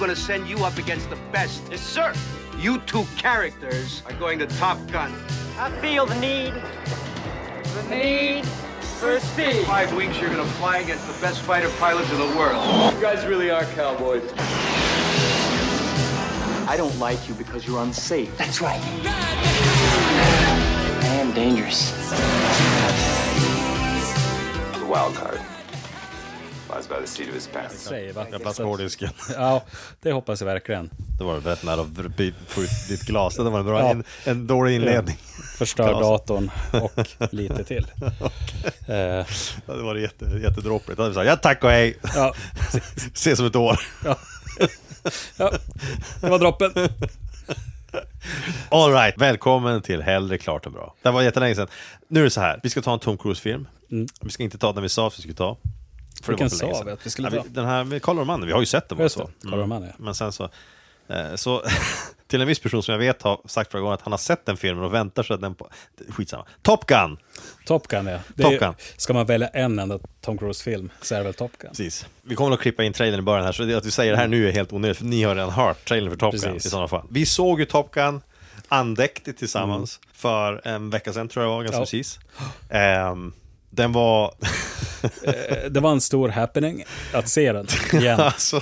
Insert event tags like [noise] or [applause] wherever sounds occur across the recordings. gonna send you up against the best. Yes, sir. You two characters are going to Top Gun. I feel the need, the need for speed. Five weeks, you're gonna fly against the best fighter pilots in the world. You guys really are cowboys. I don't like you because you're unsafe. That's right. I am dangerous. The wild card lies by the seat of his pants. Säger va? Jävla snårdisken. [laughs] Ja, det hoppas jag verkligen. Det var rätt nära att by- få ut ditt glas. Det var en, bra, en, en dålig inledning. Förstör Glas. datorn [laughs] och lite till. Eh, Ja, det var jätte, jättedråpligt. Då hade vi sagt ja tack och hej, ja, [laughs] ses om ett år. ja. ja, det var droppen. All right, välkommen till Hellre klart än bra. Det var jättelänge sedan. Nu är det så här, vi ska ta en Tom Cruise-film. Vi ska inte ta den vi sa att vi skulle ta. För det Mm. Vilken var för länge sa sedan. vi att vi skulle ja, ta? Den här med Karl Norman, vi har ju sett den. Just också. Mm. det, Karl Norman, ja. Men sen så, eh, så [laughs] till en viss person som jag vet har sagt förra gången att han har sett den filmen och väntar sig att den... På, skitsamma. Top Gun! Top Gun ja. Det Top är- Gun. Ska man välja en enda Tom Cruise-film så är det väl Top Gun. Precis. Vi kommer att klippa in trailern i början här, så det att vi säger det här nu är helt onödigt, för ni har redan hört trailern för Top Gun i Precis. sådana fall. Vi såg ju Top Gun andäktigt tillsammans för en vecka sedan, tror jag det var, ganska Mm. Ja. precis. Ehm, den var... [laughs] Eh, Det var en stor happening att se den [laughs] igen. alltså,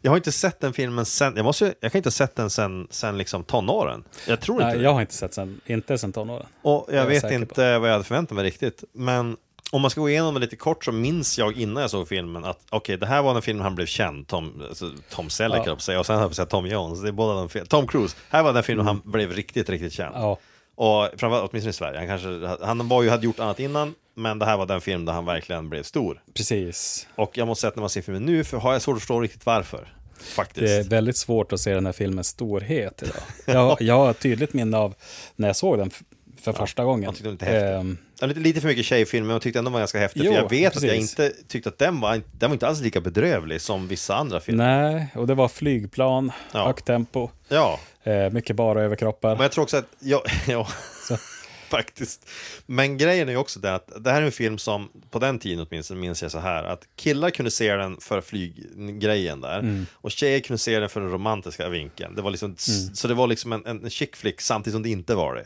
jag har inte sett den filmen sen... Jag, måste, ju- jag kan inte ha sett den sen, sen liksom tonåren. Jag tror inte Nej, det. jag har inte sett sen, inte sen tonåren. Och jag, är vet säker på. inte vad jag hade förväntat mig riktigt. Men om man ska gå igenom det lite kort så minns jag innan jag såg filmen att okej, det här var den film han blev känd, Tom, alltså, Tom Selleck höll jag på att säga, och sen höll jag på att säga Tom Jones, det är båda de fel. Tom Cruise, här var den filmen han blev riktigt, riktigt känd. Mm. Ja. Och framförallt, åtminstone i Sverige, han, kanske, han var ju, hade gjort annat innan, men det här var den film där han verkligen blev stor. Precis. Och jag måste säga att när man ser filmen nu för har jag svårt att förstå riktigt varför. Faktiskt. Det är väldigt svårt att se den här filmens storhet [laughs] idag. Jag, jag har ett tydligt minne av när jag såg den f- för första gången. Jag tyckte den var lite häftig. Ehm, Ja, lite, lite för mycket tjejfilmer, men jag tyckte ändå den var ganska häftig. Jo, för jag vet att jag precis. inte tyckte att den var, den var inte alls lika bedrövlig som vissa andra filmer. nej, och det var flygplan, Ja. högt tempo, Ja, eh, mycket bara överkroppar. men jag tror också att, ja, [laughs] ja faktiskt. Men grejen är ju också det att det här är en film som, på den tiden åtminstone, minns jag så här, att killar kunde se den för flyggrejen där, Mm. och tjejer kunde se den för den romantiska vinkeln. Det var liksom, Mm. Så det var liksom en, en, en chick flick samtidigt som det inte var det.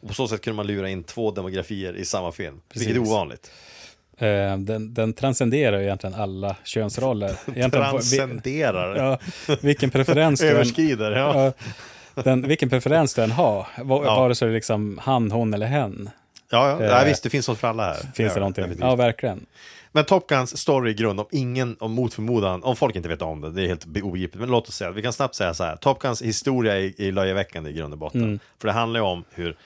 Och på så sätt kunde man lura in två demografier i samma film, vilket är Precis. ovanligt. Eh, den, den transcenderar ju egentligen alla könsroller. [laughs] Egentligen på- vi- Transcenderar. Ja, vilken preferens du än Överskrider, ja. Ja. Den, vilken preferens du än har, va- Ja. vare sig det är liksom han, hon eller hen, Ja, ja. Nej, Eh, visst, det finns något för alla här. finns det Ja, någonting. definitivt. Ja, verkligen. Men Top Guns story i grund, om ingen, om mot förmodan, om folk inte vet om det, det är helt be- obegripligt, men låt oss säga, vi kan snabbt säga så här, Top Guns historia är, är löjeväckande i grund och botten. Mm. För det handlar ju om hur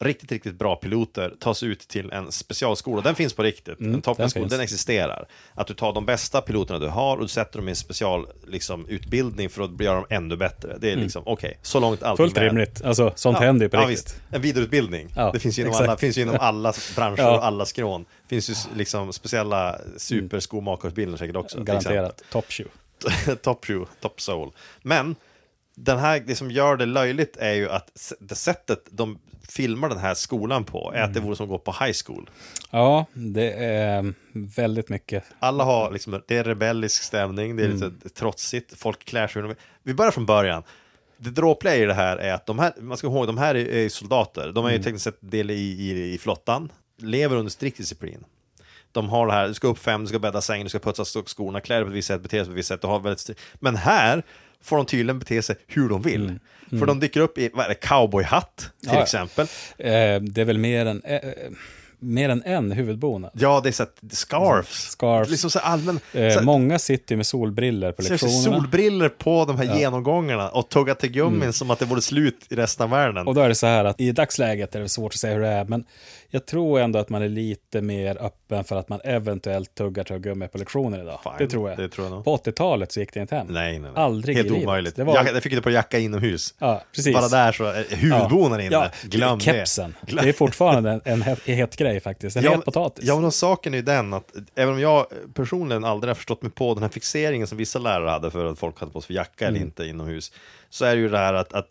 riktigt, riktigt bra piloter tas ut till en specialskola, den finns på riktigt, en Top Mm, den Gun-skola, finns. den existerar. Att du tar de bästa piloterna du har och du sätter dem i en special liksom, utbildning för att göra dem ännu bättre. Det är liksom, okej, så långt allting Mm. Fullt väl. rimligt. Alltså, sånt händer ju på riktigt. En vidareutbildning. Ja, det finns ju, inom exakt. alla, finns ju inom alla branscher Ja. och alla skrån. Det finns ju s- liksom speciella superskomakarsbilder säkert också. till Garanterat. Top shoe. exempel. [laughs] top shoe, top soul. Men den här, det som gör det löjligt är ju att s- det sättet de filmar den här skolan på är att Mm. det vore som att gå på high school. Ja, det är väldigt mycket. Alla har liksom, det är rebellisk stämning, det är Mm. lite trotsigt, folk klär sig hur de vill. Vi börjar från början. Det dråpliga i det här är att de här, man ska komma ihåg, de här är, är soldater. De är Mm. ju tekniskt sett del i, i, i flottan, lever under strikt disciplin. De har det här, du ska upp fem, du ska bädda sängen, du ska putsa sk- skorna, klä dig på ett visst sätt, bete dig på ett visst sätt. Och ha väldigt stri- Men här får de tydligen bete sig hur de vill. För de dyker upp i, vad är det, cowboyhatt till Mm. Ja, ja. exempel. Eh, det är väl mer än, eh, eh, mer än en huvudbonad. Ja, det är så att, scarfs. Scarfs. Liksom så här allmän... så Eh, här- många sitter ju med solbriller på Så jag ser lektionerna. Mm. solbriller på de här genomgångarna och tugga tuggummin som att det vore slut i resten av världen. Och då är det så här att i dagsläget är det svårt att säga hur det är, men jag tror ändå att man är lite mer öppen för att man eventuellt tuggar tuggummi på lektioner idag. Fine, det tror jag. det tror jag nog. på 80-talet så gick det inte hem. nej, nej, nej. Aldrig Helt i livet. omöjligt. Det var- jag, jag fick inte på jacka inomhus. Ja, precis. Bara där så är huvudbonaden inne. Ja, Glöm kepsen. det. Det är fortfarande en, en het, het grej faktiskt. En Ja, het potatis. ja, men och saken är ju den att även om jag personligen aldrig har förstått mig på den här fixeringen som vissa lärare hade för att folk hade på sig för jacka eller inte inomhus, så är det ju det här att, att,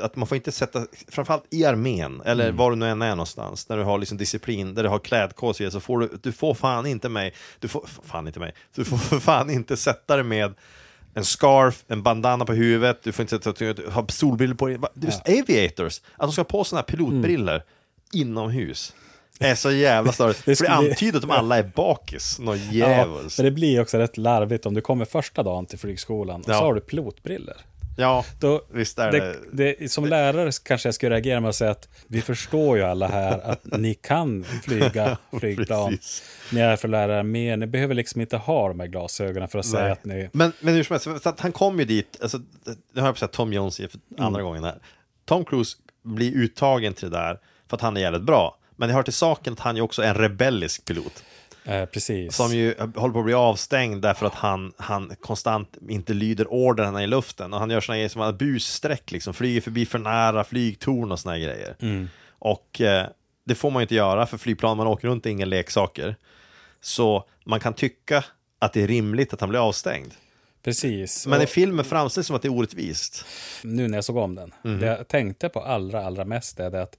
att man får inte sätta, framförallt i armén, eller var du nu än är någonstans, när du har liksom disciplin, där du har klädkod och så vidare, så får du, du får fan inte mig, du får, fan inte mig, du får för fan inte sätta dig med en scarf, en bandana på huvudet, du får inte sätta- ha solbrillor på dig. Va? Just aviators, att de ska ha på sådana här pilotbrillor inomhus. är så jävla störigt. För det skulle- antyder att de alla är bakis, någon djävuls. men det blir också rätt larvigt om du kommer första dagen till flygskolan och Ja. så har du pilotbriller. Ja, Då, visst är det. det, Som lärare kanske jag skulle reagera med att säga att vi förstår ju alla här att ni kan [laughs] flyga flygplan. Precis. ni är för lärare mer, ni behöver liksom inte ha de här glasögonen för att säga Nej. att ni... Men, men hur som helst, så att han kom ju dit, alltså, nu har jag på att säga Tom Jones för andra Mm. gången här. Tom Cruise blir uttagen till det där för att han är jävligt bra. Men det hör till saken att han ju också är en rebellisk pilot. Eh, precis. Som ju håller på att bli avstängd därför att han, han konstant inte lyder orderna i luften. Och han gör såna grejer som att bussträck, liksom. flyger förbi för nära flygtorn och såna här grejer. Och eh, det får man ju inte göra, för flygplan man åker runt är inga leksaker. Så man kan tycka att det är rimligt att han blir avstängd. precis. Men Och i filmen framställs det som att det är orättvist. Nu när jag såg om den, Mhm. det jag tänkte på allra, allra mest är det att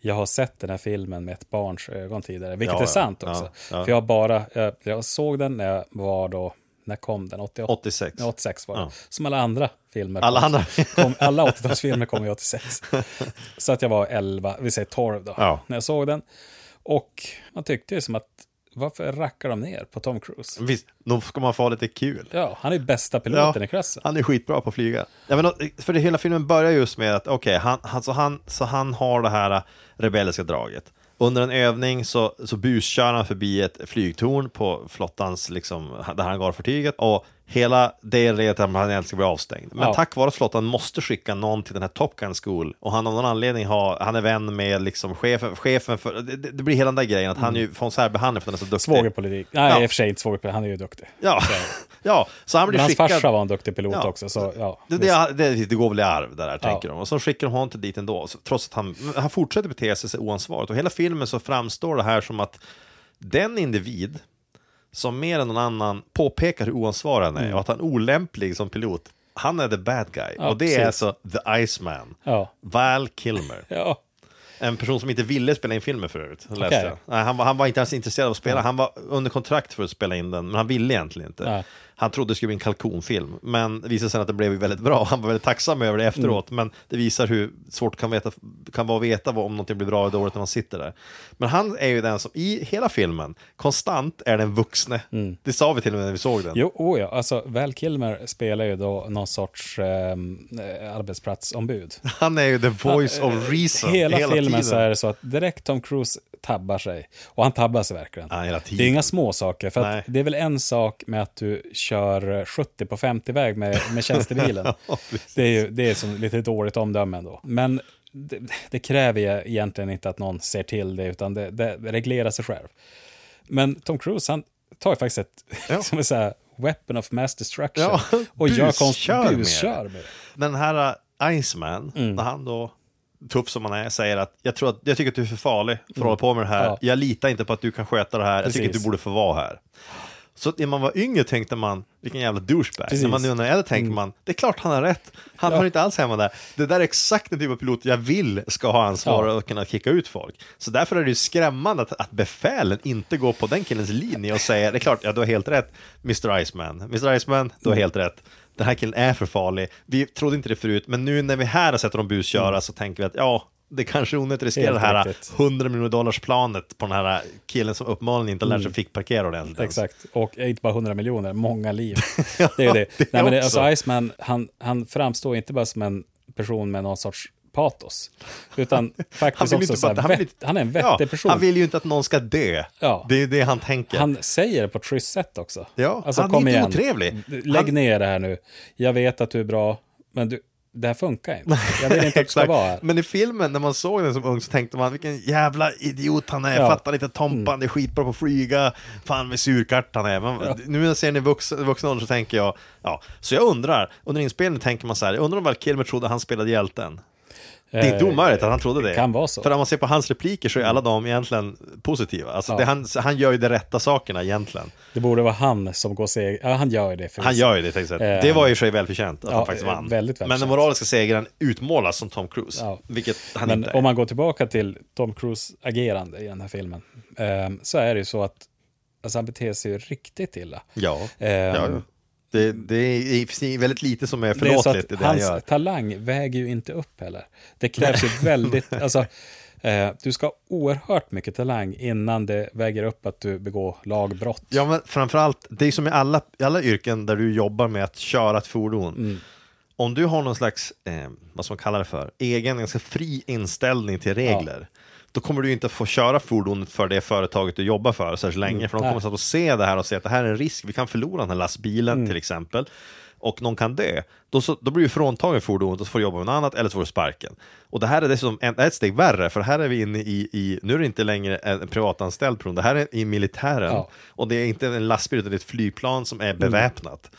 jag har sett den här filmen med ett barns ögon tidigare, vilket Ja, är ja, sant ja, också. ja. För jag bara, jag, jag såg den när jag var då, när kom den? 88? 86. Ja, 86 var det. Ja. Som alla andra filmer. Alla kom- andra. kom, alla 80-talsfilmer kom ju 86. Så att jag var 11, vi säger 12 då, Ja. när jag såg den. Och man tyckte ju som att, varför rackar de ner på Tom Cruise? Visst, då ska man få ha lite kul. Ja, han är ju bästa piloten i klassen. Han är skitbra på att flyga. Ja, men, för det, hela filmen börjar just med att, okej, han, han, så, han, så han har det här äh, rebelliska draget. Under en övning så, så buskör han förbi ett flygtorn på flottans, liksom, där han går för tyget och hela det leder till att han egentligen ska bli avstängd. Men Ja. tack vare att flottan måste skicka någon till den här Top Gun School och han av någon anledning har, han är vän med liksom chefen, chefen för, det, det det blir hela den där grejen att Mm. han ju får en särbehandling för att han är så duktig. Svågerpolitik. Nej, Ja. i och för sig inte svågerpolitik, han är ju duktig. Ja, [laughs] ja, så han blir Men hans skickad. farsa var en duktig pilot Ja. också, så ja. Det, visst. det, det, det går väl i arv det där, Ja. tänker de. Och så skickar de honom till dit ändå, så, trots att han, han fortsätter bete sig så oansvarigt. Och hela filmen så framstår det här som att den individ som mer än någon annan påpekar hur oansvarig han är och att han är olämplig som pilot, han är the bad guy. Mm. Ja, och det är precis. alltså the Iceman, Ja. Val Kilmer. Ja, En person som inte ville spela in filmen förut, läste Okej. jag. Nej, han, var, han var inte ens intresserad av att spela, han var under kontrakt för att spela in den, men han ville egentligen inte. Nej. Han trodde det skulle bli en kalkonfilm, men det visade sig att det blev väldigt bra. [laughs] Han var väldigt tacksam över det efteråt, Mm. men det visar hur svårt det kan, veta, kan vara att veta vad, om någonting blir bra eller dåligt när man sitter där. Men han är ju den som i hela filmen konstant är den vuxne. Det sa vi till och med när vi såg den. Mm. jo, oh ja. Alltså, Val Kilmer spelar ju då någon sorts ehm, eh, arbetsplatsombud. Han är ju the voice of reason hela, hela, filmen tiden. så är det så att direkt Tom Cruise tabbar sig. Och han tabbar sig verkligen. Ja, hela Det är tiden. inga små saker. För Nej. att det är väl en sak med att du kör 70 på 50-väg med, med [laughs] tjänstebilen. det är ju det är som lite dåligt omdöme ändå. Men det, det kräver ju egentligen inte att någon ser till det, utan det, det reglerar sig själv. Men Tom Cruise, han tar ju faktiskt ett [laughs] Ja. liksom så här, weapon of mass destruction. Ja, och gör konst, buskör med det. buskör med det. den här äh, Iceman, Mm. när han då, tuff som han är, säger att jag, tror att, jag tycker att du är för farlig för att hålla på med det här. Mm. Ja. Jag litar inte på att du kan sköta det här. Jag tycker att Precis. du borde få vara här. Så att när man var yngre tänkte man, vilken jävla douchebag. Precis. När man nu när äldre tänker Mm. man, det är klart han har rätt. Han hör inte alls hemma där. Det där är exakt den typ av pilot jag vill ska ha ansvar Ja. och kunna kicka ut folk. Så därför är det ju skrämmande att, att befälen inte går på den killens linje och säger, det är klart, ja du har helt rätt, Mr Iceman. Mr Iceman, du har helt rätt. Den här killen är för farlig. Vi trodde inte det förut, men nu när vi här har sett dem busköra så tänker vi att ja, det kanske är onödigt att riskera Mm. Helt det här riktigt. 100 miljoner dollars planet på den här killen som uppenbarligen inte lär sig fick parkera ordentligt. ens. Mm. Exakt, och inte bara 100 miljoner, många [laughs] liv. Det är ju det. det Nej, men det, också. alltså Iceman, han, han framstår inte bara som en person med någon sorts patos, utan [laughs] Han faktiskt vill, också inte så här, bara, att- han, vett, vill inte, han är en vettig ja, person. Han Han, vill ju inte att någon ska dö. Ja. Det är det han tänker. säger det på ett schysst sätt också. Alltså, Ja, han är inte otrevlig. Lägg Han- ner det här nu. Jag vet att du är bra, men du, det här funkar inte. Jag vill inte att du ska [laughs] Exakt. vara här. Men i filmen, när man såg den som ung, så tänkte man vilken jävla idiot han är. Ja. Mm. Fattar inte tompan, det är skitbra på att flyga. Fan vad surkart han är. Men nu när jag ser den i vuxen, vuxen ålder så tänker jag, ja. Så jag undrar, under inspelningen tänker man så här, jag undrar om Val Kilmer trodde han spelade hjälten. Det är inte Eh, omöjligt att han trodde det. kan vara så. För om man ser på hans repliker så är alla de egentligen positiva. Alltså Ja. det, han, han gör ju de rätta sakerna egentligen. Det borde vara han som går seger. Ja, han gör ju det. Han förvisso. gör ju det, tänkte jag. Eh, Det var ju i och för sig välförtjänt att ja, han faktiskt vann. väldigt Men den välförtjänt. moraliska segern utmålas som Tom Cruise, Ja. vilket han Men inte är. om man går tillbaka till Tom Cruise agerande i den här filmen, eh, ehm, så är det ju så att alltså, han beter sig ju riktigt illa. Ja. Ehm, Ja, ja. Det, det är- det finns väldigt lite som är Det är så förlåtligt i att det han hans gör. talang väger ju inte upp heller. Det krävs ju väldigt, [laughs] alltså, eh, du ska ha oerhört mycket talang innan det väger upp att du begår lagbrott. Ja, men framförallt, det är som i alla, i alla yrken där du jobbar med att köra ett fordon. Mm. Om du har någon slags, eh, vad som man kallar det för, egen, ganska fri inställning till regler. Då kommer du ju inte få köra fordonet för det företaget du jobbar för särskilt länge. För de Nej. kommer Mm. satt att se det här och se att det här är en risk. Vi kan förlora den här lastbilen till exempel. Och någon kan dö. Då, så, då blir du fråntagen fordonet och så får du jobba med något annat eller så får du sparken. Och det här är dessutom en, det här är ett steg värre. För här är vi inne i, i nu är det inte längre en en privatanställd person. Det här är i militären. Ja. Mm. Och det är inte en lastbil utan det är ett flygplan som är beväpnat.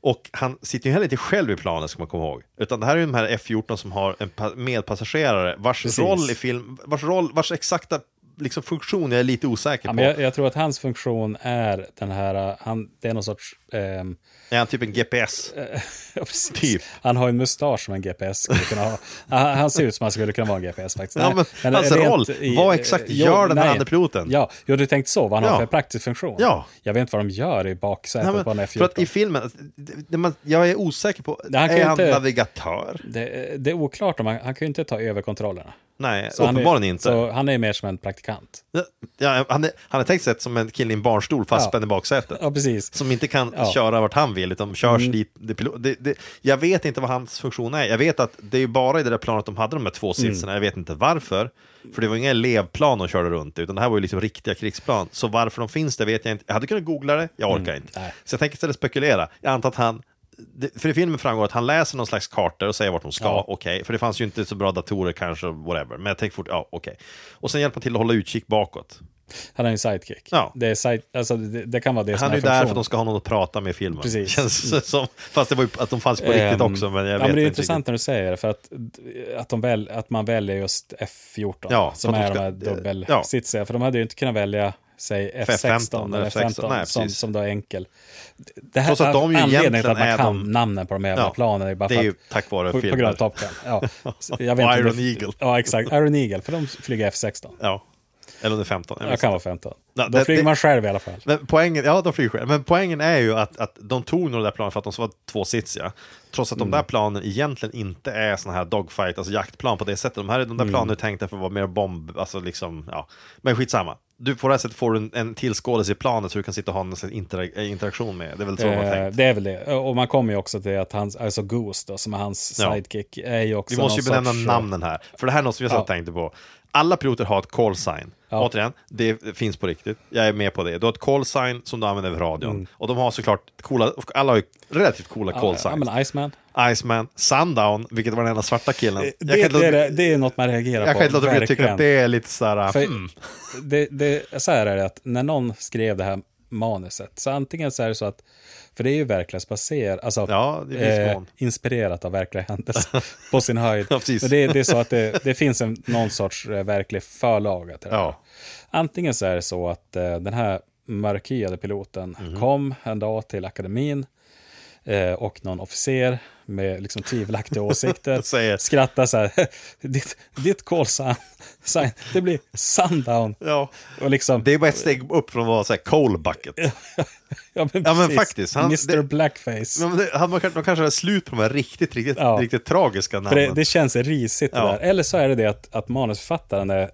Och han sitter ju heller inte själv i planet ska man komma ihåg. Utan det här är ju de här F-14 som har en pa- medpassagerare vars Precis. roll i film, vars roll, vars exakta liksom, funktion jag är lite osäker Ja, på. men jag, jag tror att hans funktion är den här, eh, han, det är någon sorts, ehm, Är han typ en GPS? ja, precis. Typ. han har ju en mustasch som en GPS skulle kunna ha. Han, han ser ut som han skulle kunna vara en GPS faktiskt. Ja, men hans rent roll, vad exakt jo, gör den här nej. andra piloten? Ja, jo, du tänkte så, vad han Ja. har för praktisk funktion. Ja. Jag vet inte vad de gör i baksätet Nej, men, på en F-14. för att i filmen, det- man, jag är osäker på, Nej, han kan är ju han inte- navigatör? Det, det är oklart om han, han kan ju inte ta över kontrollerna. Nej, han är- uppenbarligen inte. Så han är mer som en praktikant. Ja, han, är, han är tänkt sig som en kille i en barnstol fastspänd i baksätet. Ja, precis. Som inte kan Ja. Mm. köra vart han vill, utan körs dit. Det, pilo- det, det, jag vet inte vad hans funktion är. Jag vet att det är ju bara i det där planet de hade de här två sitserna. Mm. Jag vet inte varför. För det var inga elevplan de körde runt i, utan det här var ju liksom riktiga krigsplan. Så varför de finns där vet jag inte. Jag hade kunnat googla det, jag orkar inte. Mm. nej. Så jag tänker istället spekulera. Jag antar att han det, för i filmen framgår att han läser någon slags kartor och säger vart de ska, Ja. okej. För det fanns ju inte så bra datorer kanske, whatever. Men jag tänker fort, ja okej. Och sen hjälper han till att hålla utkik bakåt. Han är en sidekick. Ja. Det, är side, alltså, det, det kan vara det som Han är ju funktionen. där för att de ska ha någon att prata med i filmen. Precis. Känns [laughs] det som, fast det var ju att de fanns på riktigt Ehm, också, men jag ja, vet men Det är inte intressant riktigt. när du säger det, för att, att, de väl, att man väljer just F14, Ja, som för är att de de här ska- dubbelsitsiga. ja. sitsiga För de hade ju inte kunnat välja säg F16 eller F15, Nej, som, precis. som då är enkel. Det här, Trots att de ju anledningen till att egentligen man är kan de- namnen på de jävla Ja, planen är bara det för är ju att- tack vare på, på filmer. grund av Top Gun. Ja. Så jag vet [laughs] Och inte om Iron Eagle. Ja, exakt. Iron Eagle, för de flyger F16. Ja. Eller under 15. jag Jag vet kan inte. vara 15. Ja, Då det- flyger det- man själv i alla fall. Men poängen, ja, de flyger själv. Men poängen är ju att, att de tog nog det där planet för att de var tvåsitsiga. Trots att de Mm. där planen egentligen inte är sådana här dogfight, alltså jaktplan på det sättet. De, här, de där Mm. planen är tänkta för att vara mer bomb, alltså liksom, ja. Men skitsamma. Du, på det här sättet får du en, en tillskådelse i planet så du kan sitta och ha en sån här intera- eh, interaktion med. Det är väl så de har Eh, tänkt. Det är väl det. Och man kommer ju också till att hans, alltså Goose då, som är hans Ja. sidekick, är ju också Vi måste ju någon benämna sorts, namnen här, för det här är något som jag Ja. satt och tänkte på. Alla piloter har ett call sign. Ja. Återigen, det finns på riktigt. Jag är med på det. Du har ett call sign som du använder över radion. Och de har såklart coola, alla har ju relativt coola eh, call Mm. Ja, signs. men Iceman. Iceman, Sundown, vilket var den enda svarta killen. Det, jag kan inte det, är, låta- det, det är något man reagerar jag på. kan inte låta bli att tycka verkligen. att det är lite såhär... För hmm. det, det, så här är det att när någon skrev det här manuset, så antingen så är det så att, för det är ju verklighetsbaserat, alltså Ja, i viss mån. inspirerat av verkliga [laughs] händelser på sin höjd. Ja, precis. Men det, det är så att det, det finns en, någon sorts eh, verklig förlaga till det här. Ja. Antingen så är det så att eh, den här mörkhyade piloten Mhm. kom en dag till akademin eh, och någon officer med liksom tvivelaktiga åsikter [laughs] Säger- skrattar så här, [laughs] ditt, ditt call sign, sign, det blir sundown. Ja. Och liksom, Det är bara ett steg upp från att vara såhär coal bucket. [laughs] ja, men Ja, men precis. faktiskt, han- Mr det- Blackface. Men det, hade man, kanske- de kanske hade slut på de här riktigt, riktigt, Ja. riktigt tragiska För namnen. det, det känns risigt det Ja. där. Eller så är det det att, att manusförfattaren är eh,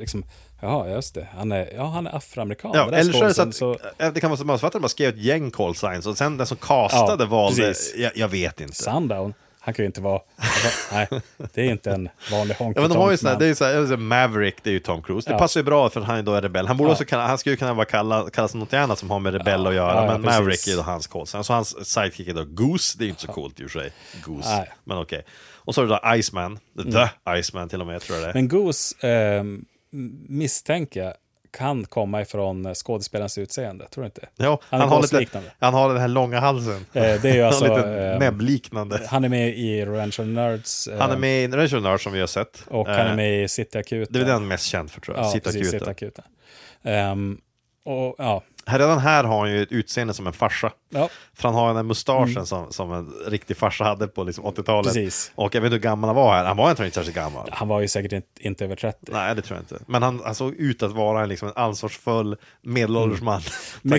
liksom, jaha, just det, han är, ja, han är afroamerikan. Ja, Det där eller så är det så skådisen, att eh, det kan vara som manusförfattaren bara skrev ett gäng call signs och sen den som castade Ja, valde, precis. jag, jag vet inte. Sundown, han kan ju inte vara... Alltså, nej, det är inte en vanlig honky Ja, men de har ju sådana, det är ju såhär, jag vill säga Maverick, det är ju Tom Cruise. Det Ja. passar ju bra för att han då är rebell. Han, borde också kalla, han skulle ju kunna vara kalla, kallas något annat som har med rebell att göra, ja, ja, men precis. Maverick är ju då hans call sign. Så hans sidekick är då Goose, det är ju inte så coolt i och för sig. Goose, Nej. Mm. men okej. Och så är det då Iceman, The Iceman till och med tror jag det är. Men Goose eh, misstänker jag kan komma ifrån eh, skådespelarens utseende, tror du inte? ja, han han, är har lite, Goose-liknande. han har den här långa halsen. Eh, det är ju alltså, han har lite ehm, näbbliknande. Han är med i Revenge of Nerds eh, Han är med i Rachel Nurse som vi har sett. och han Eh, är med i City Akuten. Det är väl den mest känd för tror jag, Ja, Sitta precis, akuten. City Akuten. Ehm, och ja, Här, redan här har han ju ett utseende som en farsa. ja. Mm. För han har den här mustaschen som, som en riktig farsa hade på liksom 80-talet. Precis. Och jag vet inte hur gammal han var här. Han var inte särskilt gammal. han var ju säkert inte, inte över 30. Nej, det tror jag inte. Men han, han såg ut att vara en, liksom, en ansvarsfull medelålders man. [laughs] Tack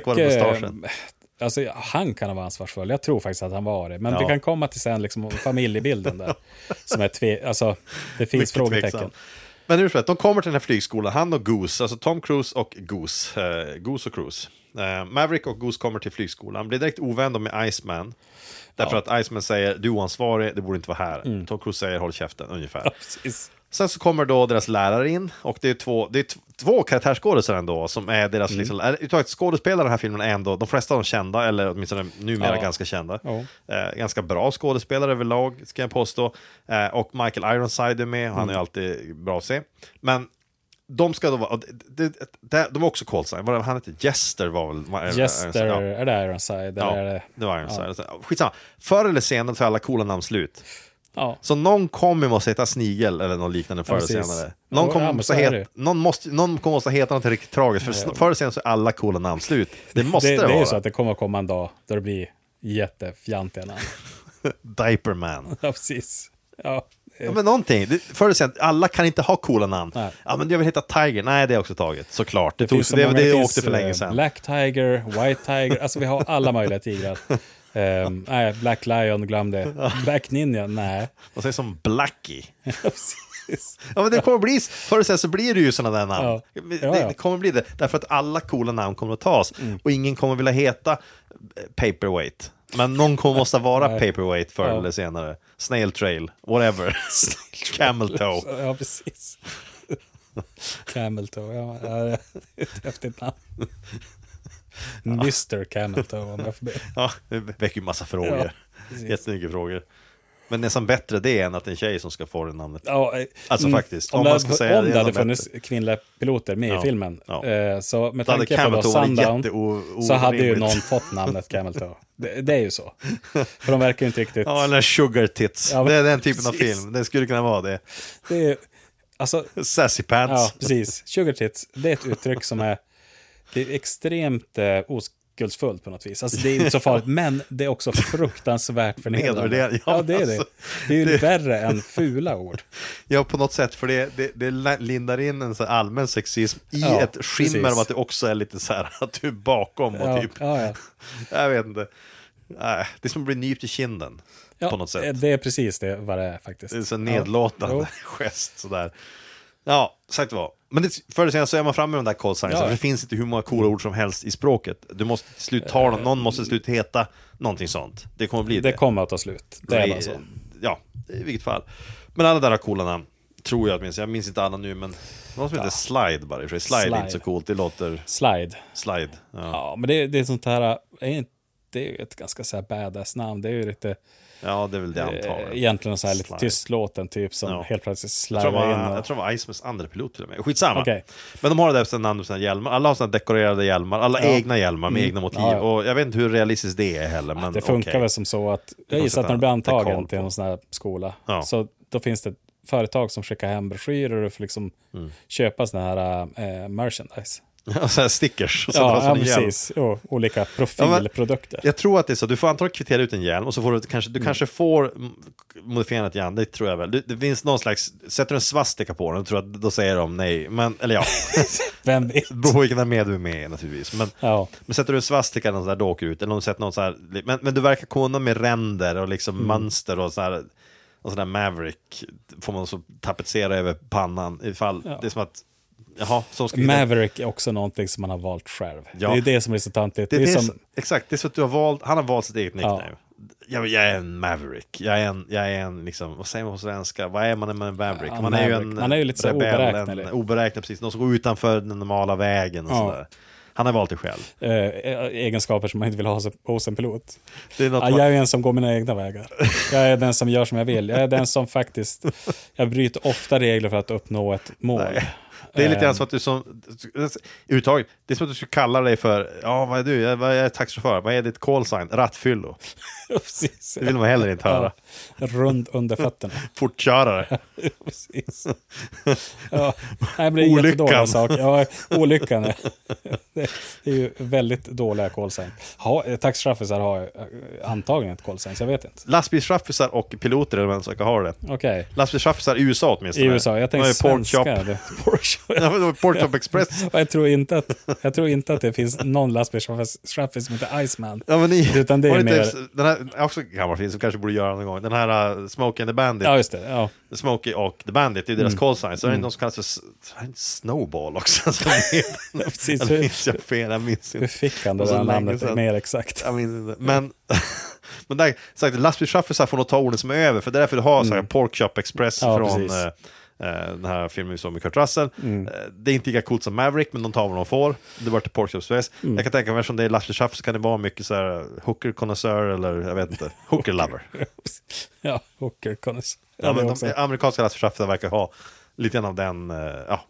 vare Mycket, mustaschen. eh, Alltså, han kan vara ansvarsfull. Jag tror faktiskt att han var det. Men Ja. vi kan komma till sen liksom, familjebilden [laughs] där. som är tve... Alltså, det finns Mycket frågetecken. tveksam. Men hur som helst, de kommer till den här flygskolan, han och Goose, alltså Tom Cruise och Goose, eh, Goose och Cruise. Eh, Maverick och Goose kommer till flygskolan, blir direkt ovänner med Iceman. Därför att Iceman säger du är oansvarig, du borde inte vara här. Tom Cruise säger håll käften, ungefär. Mm. Ja, precis. Sen så kommer då deras lärare in och det är två, det är t- två karaktärsskådisar ändå som är deras, mm. liksom, eller, uttaget, skådespelare i den här filmen är ändå, de flesta av dem kända, eller åtminstone numera Ja. ganska kända. Ja. Eh, ganska bra skådespelare överlag, ska jag påstå. Eh, och Michael Ironside är med, Mm. han är ju alltid bra att se. Men de ska då vara, och det, det, det, de är också callsign, Vad- han heter Jester var väl? Jester, Ja. är det Ironside? Ja, Eller är det... det var Ironside. Skitsamma. Förr eller senare tar alla coola namn slut. Ja. Så någon kommer måste heta Snigel eller något liknande förr eller precis. senare. Ja, Någon kommer ja, men måste så är heta, det. någon måste, någon kommer måste heta något riktigt tragiskt, för sn- förr eller senare så är alla coola namn slut. Det måste det, det, är vara. ju så att det kommer att komma en dag då det blir jättefjantiga namn. [laughs] Diaperman. Ja, precis. Ja. Ja, men någonting. Det, förr eller senare, alla kan inte ha coola namn. Nej. Ja, men jag vill heta Tiger. Nej, det är också taget, såklart. Det, tog, finns så det, det, många. finns, åkte för länge eh, sedan. Black Tiger, White Tiger, alltså vi har alla möjliga [laughs] tigrar. Ehm, nej, Black Lion, glöm det. Black Ninja, [laughs] nej. Och sen som Blackie. Ja, precis. Ja, men det kommer bli, förr eller senare så blir det ju sådana där namn. Ja. Det, Ja, Mm. ja. det kommer bli det, därför att alla coola namn kommer att tas och ingen kommer vilja heta eh, Paperweight. Men någon kommer [laughs] måste vara Paperweight förr Ja. eller senare. Snail trail, [laughs] whatever. [laughs] Camel toe. ja, [laughs] precis. Camel Toe, ja, ja, det är ett häftigt namn. Mr Camel Toe, om jag får be. Ja, det väcker ju massa frågor. [laughs] Ja, precis. Jättemycket frågor. Men nästan bättre det än att det är en tjej som ska få det namnet. Ja, eh, Alltså faktiskt, Om, om det, man ska säga om det det, är hade något funnits kvinnliga piloter med Ja, i filmen. ja. eh, Så med Då hade tanke på då Camel Toe varit Sundown jätteo- så hade ju orimligt. någon fått namnet Camel Toe. Det, det är ju [laughs] så. För de verkar ju inte riktigt... Ja, eller Sugar Tits. Ja, men- det är den typen av precis. film. Det skulle kunna vara det. Det är, ju- alltså, Sassy Pants. ja, precis. Sugar tits, det är ett uttryck som är, det är extremt eh, oskuldsfullt på något vis. Alltså, det är inte så farligt, [laughs] men det är också fruktansvärt förnedrande. Nedvärderande, ja, Ja, det är det. alltså, Det är ju det- värre än fula [laughs] ord. Ja, på något sätt, för det, det, det lindar in en så här allmän sexism i Ja, ett skimmer precis. av att det också är lite så här [laughs] att du är bakom och Ja, typ, ja, ja. jag vet inte. Nej, det är som att bli nypt i kinden Ja, på något sätt. Det är precis det vad det är faktiskt. Det är en sån Ja. nedlåtande Jo. [laughs] gest sådär. Ja, sagt vad. Men det, förr eller senare så är man framme med de där call signs, Ja. för det finns inte hur många coola ord som helst i språket. Du måste till slut ta dem, någon måste till slut heta någonting sånt. Det kommer bli det. Eh. Det kommer att ta slut. Det är bara så. Ja, i vilket fall. Men alla där har coola namn. Tror jag åtminstone. Jag minns inte alla nu, men någon som heter Slide bara. i och för sig. Slide, Slide. är inte så coolt. Det låter... Slide. Slide. Ja. Ja, men det, det är sånt här... eh, är inte- Det är ju ett ganska så här badass namn. Det är ju lite... ja, det är väl det antagligen. Eh, egentligen så här lite Slide. tystlåten typ som Ja. helt plötsligt Jag tror, det slarvar in. var, Och, jag tror det var Icemans andra pilot till och med. Skitsamma. Okej. Men de har det där sina namn på sina hjälmar. Alla har sina dekorerade hjälmar. Alla egna hjälmar med egna motiv. Mm. Ja, ja. Och jag vet inte hur realistiskt det är heller. Men det funkar okej. väl som så att... Jag får gissar att när du sätta blir lite koll antagen till på. någon sån här skola Ja. så då finns det företag som skickar hem broschyrer och du får liksom Mm. köpa såna här eh, merchandise. Ja, [laughs] så här stickers. Och så Ja, ja, ja hjälm. precis. Jo, olika Ja, men- profilprodukter. Jag tror att det är så. Du får antagligen kvittera ut en hjälm och så får du kanske, du kanske får mm, modifiera den lite grann. Det tror jag väl. Det, det finns någon slags, sätter du en svastika på den, tror jag, då säger de nej. Men, [laughs] eller ja, Vem vet? det beror på vilken armé du är med i naturligtvis. Men, Ja. men sätter du en svastika eller något sånt där, då åker du ut. Eller om du sätter något så här, men, men du verkar kunna med ränder och liksom Mm. mönster och så här. Och sån där Maverick får man så tapetsera över pannan ifall det är som att, jaha, så ska vi... Maverick är också någonting som man har valt själv. Ja. Det är ju det som är så tantigt. Det, Det, det är är som, så, exakt, det är så att du har valt, han har valt sitt eget nickname. Jag, jag är en Maverick, jag är en, jag är en liksom, vad säger man på svenska, vad är man med en Maverick? Ja, man, är ju en Maverick. Man är ju lite så här oberäknelig. En, oberäknad, precis, någon som går utanför den normala vägen och Ja. sådär. Han har valt det själv. eh, egenskaper som man inte vill ha hos en pilot. Det är något Ja, man- jag är en som går mina egna vägar. Jag är den som gör som jag vill. Jag är den som faktiskt... Jag bryter ofta regler för att uppnå ett mål. Det är lite Eh, grann som att du som, uttaget, det är som att du skulle kalla dig för, ja vad är du, jag, vad är jag taxichaufför, vad är ditt call sign, rattfyllo. [laughs] Precis. Det vill man heller inte höra. Ja, rund under [laughs] fötterna. Fortkörare. Precis. Ja, nej, men det är Olyckan. jättedåliga saker. Ja, olyckan. är- Det är ju väldigt dåliga call signs. Ha- eh, Taxichaffisar har ju, eh, antagligen ett call signs, jag vet inte. Lastbilschaffisar och piloter är de enda som kan ha det. Okej. Lastbilschaffisar i USA åtminstone. I USA, jag tänkte De har ju svenska. Pork Chop- [laughs] det- Pork chop. Ja, men de har ju Pork Chop Express. Och Jag tror, inte att, jag tror inte att det finns någon lastbilschaffis som heter Iceman. Ja, men ni, Utan det är var inte mer- ens- Den här, också en gammal film som kanske borde göra någon gång. Den här uh, Smokey and the Bandit. Ja, Mm. just det. Ja. Smokey och The Bandit, det är deras call sign. Så är det någon som kallas för S- det här är Snowball också. [laughs] Som [laughs] heter. Precis. Eller minns jag fel? Jag minns Hur inte. fick han det Det var där så länge namnet sedan. mer exakt? Jag minns inte. Men, [laughs] men där, sagt, lastbilschaffisar får nog ta orden som är över. För det är därför du har så här Pork Chop Express Mm. Ja, från precis. Mm. eh, eh, den här filmen vi såg med Kurt Russell. Eh, Det är inte lika coolt som Maverick, men de tar vad de får. Det var till Pork Chop Express. Mm. Jag kan tänka mig, eftersom det är lastbilschaffis så kan det vara mycket så här hooker konnässör eller jag [laughs] vet inte, hooker lover. Ja, hooker Connors. Ja, Ja, det men också. de amerikanska lastbilschaffisarna verkar ha lite grann av den, eh, ja,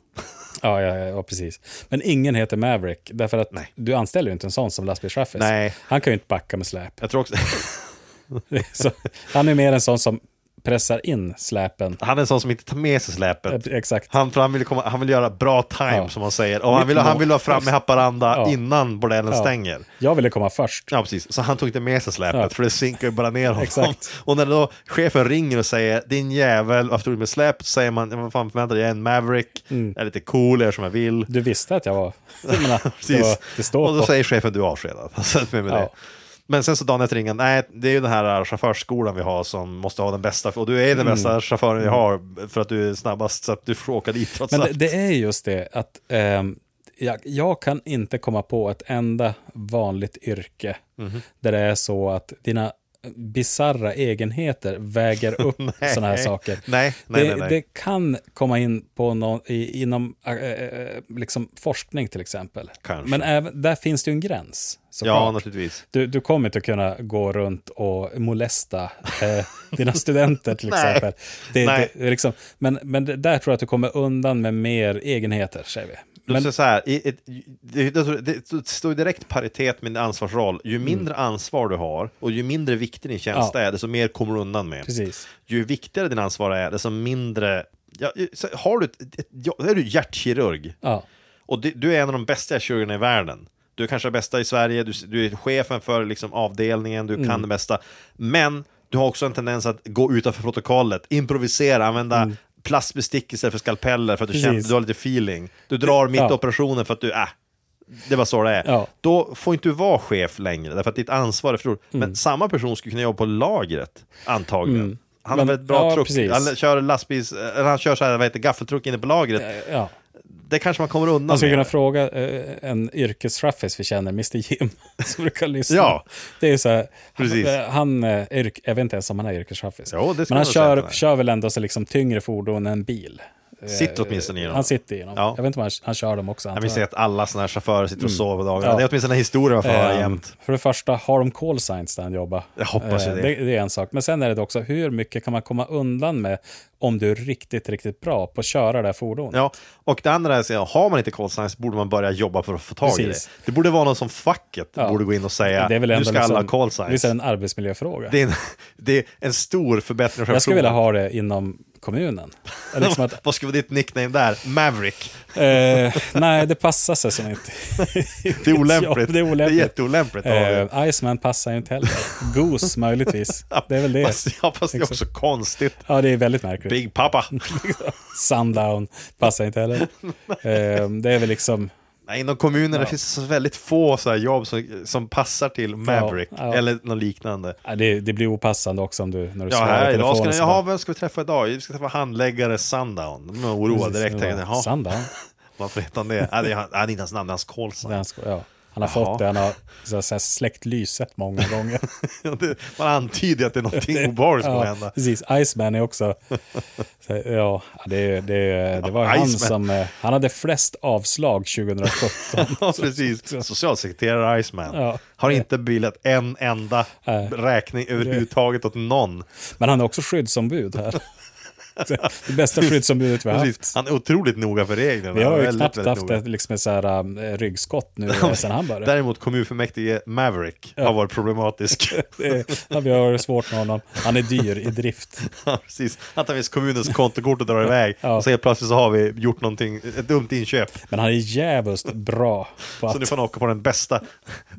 Ja, ja, ja, ja, precis. Men ingen heter Maverick, därför att Nej. du anställer ju inte en sån som lastbilschaffis. Nej. Han kan ju inte backa med släp. jag tror också, [laughs] [laughs] Så, han är mer en sån som pressar in släpen. han är en sån som inte tar med sig släpet. Eh, Exakt. Han, för han, vill komma, han vill göra bra time Ja. som han säger. Och han vill, han vill vara framme i Haparanda Ja. innan bordellen Ja. stänger. Jag ville komma först. Ja, precis. Så han tog inte med sig släpet, Ja. för det sinkar ju bara ner honom. Exakt. Och när då chefen ringer och säger din jävel, varför tog du med släpet? Så säger man, "Ja, vad fan förväntar dig, jag är en Maverick, jag är lite cool, jag gör som jag vill. [laughs] Du visste att jag var... Jag menar, det, Precis. Mm. var det och står då på. säger chefen du är avskedad. [laughs] Så att med med Ja. det. Men sen så dagen efter ringer han, nej det är ju den här äh, chaufförsskolan vi har som måste ha den bästa, och du är Mm. den bästa chauffören vi har för att du är snabbast så att du får åka dit trots Men det, allt. det är just det att ehm, jag, jag kan inte komma på ett enda vanligt yrke Mhm. där det är så att dina bizarra egenheter väger [laughs] upp sådana här saker. Nej, nej, det, nej, nej. det kan komma in på någon, i, inom eh, eh, liksom forskning till exempel. Kanske. Men även, där finns det ju en gräns. såklart. Ja, naturligtvis. Du, du kommer inte att kunna gå runt och molesta eh, dina studenter [laughs] till exempel. Det, Nej. Det, är liksom, men men det, där tror jag att du kommer undan med mer egenheter, säger vi. Men, Men, så här, i, ett, det, alltså, det, det står i direkt paritet med din ansvarsroll. Ju mindre ansvar du har och ju mindre viktig din tjänst Mm. Ja. är, desto mer kommer du undan med. precis. Ju viktigare din ansvar är, desto mindre... Ja, så har du ett, ett, ja, är du hjärtkirurg Ja, och det, du är en av de bästa kirurgerna i världen. Du är kanske den bästa i Sverige, du, du är chefen för liksom, avdelningen, du Mm. kan det bästa. Men du har också en tendens att gå utanför protokollet, improvisera, använda plastbestick istället för skalpeller för att du Mm. Precis. känner du har lite feeling. Du drar mitt i Ja. operationen för att du, äh, det var så det är. Ja. Då får inte du vara chef längre, därför att ditt ansvar är för stort. Mm. Men samma person skulle kunna jobba på lagret, antagligen. Han har Men- väl ett bra ja, truck, precis. han kör lastbils, eller han kör så här, vad heter det, gaffeltruck inne på lagret. ja. Det kanske man kommer undan Man skulle med. kunna fråga eh, en yrkesraffis vi känner, Mr Jim, [laughs] som brukar lyssna. Ja. Det är så här, Precis. han, han eh, yrk, jag vet inte ens om han är yrkesraffis. Jo, det skulle Men han man säga att han kör, är. kör väl ändå så liksom tyngre fordon än bil. Sitt åtminstone i dem. Han sitter i dem. Ja. Jag vet inte om han, han kör dem också. Jag antar minns jag. att alla sådana här chaufförer sitter och sover dagarna. Mm. Ja. Det är åtminstone en historia man får höra Ehm, jämt. För det första, har de call signs där han jobbar? Jag hoppas ju Eh, det. det. Det är en sak. Men sen är det också, hur mycket kan man komma undan med om du är riktigt, riktigt bra på att köra det här fordonet? Ja, och det andra är att säga, har man inte call signs borde man börja jobba för att få tag i det. Precis. Det borde vara någon som facket Ja. borde gå in och säga, nu ska alla liksom- ha call signs. Visst är det en arbetsmiljöfråga? Det är en, [laughs] det är en stor förbättring för jag skulle personen. vilja ha det inom kommunen. Eller Liksom att, [laughs] Vad ska vara ditt nickname där? Maverick. eh, nej, det passar sig som inte. [laughs] Det är olämpligt. [laughs] Ja, det är olämpligt. Det är jätteolämpligt. att ha det. Eh, Iceman passar ju inte heller. Goose möjligtvis. Det är väl det. Liksom. Fast, [laughs] ja, fast det är också konstigt. Ja, det är väldigt märkligt. [laughs] Big Papa. Sundown passar inte heller. [laughs] Eh, det är väl liksom... Nej, inom kommunen det finns så väldigt få så här jobb som, som passar till Maverick ja. eller något liknande. Ja, det, det blir opassande också om du, när du Ja, svarar här i idag telefonen. ska ni, så jaha, bara- vem ska vi träffa idag? Vi ska träffa handläggare Sundown. De är Precis, oroade direkt. det tänkte, var Jaha, Sundown. varför heter han det? Nej, det är han- nej, det är inte hans namn, det är hans call Det är sign. hans- Ja, han har Jaha. fått det, han har så att säga, släckt lyset många gånger. [laughs] Det- Man antyder ju att det [laughs] är någonting obehagligt som kommer hända. precis. Iceman är [laughs] också... Så, här, ja, det, det, det var Ja, han Iceman. som... eh, Han hade flest avslag [laughs] 2017. [laughs] Ja, precis. Socialsekreterare Iceman Ja. har inte beviljat en enda räkning överhuvudtaget åt någon. [laughs] Men han är också skyddsombud här. Det bästa skyddsombudet vi har haft. Precis. Han är otroligt noga för reglerna. Vi har ju Väldigt, knappt väldigt haft noga. ett liksom ett så här, um, ryggskott [laughs] nu eh, sen han började. Däremot kommunfullmäktige Maverick har varit [laughs] problematisk. Det- ja, Vi har svårt med honom. Han är dyr i drift. Ja, Precis. Han tar visst kommunens kontokort och drar iväg. Ja. Och så helt plötsligt så har vi gjort någonting, ett dumt inköp. Men han är jävligt bra på Så att... nu får han åka på [laughs] den bästa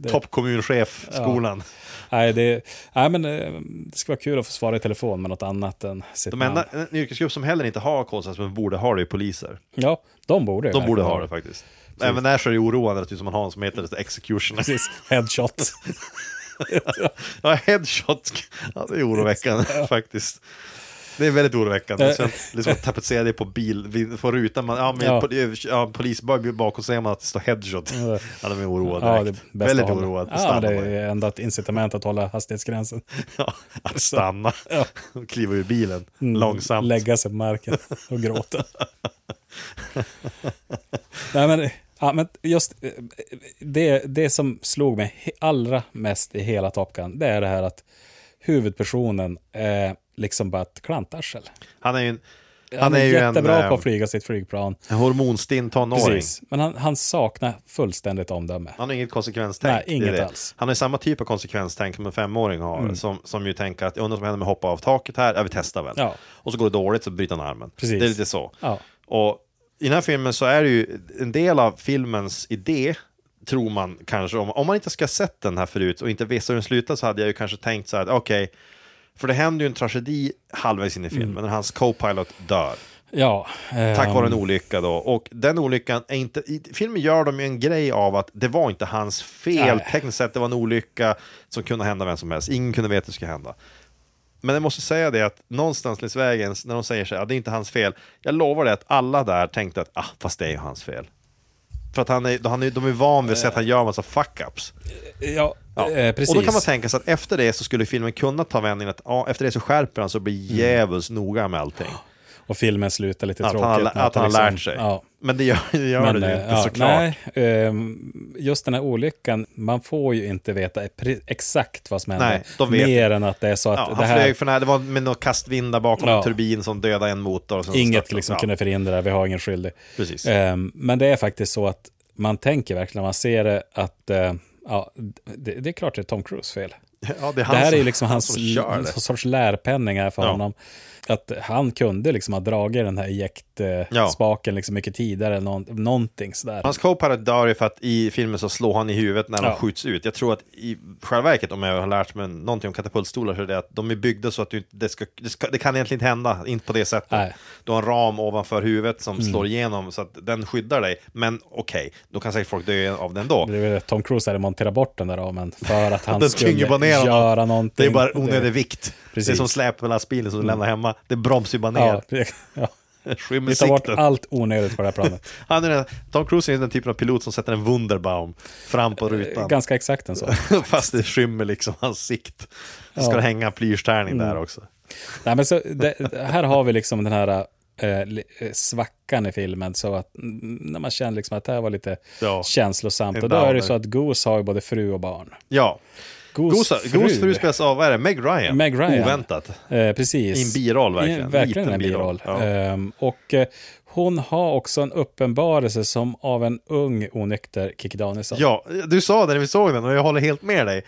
toppkommunchef-skolan. Nej, det, nej, men eh, det ska vara kul att få svara i telefon med något annat än sitt De namn. enda en yrkesgrupp som heller inte har kolsats men borde ha det är poliser. Ja, de borde ju De borde verkligen ha det faktiskt. Även där så är det oroande att det är som man har en som heter Executioner. Precis, headshot. Ja, headshot. Ja, det är oroväckande faktiskt. Det är väldigt oroväckande. Eh. Sen liksom tapetsera det på bil, på rutan. Man, ja, med Ja. pol- ja, polisbil bakom ser man att det står headshot. Ja. [laughs] Ja, de är oroade. Ja, det är direkt. bästa väldigt att hålla. oroade. Ja, Stanna det bara. är enda ett incitament att hålla hastighetsgränsen. [laughs] Ja, att stanna. [laughs] Och kliva ur bilen Mm. långsamt. Lägga sig på marken och [laughs] gråta. Nej, men, ja, men just eh, det, det som slog mig he- allra mest i hela Top Gun, det är det här att huvudpersonen är liksom bara ett klantarsel. Han är ju en, han Han är är, ju en, jättebra på eh, att flyga sitt flygplan, en hormonstinn tonåring. precis. men han, han saknar fullständigt omdöme. Han har inget konsekvenstänk. Nej, det är inget det. alls. Mm. Han har samma typ av konsekvenstänk som en femåring har. Som, som ju tänker att, jag undrar vad som händer med att hoppa av taket här? Ja, vi testar väl. Ja. Och så går det dåligt så bryter han armen. Precis. Det är lite så. Ja. Och i den här filmen så är det ju en del av filmens idé, tror man kanske, om, om man inte ska ha sett den här förut och inte visste hur den slutar så hade jag ju kanske tänkt så här, att, okej, för det händer ju en tragedi halvvägs in i filmen Mm. när hans co-pilot dör. Ja, eh, Tack vare en olycka då. Och den olyckan är inte... I filmen gör de ju en grej av att det var inte hans fel. Nej. Tekniskt sett, det var en olycka som kunde hända vem som helst. Ingen kunde veta att det skulle hända. Men jag måste säga det att någonstans längs vägen, när de säger så här, "Ah, det är inte hans fel. Jag lovar det att alla där tänkte att, ah, fast det är ju hans fel. För att han är, han är, de är van vid att se att han gör en massa fuck-ups. ja, Ja. Eh, precis. Och då kan man tänka sig att efter det så skulle filmen kunna ta vändningen att ja, efter det så skärper han sig och blir Mm. djävulskt noga med allting. Och filmen slutar lite Att tråkigt. han, med har- att han har liksom- lärt sig. Ja. Men det gör, det, gör det ju eh, inte ja, såklart. Nej, ehm, just den här olyckan, man får ju inte veta e- pre- exakt vad som hände. Nej, de vet Mer än att det är så att ja, det han här, flög från det här, det var med någon kastvindar bakom Ja. en turbin som dödade en motor. Och sen så inget störtade- liksom ja, kunde förhindra, vi har ingen skyldig. Precis. Ehm, men det är faktiskt så att man tänker verkligen, när man ser det, att eh, ja, det, det är klart det är Tom Cruise fel. ja, det, är Det han här är som, ju liksom hans som kör det. någon sorts lärpenning här för Ja. honom. Att han kunde liksom ha dragit den här Ja. ejektspaken liksom mycket tidigare, eller någon, någonting sådär. Hans co-pilot dör ju för att i filmen så slår han i huvudet när han Ja. skjuts ut. Jag tror att i själva verket, om jag har lärt mig någonting om katapultstolar, så är det att de är byggda så att du, inte- det, ska, det, ska, det kan egentligen inte hända, inte på det sättet. Nej. Mm. Du har en ram ovanför huvudet som slår igenom så att den skyddar dig. Men okej, då kan säkert folk dö av den då. Det är väl att Tom Cruise hade monterat bort den där ramen för [laughs] att han Den tynger bara skulle ner honom. göra någonting. Det är bara onödig vikt. Det är Precis. Mm. som släp med lastbilen som du lämnar hemma. Det bromsar ju bara Ja, [laughs] ner. ja. [laughs] Skymmer Vi tar bort sikten. allt onödigt på det här [laughs] planet. Han är den, Tom Cruise är den typen av pilot som sätter en Wunderbaum fram på rutan. Eh, Ganska exakt en sån. [laughs] Fast det skymmer liksom hans sikt. Så ska Ja. Mm. det hänga en plyrstärning där också. Nej, men så, det, här har vi liksom den här eh, li- eh, svackan i filmen, så att mm, när man känner liksom att det här var lite Ja. känslosamt. En Och då är det downer. så att Goose har ju både fru och barn. Ja. Goose, Goose Goose fru spelas av, vad är det, Meg Ryan? Meg Ryan. Oväntat. Eh, precis. I en biroll, verkligen. I en- verkligen Liten en biroll. biroll, ja. Ehm, och eh, hon har också en uppenbarelse som av en ung onykter Kikki Danielsson. Ja, du sa det när vi såg den och jag håller helt med dig.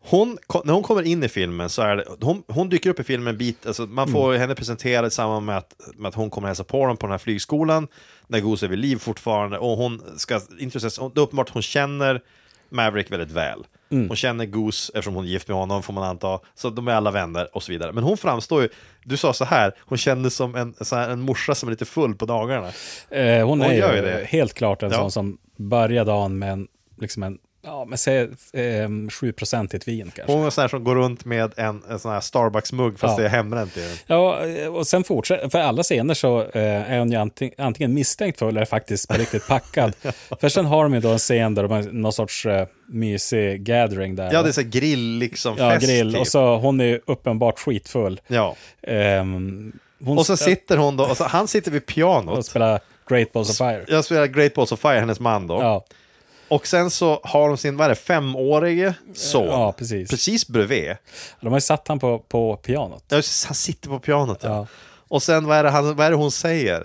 Hon, ko- när hon kommer in i filmen så är det, hon, hon dyker upp i filmen en bit, alltså man får henne presenterad i samband med att, med att hon kommer hälsa på dem på den här flygskolan, när Goose är vid liv fortfarande, och hon ska introduceras, och det är uppenbart att hon känner Maverick väldigt väl. Hon känner Goose, eftersom hon är gift med honom, får man anta, så de är alla vänner och så vidare. Men hon framstår ju, du sa så här, hon kändes som en, så här, en morsa som är lite full på dagarna. Eh, hon, är gör ju ju det. helt klart en Ja. sån som börjar dagen med en, liksom en ja, men säg eh, 7-procentigt vin kanske. Hon är sån här som går runt med en, en sån här Starbucks-mugg fast Ja. det är hembränt i den. Ja, eh, och sen fortsätter, för alla scener så eh, är hon ju anting, antingen misstänkt för eller faktiskt på riktigt [laughs] packad. för sen har de ju då en scen där de har någon sorts eh, mysig gathering där. Ja, det är så här grill liksom, Ja, fest grill. typ. Och så hon är ju uppenbart skitfull. Ja. Ehm, hon Och så st- sitter hon då, och så, han sitter vid och pianot. spelar Great Balls of Fire. Jag spelar Great Balls of Fire, hennes man då. Ja, Och sen så har de sin, vad är det, femårige son. Ja, precis. Precis bredvid. de har ju satt han på, på pianot. Ja, just- Han sitter på pianot. Ja. Ja. Och sen vad är det, han, vad är det hon säger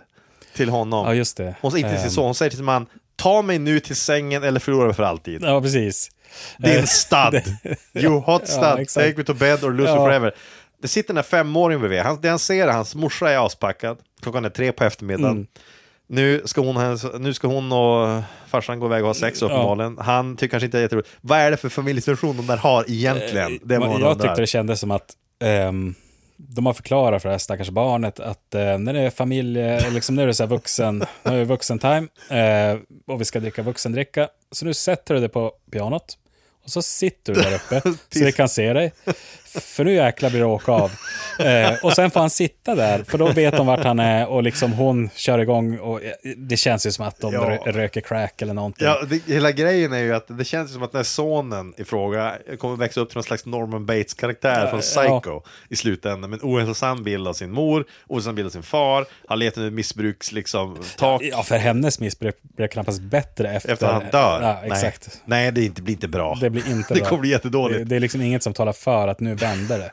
till honom? Ja, just det. Hon, inte till sin Ehm. son, hon säger till sin man Ta mig nu till sängen eller förlora mig för alltid. Ja, precis. Eh, Din stud! [laughs] You hot stud! exakt. Take me to bed or lose Ja. me forever. Det sitter den här femåringen bredvid. Han, det han ser är att hans morsa är aspackad. Klockan är tre på eftermiddagen. Mm. Nu, ska hon, hennes- nu ska hon och farsan gå iväg och ha sex uppenbarligen. Han tycker kanske inte det är jätteroligt. Vad är det för familjesituation de där har egentligen? Det är vad Man- man Eh, jag undrar. tyckte det kändes som att ehm, de har förklarat för det här stackars barnet att eh, när det är familj, eh, liksom när det är så här vuxen, nu är det vuxen time eh, och vi ska dricka vuxendricka. Så nu sätter du dig på pianot och så sitter du där [laughs] uppe så vi kan se dig. För nu jäklar blir det åka av. Eh, och sen får han sitta där, för då vet de vart han är och liksom hon kör igång och eh, det känns ju som att de Ja. rö- röker crack eller någonting. Ja, det, hela grejen är ju att det känns som att den här sonen i fråga kommer växa upp till någon slags Norman Bates-karaktär från Psycho i slutändan. Men ohälsosam bild av sin mor, ohälsosam bild av sin far, har levt under missbruks liksom tak Ja, för hennes missbruk blir knappast bättre efter, efter han dör. Ja, exakt. Nej, Nej det inte- blir inte bra. Det blir inte [laughs] Det bra. kommer bli jättedåligt. Det, det är liksom inget som talar för att nu vänder [laughs] det.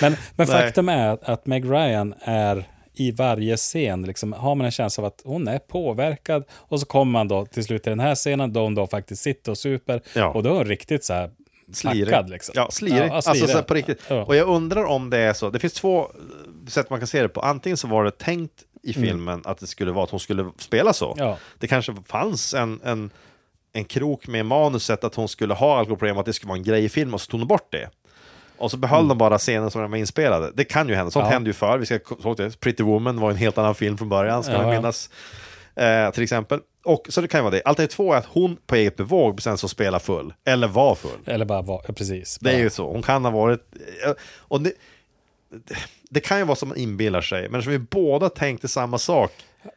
men men Nej. faktum är att- att Meg Ryan är i varje scen, liksom, har man en känsla av att hon är påverkad och så kommer man då till slut till den här scenen då hon då faktiskt sitter och super Ja. och då är hon riktigt så här Slirig. packad. Liksom. Ja, slirig. Alltså så här på riktigt. Ja. Och jag undrar om det är så. Det finns två eh, sätt man kan se det på. Antingen så var det tänkt i filmen att det skulle vara att hon skulle spela så. Mm. Ja. Det kanske fanns en, en, en krok med manuset att hon skulle ha alkoholproblem, att det skulle vara en grej i filmen och så tog de bort det. Och så behöll de bara scenen som den var inspelade. Det kan ju hända, sånt Mm. Ja. hände ju förr. Vi ska såg det. Pretty Woman var en helt annan film från början, ska Ja, man ja. minnas. Eh, till exempel. Och, så det kan ju vara det. Alternativ två är att hon på eget bevåg bestämde sig att spela full. Eller var full. Eller bara, var, ja, precis. Det är Bara- ju så. Hon kan ha varit... eh, Och det, det kan ju vara som man inbillar sig, men som vi båda tänkte samma sak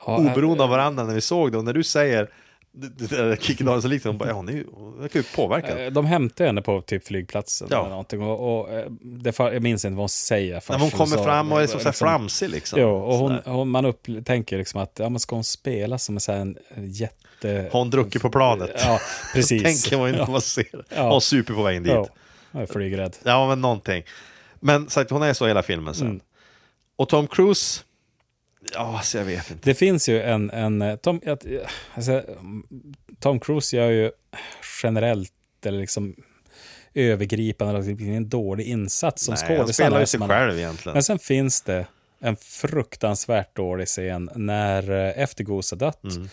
Ja, eh, oberoende av varandra när vi såg det. Och när du säger det- det där Kikki Danielsson likt hon bara, ja, hon är ju hon verkar ju påverkad. Eh, De hämtade henne på typ flygplatsen Ja. eller någonting. Och, och, eh, det, fa- jag minns inte vad hon säger. först. När hon kommer sa- fram och är så liksom- här framsig liksom. Jo, och hon, Sådär. hon, man upp, tänker liksom att ja, men ska hon spela som en, så här, en en jätte... Har hon druckit på planet? [laughs] Ja, precis. Tänker man ju när ja, man ser. Ja. Hon super på vägen dit. ja, jag är flygrädd. Ja, men någonting. Men sagt, hon är så hela filmen sen. Mm. Och Tom Cruise, ja, så jag vet inte. Det finns ju en... en eh, Tom, jag, eh, alltså, Tom Cruise gör ju generellt, eller liksom övergripande, eller liksom en dålig insats som Nej, skådespelare. han spelar ju sig som man- själv egentligen. Men sen finns det en fruktansvärt dålig scen när eh, efter Goose har dött. Mm.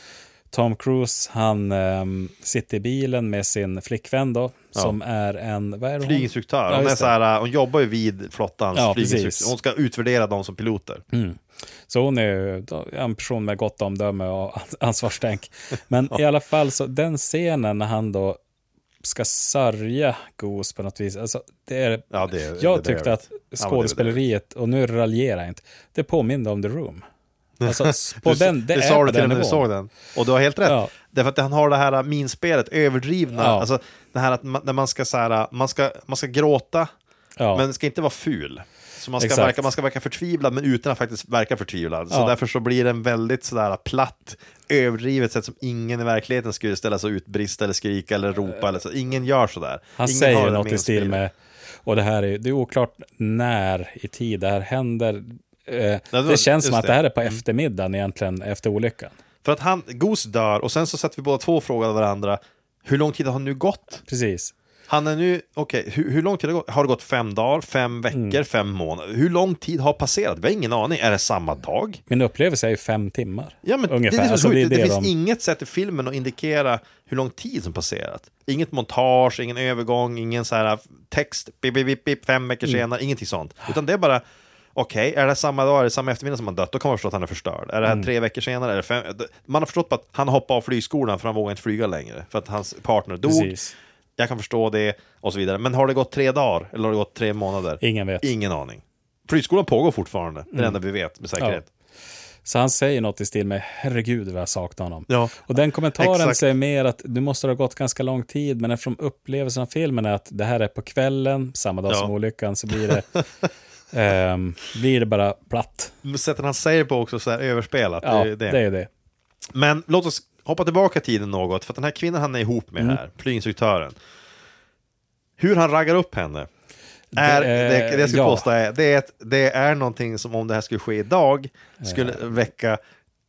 Tom Cruise, han ehm, sitter i bilen med sin flickvän då, som är en, vad är det hon- Flyginstruktör. Ja, hon, är just så det. här, hon jobbar ju vid flottans Ja, flyginstruktör. precis. Mm. Hon ska utvärdera dem som piloter. Så hon är ju då, en person med gott omdöme och ans- ansvarstänk. Men i alla fall, så den scenen när han då ska sörja Goose på något vis, alltså det är... Ja, det är- jag det är tyckte det. att Ja, men det är skådespeleriet, och nu raljerar jag inte, det påminner om The Room. [laughs] Alltså, s- på Du- den, det, det är sa på du till den och med när du nivån. såg den. Och du har helt rätt. Ja. Därför att han har det här minspelet, överdrivna. Ja. Alltså, det här att man, när man ska, så här, man ska, man ska gråta, Ja. men ska inte vara ful. Så man ska, Exakt. verka, man ska verka förtvivlad, men utan att faktiskt verka förtvivlad. Så Ja. därför så blir det en väldigt sådär platt, överdrivet sätt som ingen i verkligheten skulle ställa sig och utbrista eller skrika eller ropa. Eller så. Ingen gör sådär. Äh. Han ingen har säger den något i stil minspelningen. med, och det här är, det är oklart när i tid det här händer. Eh, var- det, känns som just att det här det. Mm. är på eftermiddagen egentligen, efter olyckan. För att han, Goose dör och sen så satt vi båda två och frågade varandra hur lång tid har nu gått? Precis. Han är nu, okej, hur, hur lång tid har det gått? Har det gått fem dagar, fem veckor, fem månader? Hur lång tid har passerat? Vi har ingen aning. Är det samma dag? Min upplevelse är ju fem timmar. Ja, men ungefär. Det, är det, som är alltså, sjukt. det, är det, det, det de, finns inget sätt i filmen att indikera hur lång tid som passerat. Inget montage, ingen övergång, ingen så här äh, text, bip, bip, bip, bip, fem veckor Mm. senare, ingenting sånt. Utan det är bara, okej, är det samma dag, är det samma eftermiddag som han dött, då kan man förstå att han är förstörd. Är det här Mm. tre veckor senare, är det fem? Man har förstått på att han hoppade av flygskolan för han vågar inte flyga längre, för att hans partner dog. Precis. Jag kan förstå det, och så vidare. Men har det gått tre dagar, eller har det gått tre månader? Ingen vet. Mm. Ingen aning. Flygskolan pågår fortfarande, det är det enda vi vet med säkerhet. Så han säger något i stil med, herregud vad jag saknar honom. Ja. Och den kommentaren Exakt. säger mer att du måste ha gått ganska lång tid, men eftersom upplevelsen av filmen är att det här är på kvällen, samma dag Ja. som olyckan, så blir det, [laughs] ehm, blir det bara platt. sättet han säger på också så här överspelat. Ja, det är det. det är det. Men låt oss hoppa tillbaka i tiden något, för att den Mm. här kvinnan han är ihop med här, flyginstruktören. Hur han raggar upp henne. är, Det, det, eh, det, jag skulle ja. påstå är, det är, ett, det är någonting som om det här skulle ske idag skulle väcka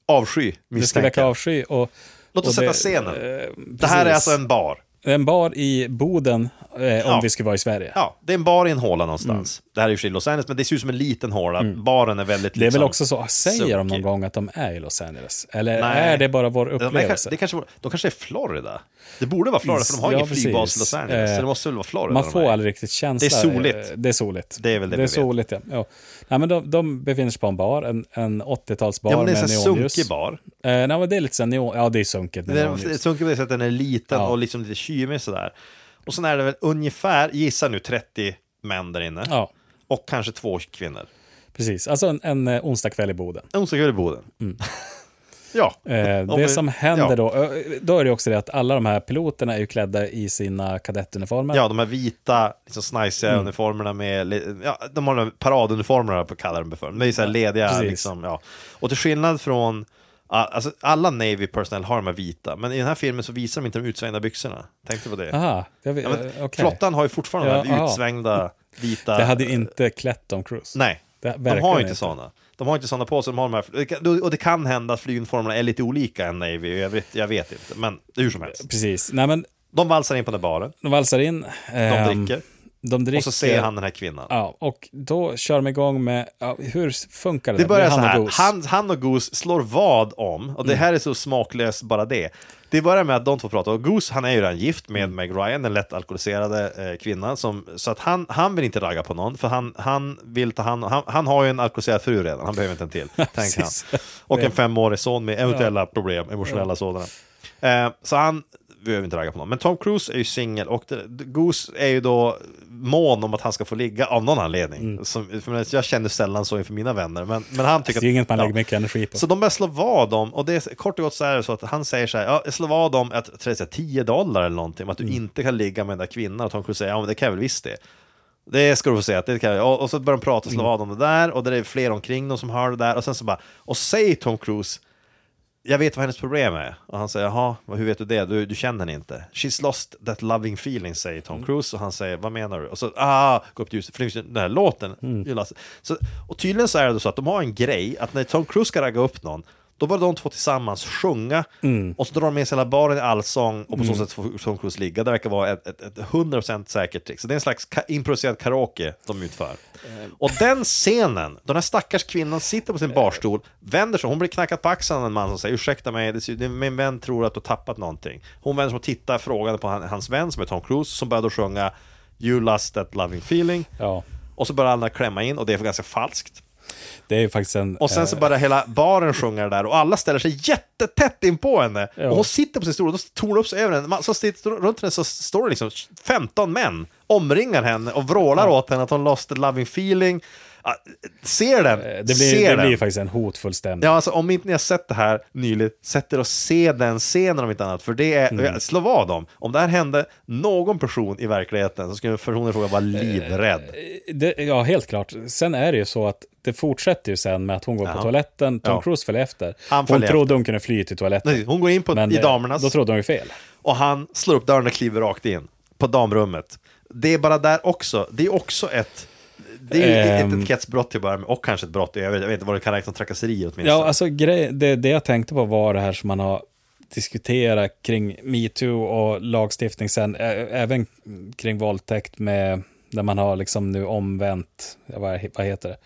avsky, Eh. Det ska väcka misstänker jag. avsky. Och, Låt oss och sätta det- scenen. eh, det här är precis. alltså en bar. En bar i Boden, eh, om Ja. vi skulle vara i Sverige. Ja, det är en bar i en håla någonstans. Det här är ju i och för sig Los Angeles, men det ser ut som en liten håla. Baren är väldigt Mm. Det är väl liksom, också så, säger de någon sunkig. gång att de är i Los Angeles? Eller Nej. är det bara vår Ja, men det kanske- upplevelse? det kanske, var- de kanske är Florida. Det borde vara Florida, för de har Ja, ingen flygbas precis. i Los Angeles. Eh, så det måste väl vara Florida. Man de får är. aldrig riktigt känsla. Det är soligt. Eh, Det är soligt. Det är väl det Det vi är vet. soligt, ja. ja. Nej, men de, de befinner sig på en bar, en, en 80-talsbar Ja, men det är med en sån här neonljus. sunkig bar. Eh, nej, men det är lite så här neon, ja det är sunkigt med Den är neonljus. sunkig på det sättet att den är liten Ja. och liksom lite kymig sådär. Och sen är det väl ungefär, gissa nu, 30 män där inne. Ja, Och kanske två kvinnor. precis. Alltså en, en eh, onsdagkväll i Boden. Onsdagskväll i Boden. [laughs] ja. Mm. Eh, Om vi- det som händer ja. då, ö, då är det också det att alla de här piloterna är ju klädda i sina kadettuniformer. Ja, de här vita, liksom snajsiga Mm. uniformerna med, li- ja, de har de här paraduniformerna, på- kallar de det för. De är ju så här lediga, precis. liksom, ja. Och till skillnad från, ah, alltså alla Navy personnel har de här vita, men i den här filmen så visar de inte de utsvängda byxorna. Tänkte på det. Aha, jag vet, Ja, men, eh, okej. Flottan har ju fortfarande de Ja, här aha. utsvängda, vita... Det hade ju inte klätt Tom Cruise. Nej, Det de verkar har ju inte inte. sådana. De har inte sådana på sig. De har de här, det kan- och det kan hända att flyguniformerna är lite olika än Navy i övrigt. Jag vet inte, men hur som helst. Precis. Nej, men De valsar in på den där baren, de valsar in. de ehm, dricker, De dricker. och så ser han den här kvinnan. Ja, och då kör de igång med, ja, hur funkar det? Det där? börjar Med så han och här, Goose. Mm. han, han och Goose slår vad om, och det här är så smaklöst bara det. Det börjar med att de två pratar, och Goose han är ju redan gift Mm. med Meg Ryan, den lätt alkoholiserade eh, kvinnan, som, så att han, han vill inte ragga på någon, för han, han vill ta hand han, han har ju en alkoholiserad fru redan, han behöver inte en till, tänker han. [laughs] Precis. Och en femårig son med eventuella problem, emotionella sådana. Eh, så han behöver inte ragga på någon. Men Tom Cruise är ju singel och det, Goose är ju då mån om att han ska få ligga av någon anledning. Som, för jag känner sällan så inför mina vänner, men, men han tycker Mm. det är ju inget man ja. lägger mycket energi på. Så de börjar slå vad om, och det är, kort och gott så är det så att han säger så här, ja, jag slår vad om att, jag tror det är 10 dollar eller någonting, om att du Mm. inte kan ligga med den där kvinnan. Och Tom Cruise säger, ja men det kan jag väl visst det. Det ska du få säga, att det kan jag. Och, och så börjar de prata och Mm. slå vad om det där, och det är fler omkring dem som hör det där, och sen så bara, och säg Tom Cruise, jag vet vad hennes problem är. Och han säger, jaha, vad- hur vet du det? Du, du känner henne inte. She's lost that loving feeling, säger Tom Cruise. Och han säger, vad menar du? Och så, ah, gå upp till ljuset. För det finns ju den här låten. You lost- Så, och tydligen så är det då så att de har en grej, att när Tom Cruise ska ragga upp någon, då börjar de två tillsammans sjunga, och så drar de med sig hela baren i allsång, och på så sätt får Tom Cruise ligga. Det verkar vara ett, ett, ett 100% säkert trick. Så det är en slags ka- improviserad karaoke de utför. Och den scenen, den här stackars kvinnan sitter på sin barstol, vänder sig, hon blir knackad på axeln av en man som säger ursäkta mig, det, ser- det- min vän tror att du har tappat någonting. Hon vänder sig och tittar frågande på han, hans vän som är Tom Cruise, som börjar då sjunga You lost that loving feeling. Ja, Och så börjar alla klämma in och det är ganska falskt. det är ju faktiskt en... Och sen så börjar hela baren sjunga det där och alla ställer sig jättetätt in på henne. Och hon sitter på sin stol och då tornar upp sig över henne. Man, så sitter, runt henne så står det liksom 15 män, omringar henne och vrålar åt henne att hon lost a loving feeling. Ah, Ser den, eh, det ser blir, det den. blir ju faktiskt en hotfull stämning. Ja, alltså om inte ni har sett det här nyligen, sätt er och se den scenen om inte annat. För det Mm. är, slå vad om. Om det här hände någon person i verkligheten så skulle personen i fråga Eh, vara livrädd. Det, ja, helt klart. Sen är det ju så att det fortsätter ju sen med att hon går på toaletten, Tom Ja. Cruise följer efter. Han hon följer trodde hon kunde fly till toaletten. Hon går in på, i eh, damernas. Då trodde hon ju fel. och han slår upp dörren och kliver rakt in på damrummet. Det är bara där också, det är också ett det är ju ett Ehm. etikettsbrott till att börja med, och kanske ett brott i övrigt. Jag vet inte vad det kan räknas som trakasserier åtminstone. Ja, alltså grej, det, det jag tänkte på var det här som man har diskuterat kring metoo och lagstiftning sen, ä- även kring våldtäkt med, där man har liksom nu omvänt, ja, vad, vad heter det?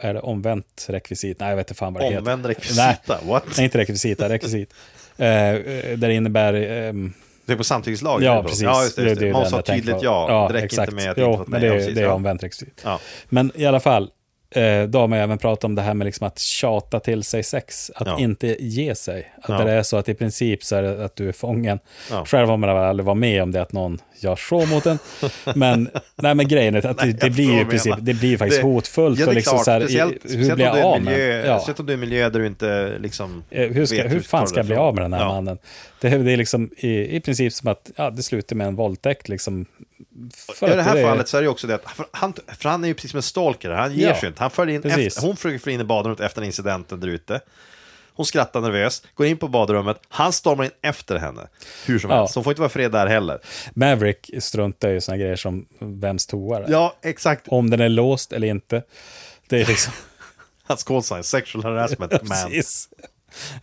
Är det omvänt rekvisit? Nej, jag vet inte fan vad det heter. Omvänd Nej, rekvisita, what? nej inte rekvisita, rekvisit. Eh, eh, där det innebär ehm, Det är på samtyckeslagen. Ja, eller på- precis. Ja, just det, just det. är Man den sa jag tänker tydligt på. ja. det räcker inte med att jo, inte fått men nej. det Ja, är, precis, det är ja. omvänt rekvisit. Ja. Men i alla fall, eh, då har man ju även pratat om det här med liksom att tjata till sig sex, att Ja. inte ge sig. Att Ja. det är så att i princip så är det att du är fången. Ja. Själv har man väl aldrig varit med om det, att någon gör så mot en. men, nej, men grejen [laughs] är att det, det jag blir förstår ju vad i du princip, menar. det blir ju faktiskt Det- hotfullt. Ja, det och är liksom klart. så här, i- speciellt, hur speciellt, blir om jag du är av en med miljö, Ja. speciellt om du är i en miljö där du inte liksom... Eh, Hur, ska, vet hur du fan tar ska jag bli ifrån. av med den här Ja. mannen? Det, är- det är liksom i, i princip som att ja, det slutar med en våldtäkt. Liksom, för I det att här fallet så är det ju också det att för han, för han är ju precis som en stalker, han ger Ja, sig inte. Han följer in precis. efter, hon försöker fly in i badrummet efter den incidenten där ute. Hon skrattar nervöst, går in på badrummet. Han stormar in efter henne. Hur som Ja. helst, så hon får inte vara fred där heller. Maverick struntar ju i såna grejer som vems toa det är. Ja, exakt. Om den är låst eller inte. Det är [laughs] liksom... Hans call sign, [laughs] sexual harassment man. Precis.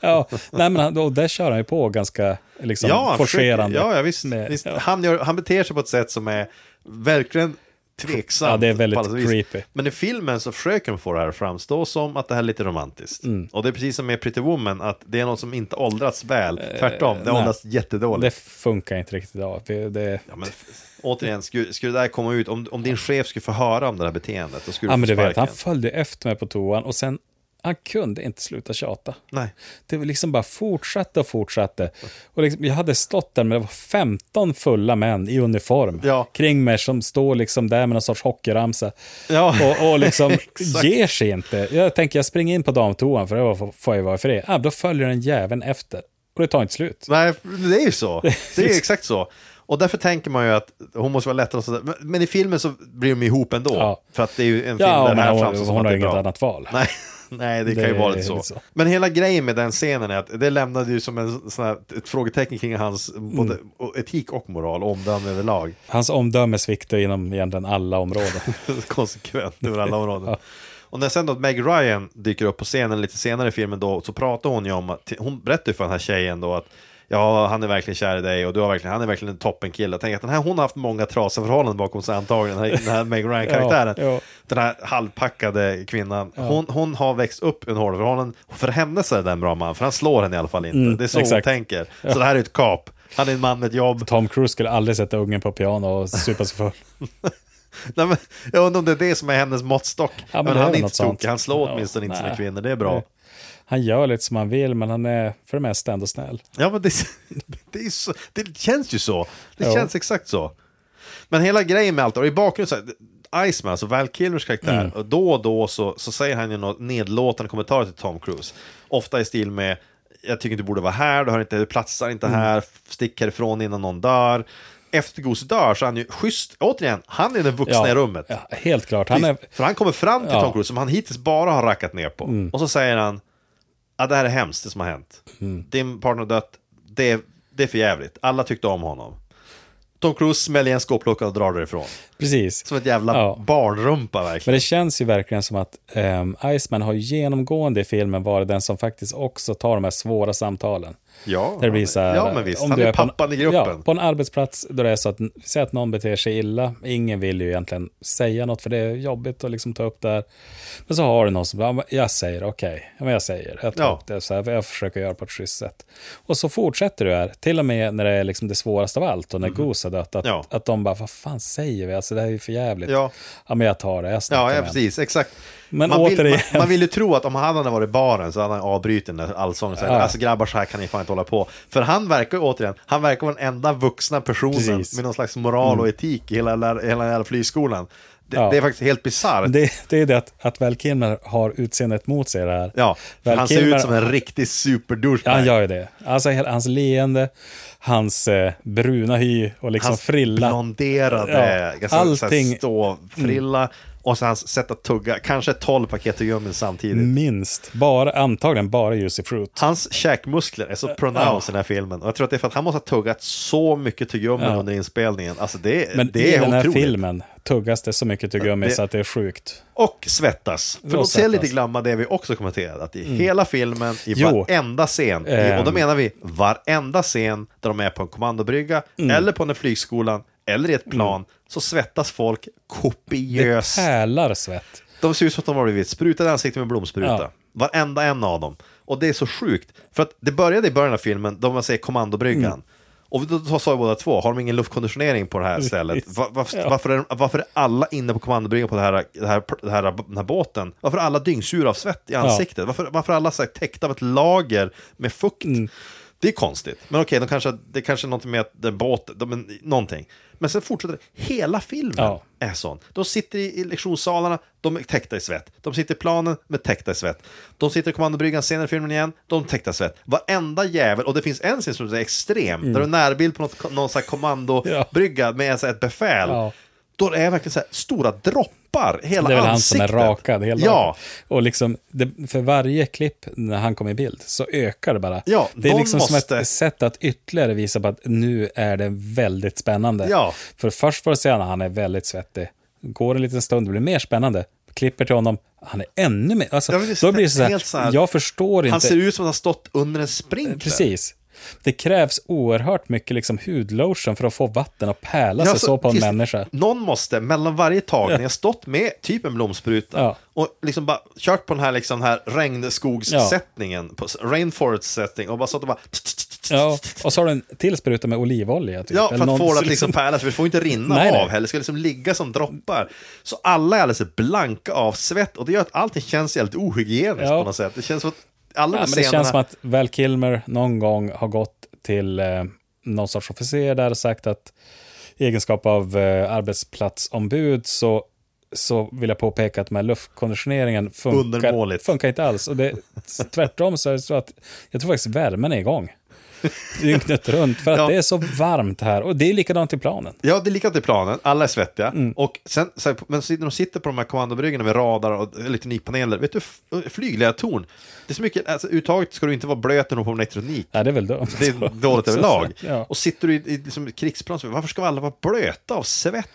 Ja, nej, men han, och där kör han ju på ganska liksom, Ja, han forcerande. försöker- Ja, ja visst. Med- visst. ja. Han, gör, han beter sig på ett sätt som är verkligen tveksamt. Ja, det är väldigt på alla vis. creepy. Men i filmen så försöker de få det här att framstå som att det här är lite romantiskt. Mm. Och det är precis som med Pretty Woman, att det är något som inte åldrats väl. Tvärtom, det Eh, nej. åldras jättedåligt. Det funkar inte riktigt idag. Det, det, Ja, men, f- återigen, skulle, skulle det där komma ut, om, om din chef skulle få höra om det här beteendet, då skulle ja, du men få du vet, sparken. han följde efter mig på toan och sen, han kunde inte sluta tjata. Nej. Det var liksom bara fortsatte och fortsatte. Och liksom, jag hade stått där med det var 15 fulla män i uniform Ja. kring mig som står liksom där med någon sorts hockeyramsa. Ja. Och, och liksom [laughs] Exakt. ger sig inte. Jag tänker jag springer in på damtoan för det var- får jag vara fri. Ja, då följer den jäveln efter. Och det tar inte slut. Nej, det är [laughs] ju så. Det är ju exakt så. Och därför tänker man ju att hon måste vara lättare och sådär. Men- Men i filmen så blir de ihop ändå. Ja. För att det är ju en film Ja, där det men här hon- framstår som hon att har det är inget bra. annat val. [laughs] Nej, nej det, Det kan ju vara är lite så. lite så. Men hela grejen med den scenen är att det lämnade ju som en, sån här, ett frågetecken kring hans Mm. både etik och moral, omdöme överlag. Hans omdöme sviktar inom egentligen alla [laughs] områden. konsekvent [laughs] över alla områden. Och när sen då Meg Ryan dyker upp på scenen lite senare i filmen då, så pratar hon ju om att, hon berättar ju för den här tjejen då att ja, han är verkligen kär i dig och du har verkligen, han är verkligen en toppenkille. Tänk att den här, hon har haft många trasiga förhållanden bakom sig antagligen, den här, den här Meg Ryan-karaktären. Ja, ja. Den här halvpackade kvinnan, hon, hon har växt upp i en hård förhållanden. Och för henne så är det en bra man, för han slår henne i alla fall inte. det är så Mm, exakt. hon tänker. Så det här är ju ett kap. Han är en man med ett jobb. Tom Cruise skulle aldrig sätta ungen på piano och supa sig full. [laughs] Nej, men, jag undrar om det är det som är hennes måttstock. men men det är han väl är något inte sånt. tokig, han slår Ja, åtminstone inte sina nej. kvinnor, det är bra. Nej. Han gör lite som han vill, men han är för det mesta ändå snäll. Ja, men det, [laughs] det, är så, det känns ju så. Det Ja. känns exakt så. Men hela grejen med allt, och i bakgrunden så här, Iceman, alltså Val Kilmers karaktär, Mm. och då och då så, så säger han ju något nedlåtande kommentarer till Tom Cruise. Ofta i stil med jag tycker inte du borde vara här, du, har inte, du platsar inte Mm. här, stick härifrån innan någon dör. Efter Goose dör så är han ju schysst, återigen, han är den vuxna i rummet. Ja, helt klart. Han är, Precis. För han kommer fram till Ja. Mm. Tom Cruise som han hittills bara har rackat ner på. Och så säger han, ja det här är hemskt det som har hänt. Mm. Din partner har dött, det, är- det är för jävligt. Alla tyckte om honom. Tom Cruise smäller igen skåpluckan och drar därifrån. precis. Som ett jävla Ja. barnrumpa Men verkligen. det känns ju verkligen som att ehm, Iceman har ju genomgående i filmen varit den som faktiskt också tar de här svåra samtalen. Ja, Där det blir så här, ja, men visst. Han är på en- pappan i gruppen. Ja, på en arbetsplats då det är så att, säg att någon beter sig illa, ingen vill ju egentligen säga något för det är jobbigt att liksom ta upp det här. Men så har du någon som, ja, men jag säger okej, ja, men jag säger, jag tar Ja. upp det så här, jag försöker göra på ett schysst sätt. Och så fortsätter du här, till och med när det är liksom det svåraste av allt och när Goose har dött, att, Mm. Ja. att de bara, vad fan säger vi, alltså det här är ju för jävligt. Ja. ja men jag tar det, jag snackar Ja, med ja henne. precis, exakt. Men man, vill, återigen- man, man vill ju tro att om han hade varit i baren så hade han avbrutit den där allsången och sagt Ja. alltså grabbar så här kan ni fan inte hålla på. För han verkar ju återigen, han verkar vara den enda vuxna personen Precis. Mm. med någon slags moral och etik i hela, lär- hela, hela flygskolan. Det, Ja. det är faktiskt helt bisarrt. Det, det är det att, att Val Kilmer har utseendet mot sig i det här. Ja, för Val han ser Kilmer- ut som en riktig Ja, superdouchebag. han gör ju det. Alltså hela, hans leende, hans eh, bruna hy och liksom Hans frilla. blonderade, alltså, Ja, ganska Allting... allting- Mm. ståfrilla och så hans sätt att tugga, kanske 12 paket gummin samtidigt. Minst. Bara, antagligen bara Juicy Fruit. Hans käkmuskler är så Eh, pronouns i den här filmen. Och jag tror att det är för att han måste ha tuggat så mycket tuggummi under inspelningen. Alltså det, Men det i är den här otroligt. filmen tuggas det så mycket tuggummi Det- så att det är sjukt. Och svettas. För Och låt oss lite svettas. Mm. glömma det vi också kommenterade. Att i hela filmen, i Jo. varenda scen, i, och då Ehm. menar vi varenda scen där de är på en kommandobrygga, Mm. eller på den här flygskolan, eller i ett plan, så svettas folk kopiöst. Pärlar svett. De ser ut som att de har blivit sprutade i ansiktet med blomspruta. Ja. Varenda en av dem. Och det är så sjukt. För att det började i början av filmen, då man säger kommandobryggan. Mm. Och då då sa ju båda två, har de ingen luftkonditionering på det här stället? Va- varför, varför, är, de- varför är alla inne på kommandobryggan på det här, det här, det här, den här båten? Varför är alla dyngsura av svett i ansiktet? Varför, varför är alla så här täckta av ett lager med fukt? Mm. Det är konstigt. Men okej, de kanske, det kanske är något med att den båten, de, någonting. Men sen fortsätter det. Hela filmen Ja. är sån. De sitter i, i lektionssalarna, de är täckta i svett. De sitter i planen, de är täckta i svett. De sitter i kommandobryggan senare i filmen igen, de är täckta i svett. Varenda jävel, och det finns en scen som är extrem, Mm. där du har närbild på något, någon sån här kommandobrygga med en sån här, ett befäl. Ja. Då är det verkligen så här stora droppar jobbar, hela Det är väl han som ansiktet. är rakad hela Ja, Och liksom, det, för varje klipp när han kommer i bild så ökar det bara. Ja, det är någon liksom som måste- ett sätt att ytterligare visa på att nu är det väldigt spännande. Ja. För först får du se när han är väldigt svettig. Går en liten stund, det blir mer spännande. Klipper till honom, han är ännu mer... Alltså, Ja, men det är då blir det så här, helt så här- jag förstår inte... han ser ut som att han har stått under en sprinkler. Precis. Det krävs oerhört mycket liksom hudlotion för att få vatten att pärla sig alltså, så på en tills- människa. Någon måste, mellan varje tagning, ha stått med typ en blomspruta Ja. och liksom bara kört på den här, liksom, den här regnskogssättningen, på s- rainforest setting och bara stått och bara... Ja, och så har du en till spruta med olivolja. Typ. Ja, för Eller att någon- få det att liksom pärla, för det får inte rinna Nej, nej. av heller, det ska liksom ligga som droppar. Så alla är alldeles blanka av svett och det gör att allting känns jävligt ohygieniskt Ja. på något sätt. Det känns som att alla Ja, de men det scenerna... känns som att Val Kilmer någon gång har gått till eh, någon sorts officer där och sagt att i egenskap av eh, arbetsplatsombud så, så vill jag påpeka att den här luftkonditioneringen funkar, Undermåligt. funkar inte alls. Och det, tvärtom så är det så att jag tror faktiskt värmen är igång dygnet runt för att Ja. det är så varmt här och det är likadant i planen. Ja, det är likadant i planen. Alla är svettiga. Mm. Och sen, så här, men så när de sitter på de här kommandobryggorna med radar och elektronikpaneler, vet du, f- flygledartorn, det är så mycket, alltså uttaget ska du inte vara blöt när du håller på med elektronik. Nej, det är väl dumt. Det [laughs] är dåligt överlag. Ja. Och sitter du i, i liksom ett krigsplan, så varför ska alla vara blöta av svett?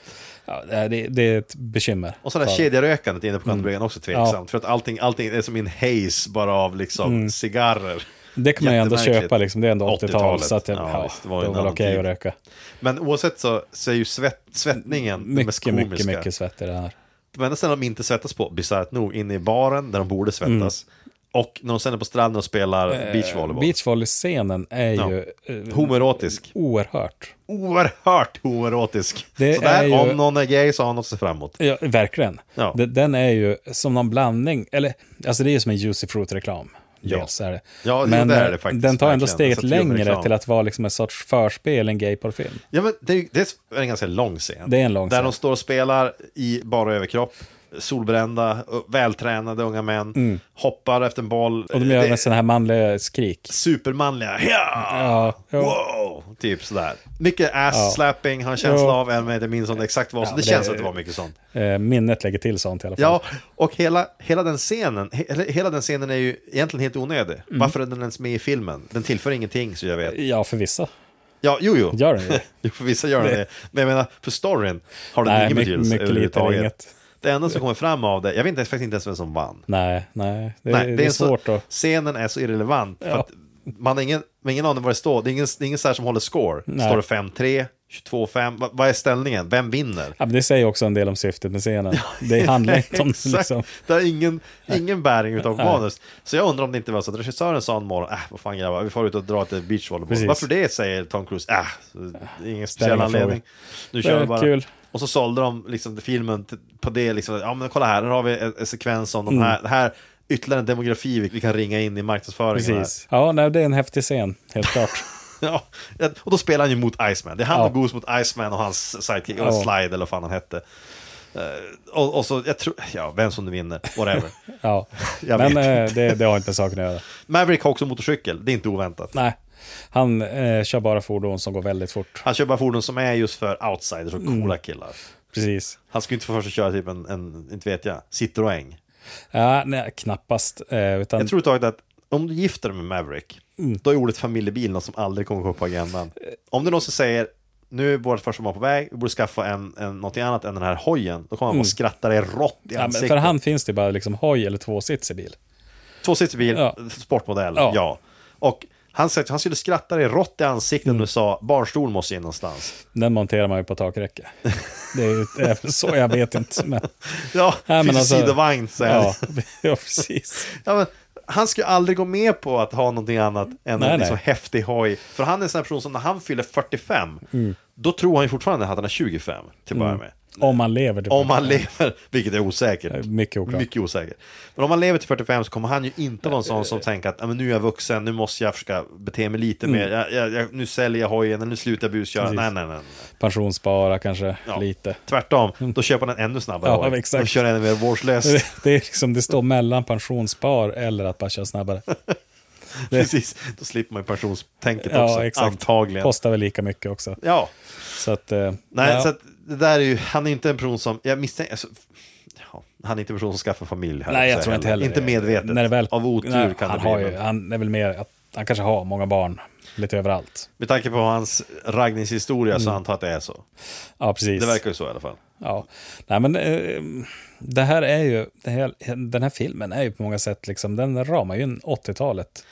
Ja, det, är- det är ett bekymmer. Och sådana För- här kedjerökandet inne på kommandobryggorna också tveksamt, Mm. Ja. Mm. för att allting, allting är som en haze bara av liksom cigarrer. Det kan man ju ändå Jättemärkligt. köpa, liksom. det är ändå 80-tal, 80-talet. så att, jag- Ja, ja, visst, det det var var ju en väl annan typ. okej att tid. röka. Men oavsett så, så är ju svett, svettningen det mest Mycket, komiska. mycket, mycket svett i det här. De enda ställen de inte svettas på, bisarrt nog, inne i baren där de borde svettas. Mm. Och när de sen är på stranden och Eh, spelar beachvolleyboll. Beachvolley-scenen är Ja. ju eh, Homoerotisk. oerhört. Oerhört homoerotisk. Det Så där, är ju- om någon är gay så har han något att se fram emot. Ja, verkligen. Ja. Det- Den är ju som någon blandning, eller alltså det är ju som en Juicy Fruit-reklam. Ja. Dels är det. Ja, jo, Men det är eh, det faktiskt, den tar ändå verkligen. steget Så att det är en längre reklam. till att vara liksom en sorts förspel i en gayporrfilm. Ja, men det, är, ju- det är en ganska lång scen. Det är en lång där scen. de står och spelar i bara överkropp. Solbrända, vältränade unga män. Hoppar efter en boll. Mm. Och de gör även sådana här manliga skrik. Supermanliga. Ja! Ja, jo. Wow! Typ sådär. Mycket ass-slapping har en känsla Jo. av, även om jag inte minns om det exakt var så. Ja, det, men känns det- att det var mycket sånt. Eh, minnet lägger till sånt i alla fall. Ja, och hela, hela den scenen, he, eller hela den scenen är ju egentligen helt onödig. Mm. Varför är den ens med i filmen? Den tillför ingenting så jag vet. ja för vissa Ja, jo, jo. gör den ju. [laughs] Jo, för vissa gör den det. Men jag menar, för storyn har den Nej, ingen my- betydelse mycket lite eller överhuvudtaget. inget. Det enda som kommer fram av det, jag vet inte, faktiskt inte ens vem som vann. Nej, nej, det, Nej, det, är en så- svårt att... Scenen är så irrelevant. För att man har ingen, man har ingen aning vad det står. Det är ingen, det är ingen så här som håller score. Nej. Står det 5-3, 22-5? Vad- Vad är ställningen? Vem vinner? Ja, men det säger också en del om syftet med scenen. Det handlar inte om [laughs] Exakt. liksom... Det har ingen, ingen bäring utav manus. Så jag undrar om det inte var så att regissören sa en morgon, äh, vad fan grabbar, vi får ut och dra ett beachvolleyboll. Precis. Varför det säger Tom Cruise, äh, det är ingen ingen speciell anledning. Nu kör vi är bara. kul. Och så sålde de liksom filmen t- på det, liksom, ja men kolla här, här har vi en, en sekvens om de Mm. här, det här ytterligare en demografi vi, vi kan ringa in i marknadsföringen. här. Precis. Ja, nej, det är en häftig scen, helt klart. [laughs] Ja, och då spelar han ju mot Iceman. Det är han Ja. och Goose mot Iceman och hans sidekick, eller Ja. Slide eller vad fan han hette. Eh, Och, och så, jag tror, ja, vem som nu vinner, [laughs] whatever. Ja. Jag Men vet eh, det, det har inte med saken att göra. Maverick har också motorcykel, det är inte oväntat. Nej, han eh, kör bara fordon som går väldigt fort. Han kör bara fordon som är just för outsiders och Mm. coola killar. Precis. Han skulle inte få för sig att köra typ en, en inte vet jag, Citroën. Ja, nej, knappast. Eh, utan, Jag tror ett tag att om du gifter dig med Maverick, Mm. då är ordet familjebil något som aldrig kommer upp på agendan. Om det är någon som säger nu är vårt första barn på väg, vi borde skaffa en, en, något annat än den här hojen. Då kommer han bara skratta dig rått i Mm. ja, men ansiktet. för han finns det bara liksom hoj eller tvåsitsig bil. Tvåsitsig bil, Ja. sportmodell, Ja. ja. Och han sa att han skulle skratta dig rått i ansiktet Mm. om du sa barnstol måste in någonstans. Den monterar man ju på [laughs] takräcke. Det är ju det är väl så, jag vet inte. Men, Ja, Nej, men finns alltså- sidovagn säger han. ja, [laughs] ja, precis. Ja, men han skulle aldrig gå med på att ha någonting annat än Nej, en liksom nej. häftig hoj. För han är en sån här person som när han fyller 45, Mm. då tror han ju fortfarande att han är 25 till att börja med. Om man lever. typ. det- Om han lever, [laughs] vilket är osäkert. Mycket oklart. Mycket osäkert. Men om han lever till 45 så kommer han ju inte vara en sån som tänker att "Ja, men nu är jag vuxen, nu måste jag försöka bete mig lite mer. Jag, jag, jag, nu säljer jag hojen, eller nu slutar jag busköra. Mm. Precis. Nej, nej, nej. nej. Pensionsspara kanske, Ja. lite. Mm. Tvärtom, då köper han en ännu snabbare Ja, hoj. exakt. Och kör ännu mer vårdslöst. [laughs] Det, det är liksom, det står mellan pensionsspar eller att bara köra snabbare. Precis, då slipper man ju pensionstänket Ja, också, exakt. antagligen. Kostar väl lika mycket också. Ja, Så att, eh, nej, ja. så att det där är ju, han är ju inte en person som, jag misstänker, alltså, ja, han är inte en person som skaffar familj. Här, Nej, så jag här tror inte heller Inte det. medvetet. När det väl, Av otur nej, kan han det har bli. ju, men Han är väl mer att han kanske har många barn lite överallt. Med tanke på hans raggningshistoria så Mm. antar jag att det är så. Ja, precis. Det verkar ju så i alla fall. Ja, nej men eh, det här är ju, det här, den här filmen är ju på många sätt liksom, den ramar ju in 80-talet.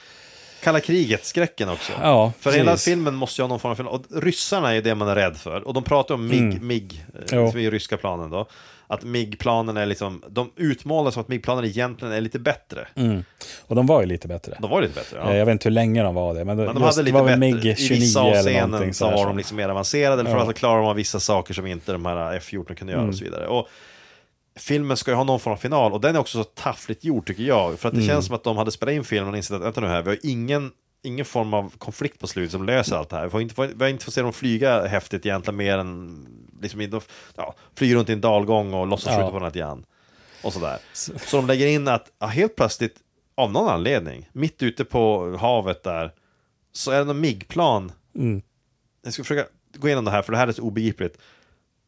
Kalla kriget-skräcken också. Ja, för hela precis. filmen måste ju ha någon form av film. Och ryssarna är ju det man är rädd för. Och de pratar om MIG, MIG eh, Mm. Jo. som är ju ryska planen då. Att MIG-planen är liksom, de utmålas som att MIG-planen egentligen är lite bättre. Och de var ju lite bättre. De var ju lite bättre. Ja. Mm. Eh, Jag vet inte hur länge de var det, men, Men de de just, hade lite det var väl bättre, MIG i 29 vissa eller avseenden någonting. så sådär var som- de liksom mer avancerade, för Ja. Mm. att klara av vissa saker som inte de här F14 kunde göra och så vidare. Och filmen ska ju ha någon form av final, och den är också så taffligt gjord tycker jag, för att det känns som att de hade spelat in filmen och insett att vänta nu här, vi har ingen Ingen form av konflikt på slutet som löser allt det här. Vi har inte, vi har inte fått se dem flyga häftigt egentligen mer än... Liksom, i- de ja, flyger runt i en dalgång och låtsas Ja. skjuta på den lite grann. Och sådär. Så de lägger in att ja, helt plötsligt, av någon anledning, mitt ute på havet där, så är det någon MIG-plan. Jag ska försöka gå igenom det här, för det här är så obegripligt.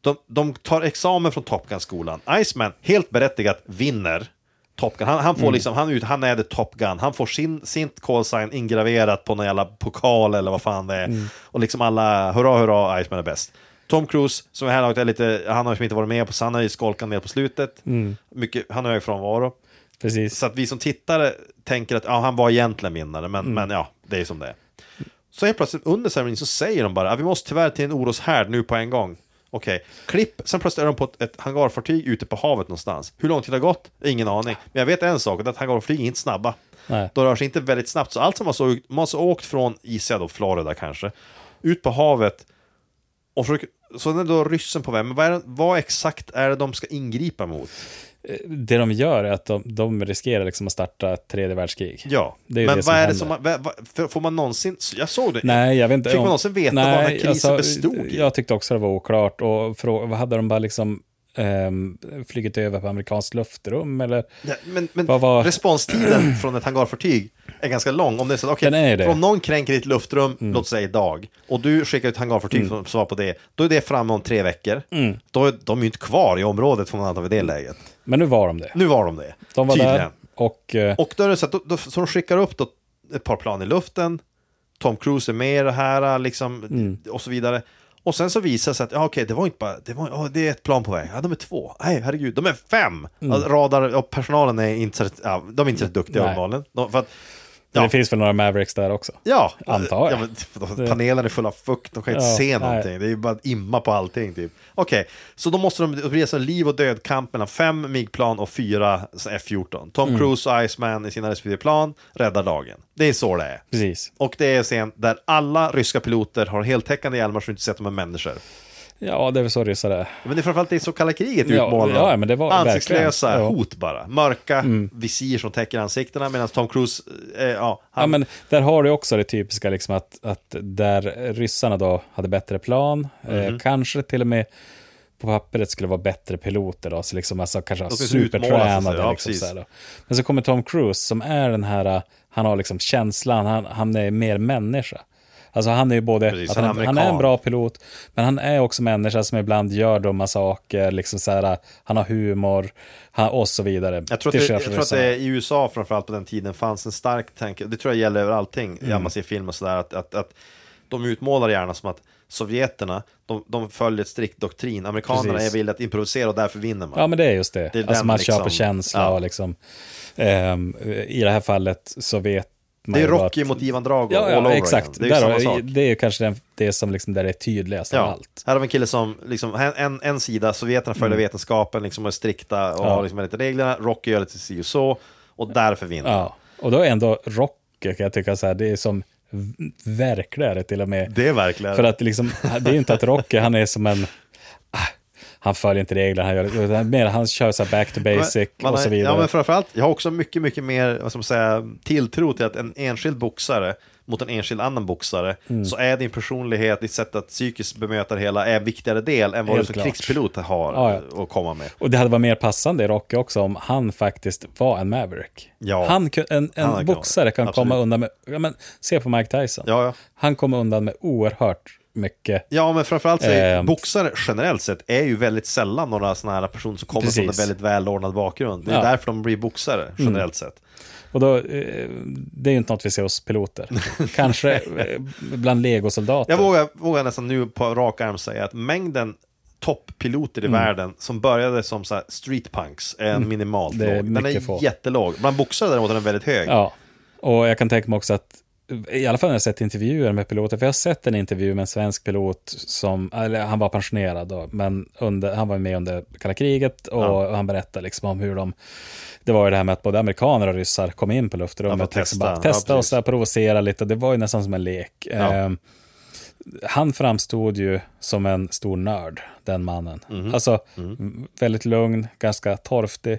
De, de tar examen från Top Gun-skolan. Iceman, helt berättigat, vinner. Top Gun. Han, han, får liksom, han, ut, han är det Top Gun. Han får sin, sin call sign ingraverat på någon jävla pokal eller vad fan det är. Och liksom alla, hurra hurra, Iceman är bäst. Tom Cruise, som är här laget, är lite, han har liksom inte varit med på, så han har ju skolkat ner på slutet. Mycket, han har hög frånvaro. Precis. Så att vi som tittare tänker att ja, han var egentligen vinnare, men, Mm. men ja, det är som det är. Så helt plötsligt under ceremonin så säger de bara att vi måste tyvärr till en oroshärd nu på en gång. Okej, klipp, sen plötsligt är de på ett, ett hangarfartyg ute på havet någonstans. Hur lång tid har gått? Ingen aning. Men jag vet en sak, och det är att hangarfartyg är inte snabba. Nej. De rör sig inte väldigt snabbt, så allt som har så, man har så åkt från, gissar jag då, Florida kanske, ut på havet och försöker, så är det då ryssen på väg, men vad, är, det- vad exakt är det de ska ingripa mot? Det de gör är att de, de riskerar liksom att starta ett tredje världskrig. Ja, Det är ju men det vad är det som... händer. man- vad- vad- för- Får man någonsin... Jag såg det. Nej, jag vet inte. Fick man om- alltså, någonsin veta vad den här krisen bestod i? Jag tyckte också det var oklart. Och frå, vad hade de bara liksom ehm, flugit över på amerikanskt luftrum eller? Ja, Men, men Vad var- responstiden [clears throat] från ett hangarfartyg är ganska lång. Om det är så att okej, Den är det. Mm. om någon kränker ditt luftrum, låt säga idag, och du skickar ett hangarfartyg som svar på det, då är det framme om tre veckor. Mm. Då är de ju inte kvar i området, får man anta vid det läget. Men nu var de det. Nu var de det, De var tydligen. där och... eh, Och då är det så att då, då, så de skickar upp då ett par plan i luften. Tom Cruise är med i det här liksom, Mm. och så vidare. Och sen så visar det sig att ja, okej, det var inte bara, det, var, ja, det är ett plan på väg. Ja, de är två. Nej, herregud, de är fem. Alltså, radar och personalen är inte, så- ja, de är inte så duktiga Mm. Nej. uppenbarligen. De, för att, Men ja, Det finns väl några Mavericks där också. ja, antar jag. Ja, men, typ, de- panelen är full av fukt, de kan inte Ja, se nej. någonting. Det är ju bara imma på allting. Typ. Okej, så då måste de resa liv och död kamp mellan fem MIG-plan och fyra F-14. Tom Mm. Cruise och Iceman i sina respektive plan räddar dagen. Det är så det är. Precis. Och det är en scen där alla ryska piloter har heltäckande hjälmar så du inte ser att de är människor. Ja, det är väl så ryssar är. Men det är framförallt det som kalla kriget Ja, utmålar. ja, men det var- Ansiktslösa verkligen. Ja. Mm. hot bara. Mörka visir som täcker ansiktena medan Tom Cruise, eh, ja, han, Ja, men där har du också det typiska liksom att, att där ryssarna då hade bättre plan, Mhm. eh, kanske till och med på papperet skulle vara bättre piloter då, så liksom alltså kanske De skulle utmåla sig, supertränade. ja, liksom, precis. så här då. Men så kommer Tom Cruise som är den här, eh, han har liksom känslan, han, han är mer människa. Alltså han är ju både, Precis, att han är han, han är en amerikan. bra pilot, men han är också människa som ibland gör dumma saker, liksom så här, eh, han har humor han, och så vidare. Jag tror, Till att det, skillnad jag från tror att ryssarna. det i USA framförallt på den tiden fanns en stark tanke, det tror jag gäller över allting, Mm. ja, man ser film och sådär, att, att, att de utmålar gärna som att sovjeterna, de, de följer ett strikt doktrin, amerikanerna Precis. är villiga att improvisera och därför vinner man. Ja, men det är just det. Det är alltså den man liksom- köper känsla Ja. och liksom, ehm, I det här fallet så vet man det är ju bara Rocky att- mot Ivan Drago, Ja, all ja over exakt. again. Det är ju där, samma har- sak. det är ju kanske den, det som liksom där det är tydligast av allt. Mm. Här har vi en kille som, liksom, en, en, en sida, sovjeterna följer vetenskapen, liksom är strikta och har liksom enligt reglerna, Rocky gör lite si och så, och därför vinner han. Ja. Och då är ändå Rocky, kan jag tycka, så här, det är som v- verkligare till och med. Det är verkligen... För att liksom, det är ju inte att Rocky, han är som en... ah, Han följer inte reglerna, han, gör, utan mer han kör så här back to basic Man och har- så vidare. Ja, men framförallt, jag har också mycket, mycket mer vad ska man säga, tilltro till att en enskild boxare mot en enskild annan boxare Mm. så är din personlighet, ditt sätt att psykiskt bemöta det hela är en viktigare del än vad Helt du som klart. krigspilot har Ja, att komma med. Och det hade varit mer passande i Rocky också om han faktiskt var en Maverick. Ja. Han, kun- en en Han hade kunnat boxare vara det. kan Absolut. komma undan med, ja, men, se på Mike Tyson. Ja, ja. Han kommer undan med oerhört mycket. Ja, men framförallt så är Ehm. boxare generellt sett är ju väldigt sällan några sådana här personer som kommer från en Precis. väldigt välordnad bakgrund. Det är Ja. Mm. därför de blir boxare generellt sett. Och då, eh, det är ju inte något vi ser hos [laughs] piloter. Kanske eh, bland legosoldater. Jag vågar, vågar nästan nu på rak arm säga att mängden topppiloter Mm. i världen som började som så här streetpunks är en minimalt Det är låg. Den är mycket få. jättelåg. Bland boxare däremot är den väldigt hög. Ja, och jag kan tänka mig också att i alla fall när jag sett intervjuer med piloter, för jag har sett en intervju med en svensk pilot som, eller han var pensionerad då, men under, han var med under kalla kriget och han berättade liksom om hur de, det var ju det här med att både amerikaner och ryssar kom in på luftrummet, Ja, för att liksom testa. bara testa Ja, och precis. så här provocera lite, det var ju nästan som en lek. Ja. Ehm, han framstod ju som en stor nörd, den mannen. Mhm. Alltså, väldigt lugn, ganska torftig.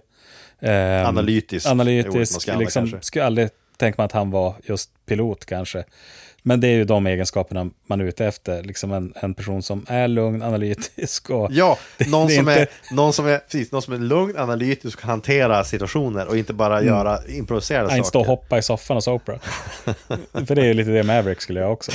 Ehm, Analytisk. är ordet man analytisk. ska använda Liksom, kanske. skulle aldrig tänka mig att han var just pilot kanske. Men det är ju de egenskaperna man är ute efter. Liksom en, en person som är lugn, analytisk och... [laughs] Ja, [laughs] någon, det är som inte- är, någon, som är, precis, någon som är lugn, analytisk och kan hantera situationer och inte bara Mm. göra improviserade Han inte stå och saker. hoppa i soffan hos [laughs] Oprah. För det är ju lite det Maverick skulle jag också.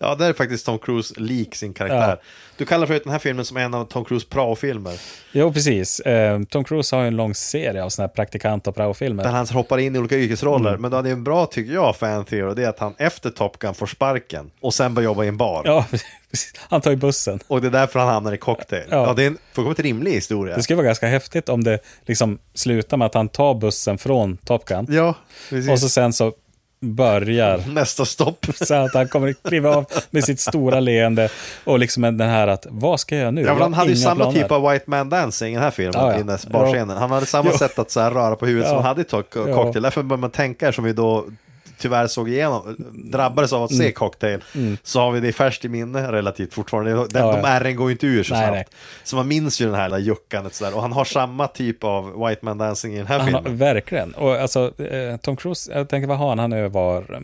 Ja, där är faktiskt Tom Cruise lik sin karaktär. Du kallar förut den här filmen som en av Tom Cruise prao-filmer. Jo, precis. Eh, Tom Cruise har ju en lång serie av sådana här praktikant och Där praofilmer. han hoppar in i olika yrkesroller. Mm. Men då är det en bra, tycker jag, fan theory, det är att han efter Top Gun får sparken och sen börjar jobba i en bar. Ja, [laughs] precis. Han tar ju bussen. Och det är därför han hamnar i cocktail. Ja, Ja. det är en fullkomligt rimlig historia. Det skulle vara ganska häftigt om det liksom slutar med att han tar bussen från Top Gun. Ja, precis. Och så sen så börjar Nästa stopp. Så att han kommer att kliva av med sitt stora leende och liksom den här att vad ska jag göra nu? Ja, men Jag han har hade ju inga samma planer. typ av White Man Dancing i den här filmen, Ja, ja. i den där barscenen. Han hade samma Jo. sätt att så här röra på huvudet som Ja. han hade i Top Ja. Cocktail. Därför börjar man tänka, som vi då tyvärr såg igenom, drabbades av att Mm. se Cocktail, så har vi det i färskt i minne relativt fortfarande. Den, Ja, ja. De ärren går ju inte ur så Nej, snabbt. nej. Så man minns ju den här där juckandet sådär. Och han har samma typ av White Man Dancing i den här Han har, filmen. verkligen. Och alltså, eh, Tom Cruise, jag tänker vad har han? Han, är var,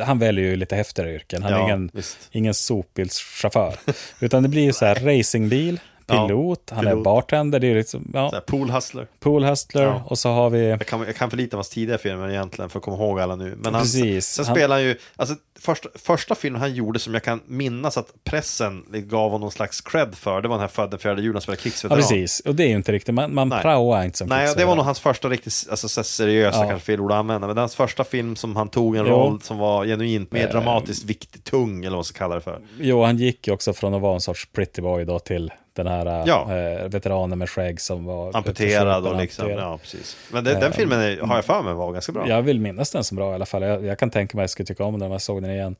eh, han väljer ju lite häftigare yrken. Han är Ja, ingen, visst. ingen sopbilschaufför. Utan det blir ju så här racingbil, Ja, pilot, han pilot. är bartender, det är ju liksom, Så ja, här, Pool Hustler. poolhustler Ja. och så har vi... Jag kan, jag kan för lite om hans tidiga filmer egentligen för att komma ihåg alla nu. Men han, Precis. sen Han- spelar han ju, alltså första, första filmen han gjorde som jag kan minnas att pressen gav honom någon slags cred för, det var den här Född den fjärde julen, han spelade Ja, krigsveteran. precis. Och det är ju inte riktigt, man, man Nej. praoar inte som Nej, det krigsveteran. var nog hans första riktigt alltså, så här seriösa, Ja. kanske fel ord att använda, men det är hans första film som han tog en Jo. Eh. roll som var genuint mer dramatiskt viktig, tung eller vad man ska kalla det för. Jo, han gick ju också från att vara en sorts pretty boy då till den här Ja. eh, veteranen med skägg som var... Amputerad och liksom, amputerad. ja precis. Men det, Eh. den filmen är, har jag för mig var ganska bra. Jag vill minnas den som bra i alla fall. Jag, jag kan tänka mig att jag skulle tycka om den om jag såg den igen.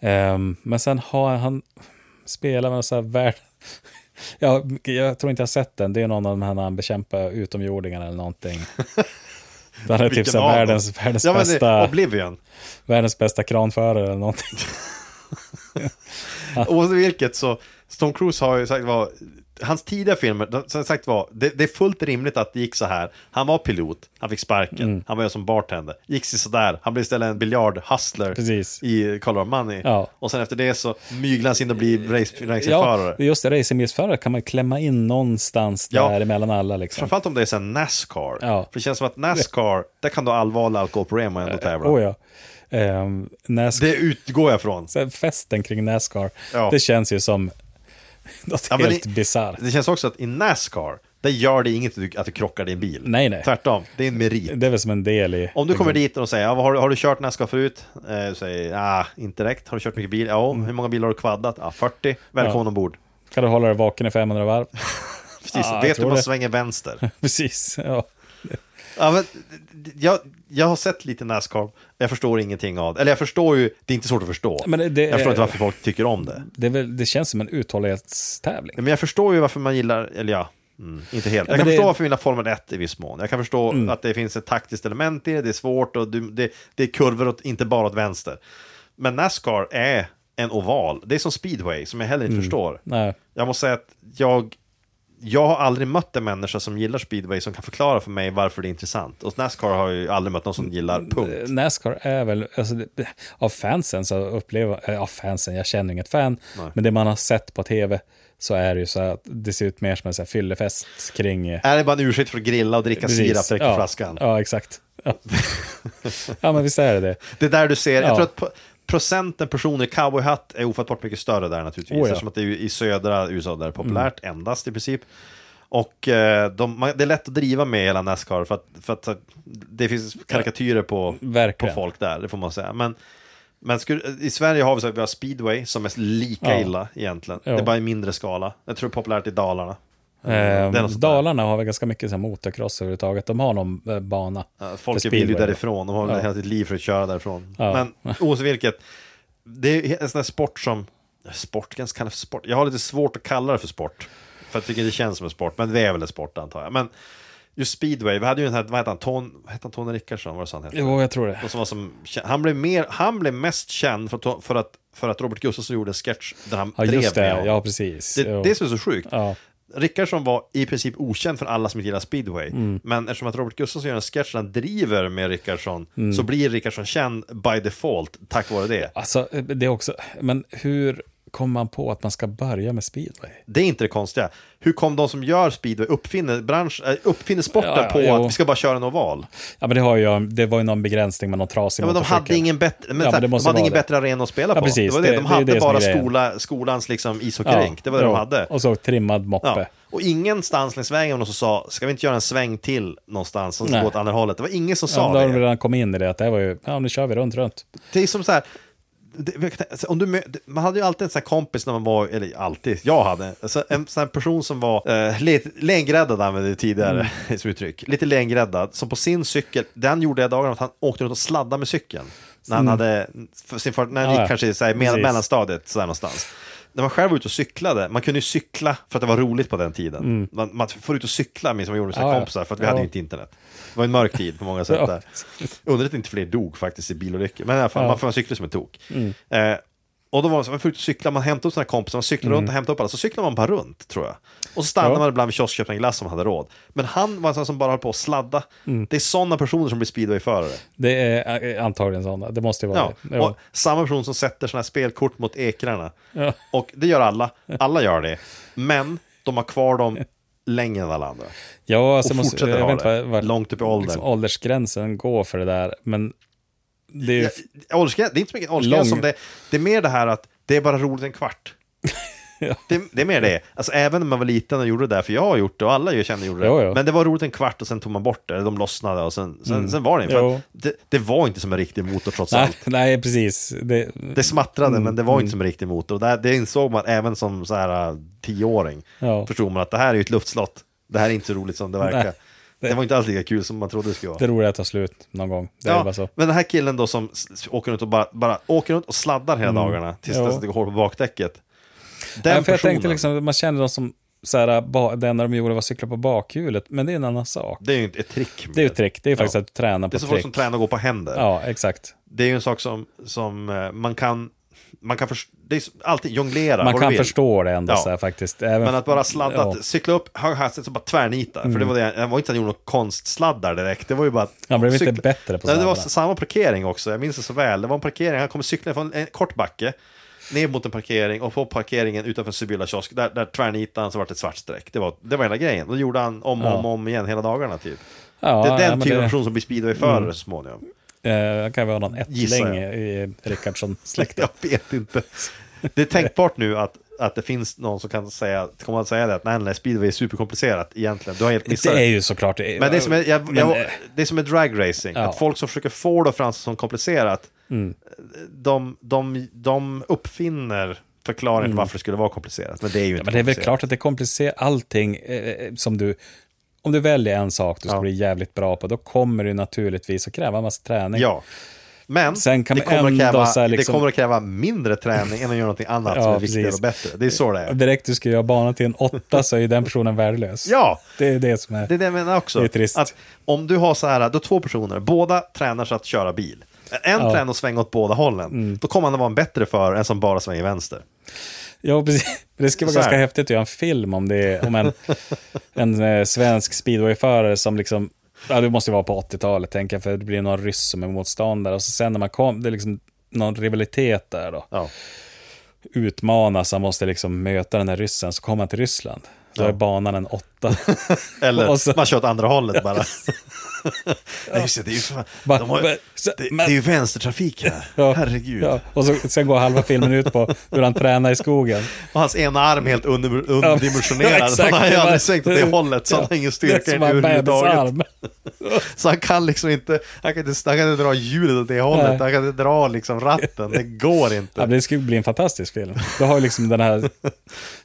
Ehm, men sen har han spelat med en sån här värld... [laughs] Jag, jag tror inte jag har sett den. Det är någon av de här när han bekämpar utomjordingarna eller [laughs] någonting. Den är typ Vilken så av här dem? världens, världens, Ja, men det, bästa, Oblivion. världens bästa kranförare eller [laughs] någonting. Oavsett vilket så, Tom Cruise har ju sagt var, hans tidiga filmer, de- som sagt var, det, det är fullt rimligt att det gick så här. Han var pilot, han fick sparken, Mm. han var ju som bartender, gick sig så där, han blev istället en biljardhustler Precis. i Call of Money. Ja. Och sen efter det så myglar han sig in och blir race- Ja, racingförare. just det. Racingbilsförare kan man klämma in någonstans Ja. där emellan alla. Liksom. Framförallt om det är sen Nascar. Ja. För det känns som att Nascar, där kan du ha allvarlig alkoholproblem och ändå tävla. Oh, ja. Ehm, Nascar, Det utgår jag från. sen Festen kring Nascar, Ja. det känns ju som [laughs] något Ja, men helt det- bisarrt. Det känns också att i Nascar, där gör det inget att du, att du krockar din bil. Nej, nej. Tvärtom, det är en merit. Det är väl som en del i... Om du kommer dit och säger, ja, vad har, du- har du kört Nascar förut? Eh, du säger, ah, inte direkt. Har du kört mycket bil? Ja, hur många bilar har du kvaddat? Ja, 40. Välkommen Mm. Ja. ombord. Kan du hålla dig vaken i 500 varv? [laughs] Precis, Ah, jag vet du tror hur man det. [laughs] svänger vänster? Precis. Ja. ja, men, d- d- jag, jag har sett lite Nascar, jag förstår ingenting av det. Eller jag förstår ju, det är inte svårt att förstå. Men det- det jag förstår är- inte varför folk tycker om det. Det, är väl, det känns som en uthållighetstävling. Men jag förstår ju varför man gillar, eller ja, mm, inte helt. Jag men kan det- Mm. förstå varför man gillar Formel 1 i viss mån. Jag kan förstå att det finns ett taktiskt element i det, det är svårt och du, det, det är kurvor åt, inte bara åt vänster. Men Nascar är en oval, det är som speedway som jag heller inte förstår. Mm. Nej. Jag måste säga att jag, jag har aldrig mött en människa som gillar speedway som kan förklara för mig varför det är intressant. Och Nascar har jag ju aldrig mött någon som gillar, Mm. punkt. Nascar är väl, alltså, det- av fansen så upplever, äh, av fansen, jag känner inget fan, men det man har sett på tv så är det ju så här att det ser ut mer som en så här fyllefest kring... eh, Är det bara en ursäkt för att grilla och dricka Precis. sirap direkt ja. ur flaskan? [laughs] Ja, exakt. Ja. ja, men visst är det det. Det är där du ser, jag Ja. tror att på, procenten personer i cowboyhatt är ofattbart mycket större där naturligtvis. Oh ja. Mm. Eftersom att det är ju i södra USA där det är populärt endast i princip. Och eh, de, man, det är lätt att driva med hela Nascar för att, för att så- det finns karikatyrer på, på Verkligen. folk där, det får man säga. Men, men skulle, i Sverige har vi, så, vi har speedway som är lika Ja. illa egentligen. Ja. Det är bara i mindre skala. Jag tror det är populärt i Dalarna. Ehm, Det är något sånt där. Dalarna har väl ganska mycket så här motocross överhuvudtaget. De har någon eh, bana. Ja, för Folk vill ju speedway. därifrån, de har Ja. hela sitt liv för att köra därifrån. Ja. Men oavsett vilket, det är en sån här sport som, sport, kan kalla det för sport? Jag har lite svårt att kalla det för sport. För jag tycker det känns som en sport, men det är väl en sport antar jag. Men just speedway, vi hade ju den här, vad hette han, Ton, vad hette han Tony Rickardsson, vad var det så han hette? Jo, jag tror det. Och som var som, han, blev mer, han blev mest känd för att, för att, för att Robert Gustafsson gjorde en sketch där han Ja, drev just med det. honom. Ja, precis. Jo. Det, det är som är så sjukt. Ja. Rickardsson var i princip okänd för alla som inte gillar speedway. Mm. Men eftersom att Robert Gustafsson gör en sketch där han driver med Rickardsson Mm. så blir Rickardsson känd by default tack vare det. Alltså, det är också... Men hur kom man på att man ska börja med speedway? Det är inte det konstiga. Hur kom de som gör speedway uppfinner, bransch, äh, uppfinner sporten Ja, ja, på jo. att vi ska bara köra en oval? Ja, men det, har ju, det var ju någon begränsning med någon trasig Ja, men de motorcykel. hade ingen, bättre, men Ja, så här, men det de måste hade vara ingen det. bättre arena att spela Ja, på. precis. det var det. Det- De det är ju hade det som är bara grejen. skola, skolans liksom ishockeyrink. Det var det jo. de hade. Och så trimmad moppe. Ja. Och ingenstans längs vägen var någon som sa, ska vi inte göra en sväng till någonstans som Nej. går åt andra hållet? Det var ingen som Ja, sa då har det. de redan kommit in i det, att det här var ju, ja nu kör vi runt, runt. Det är som så här, det- jag kan- alltså, om du, mö- man hade ju alltid en sån här kompis när man var, eller alltid, jag hade, alltså en sån här person som var eh, lite lengräddad använde vi tidigare Mm. [laughs] som uttryck, lite lengräddad, som på sin cykel, den gjorde jag dagen att han åkte runt och sladdade med cykeln. När han hade, för sin fart, när han Mm. Ja, gick ja. kanske i så här, med, Precis. mellanstadiet, så där någonstans. När man själv var ute och cyklade, man kunde ju cykla för att det var roligt på den tiden. Man, man får ut och cykla, minns jag, man gjorde med sina Mm. Ja, ja. kompisar, för att vi Ja. hade ju inte internet. Det var en mörk tid på många sätt [laughs] Ja. där. Undrar att inte fler dog faktiskt i bilolyckor. Men i alla fall, Ja. Mm. man får cykla som en tok. Eh, och då var man så, man får ut och cykla, man hämtade upp sina kompisar, man cyklade runt och hämtade upp alla, så cyklade man bara runt, tror jag. Och så stannade Mm. Ja. man ibland vid kiosk och köpte en glass om man hade råd. Men han var en sån som bara höll på att sladda. Mm. Det är sådana personer som blir speedwayförare. Det är eh, antagligen sådana, det måste ju vara Ja. det. Och Jo. samma person som sätter sådana här spelkort mot ekrarna. Ja. Och det gör alla, alla gör det. Men de har kvar dem längre än alla andra. Ja, alltså Och måste, fortsätter jag ha vet inte det, vad, vad långt upp i åldern. liksom, åldersgränsen går för det där, men det är ju... Ja, åldersgräns, det är inte så mycket åldersgräns Eh, Lång. som det Det är mer det här att det är bara roligt en kvart. [laughs] Ja. det, det är mer det. Alltså även när man var liten och gjorde det där, för jag har gjort det och alla jag känner gjorde det. Jo, jo. Mm. Men det var roligt en kvart och sen tog man bort det, eller de lossnade och sen, sen, sen var det för Jo. att det, det var inte som en riktig motor trots Nej, Mm. allt. nej, [laughs] precis. Det, Det smattrade, men det var inte som en riktig motor. Och det, här- det insåg man även som så här äh, tioåring. Ja. Förstod man att det här är ju ett luftslott. Det här är inte så roligt som det verkar. Nej. Det, var inte alls lika kul som man trodde det skulle vara. det roliga tar slut någon gång. Det är bara så. Men den här killen då som s- s- åker runt och bara, bara åker runt och sladdar hela dagarna tills Jo. dess att det går hål på bakdäcket. Den Mm. Nej, för jag personen, tänkte liksom, man kände dem som, så här, ba, det enda de gjorde var att cykla på bakhjulet, men det är en annan sak. det är ju ett, ett trick. med Det är ju ett trick, det är faktiskt Ja. att du tränar Det på är som folk trick. som tränar att gå på händer. Ja, exakt. Det är ju en sak som, som eh, man kan, man kan först, det är s- alltid jonglera Man vad du kan vill. förstå det ändå Ja. så här faktiskt. Även, Men att bara sladda, Ja. Mm. att cykla upp hög hastighet och bara tvärnita. För det var det, det var inte att han gjorde något konstsladdar direkt. Det var ju bara... att- Han blev inte bättre på Nej, Det sladdarna. var samma parkering också, jag minns det så väl. Det var en parkering, han kom cykla från en kort backe, ner mot en parkering och på parkeringen utanför Sibylla kiosk, där, där tvärnitade han så vart det ett svart streck. Det var, det var hela grejen. Då gjorde han om och om, och om igen hela dagarna typ. Ja, det är nej, den men typen av det- Mm. person som blir speedwayförare så småningom. [laughs] Eh, kan vara någon ättling Gissar i jag. i [laughs] Rickardsson-släkten. Jag vet inte. Det är tänkbart nu att, att det finns någon som kan säga, kommer att säga det, att nej, nej, speedway är superkomplicerat egentligen. Du har helt det missat är ju såklart. Men det är som är, jag, Men, jag, eh, det är som är dragracing, Ja. Mm. att folk som försöker få det att framstå som komplicerat, de, de, de uppfinner förklaringen till varför det skulle vara komplicerat. Men det är ju inte Mm. men det är väl komplicerat. klart att det komplicerar allting eh, som du... Om du väljer en sak du ska Ja. bli jävligt bra på, då kommer du naturligtvis att kräva en massa träning. Ja. Men Sen kan det, man kommer att ändå kräva, så här det liksom- kommer att kräva mindre träning än att göra någonting [laughs] annat Ja, som är viktigare precis. och bättre. Det är så det är. Direkt du ska göra banan [laughs] till en åtta så är ju den personen värdelös. Ja. Det är det som är... Det är det jag menar också. Det är trist. Att om du har så här, då två personer, båda tränar sig att köra bil. En tränar att svänga åt båda hållen. Mm. Då kommer han att vara en bättre förare än som bara svänger vänster. Ja, precis. [laughs] Det skulle vara Så här. ganska häftigt att göra en film om, det, om [laughs] en, en eh, svensk speedwayförare som liksom, ja, det måste ju vara på 80-talet tänker jag, för det blir någon ryss som är motståndare och så sen när man kom, det är liksom någon rivalitet där då, Ja. utmanas, han måste liksom möta den här ryssen, så kommer han till Ryssland. Då är banan en [laughs] åtta. Eller Och så- man kör åt andra [laughs] hållet bara. Nej, just det, det är ju, fan- Bara- de har, men- det, det men- är ju vänstertrafik här. [laughs] Ja. Herregud. Ja. Och så, sen går halva filmen ut på hur han tränar i skogen. Och hans ena arm helt under, underdimensionerad. [laughs] Ja, så exakt. han har ju Det var- aldrig svängt åt det hållet. Så han har ingen Det styrka är som en överhuvudtaget. bebisarm. [laughs] Så han kan liksom inte, han kan inte, han kan inte dra hjulet åt det hållet. Nej. Han kan inte dra liksom [laughs] ratten. Det går inte. Ja, men det skulle bli en fantastisk film. Du har ju liksom den här Det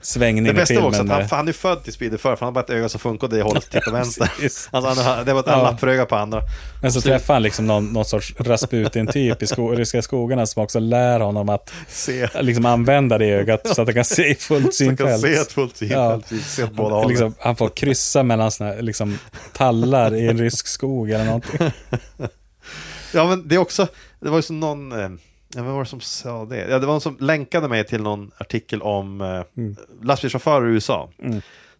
svängningen i bästa filmen. eh. var också att han, med- för han är född till speeder för, för han har bara ett öga som funkar åt det hållet, och [laughs] tittar vänster. precis. Alltså, han, det var ett Ja. lappfröga på andra. men så träffar han liksom någon, någon sorts Rasputin-typ i sko ryska skogarna som också lär honom att Se. liksom använda det ögat så att han kan se i fullt Så han synfält. kan se ett fullt synfält, Ja. se åt båda hållen. Liksom, han får kryssa mellan såna här, liksom, tallar i en rysk skog eller någonting. Ja, men det är också, det var ju som någon, eh, ja, vem var det som sa det? Ja, det var någon som länkade mig till någon artikel om eh, Mm. lastbilschaufförer i USA.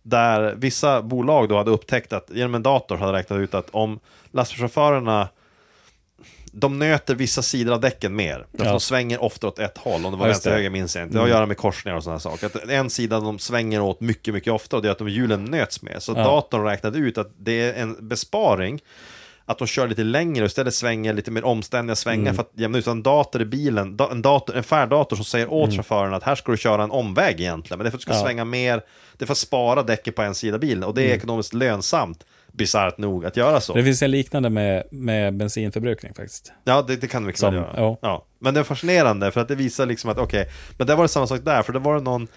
Där vissa bolag då hade upptäckt att genom en dator hade räknat ut att om lastbilschaufförerna de nöter vissa sidor av däcken mer. För att Ja. De svänger ofta åt ett håll, om det var Ja, just vänster det. Mm. höger minns jag inte. Det har att göra med korsningar och sådana saker. Att en sida de svänger åt mycket, mycket ofta och det gör att de hjulen nöts mer. Så datorn räknade ut att det är en besparing att de kör lite längre och istället svänger lite mer omständiga svängar Mm. för att jämna ut. Så en dator i bilen, da- en, dator, en färddator som säger Mm. åt chauffören att här ska du köra en omväg egentligen, men det är för att du ska svänga mer, det är för att spara däcket på en sida av bilen och det är ekonomiskt lönsamt, bisarrt nog, att göra så. Mm. Det finns en liknande med, med bensinförbrukning faktiskt. Ja, det, det kan vi mycket väl Som- göra. ja. Ja. Men det är fascinerande för att det visar liksom att okej, men det var det samma sak där, för det var det någon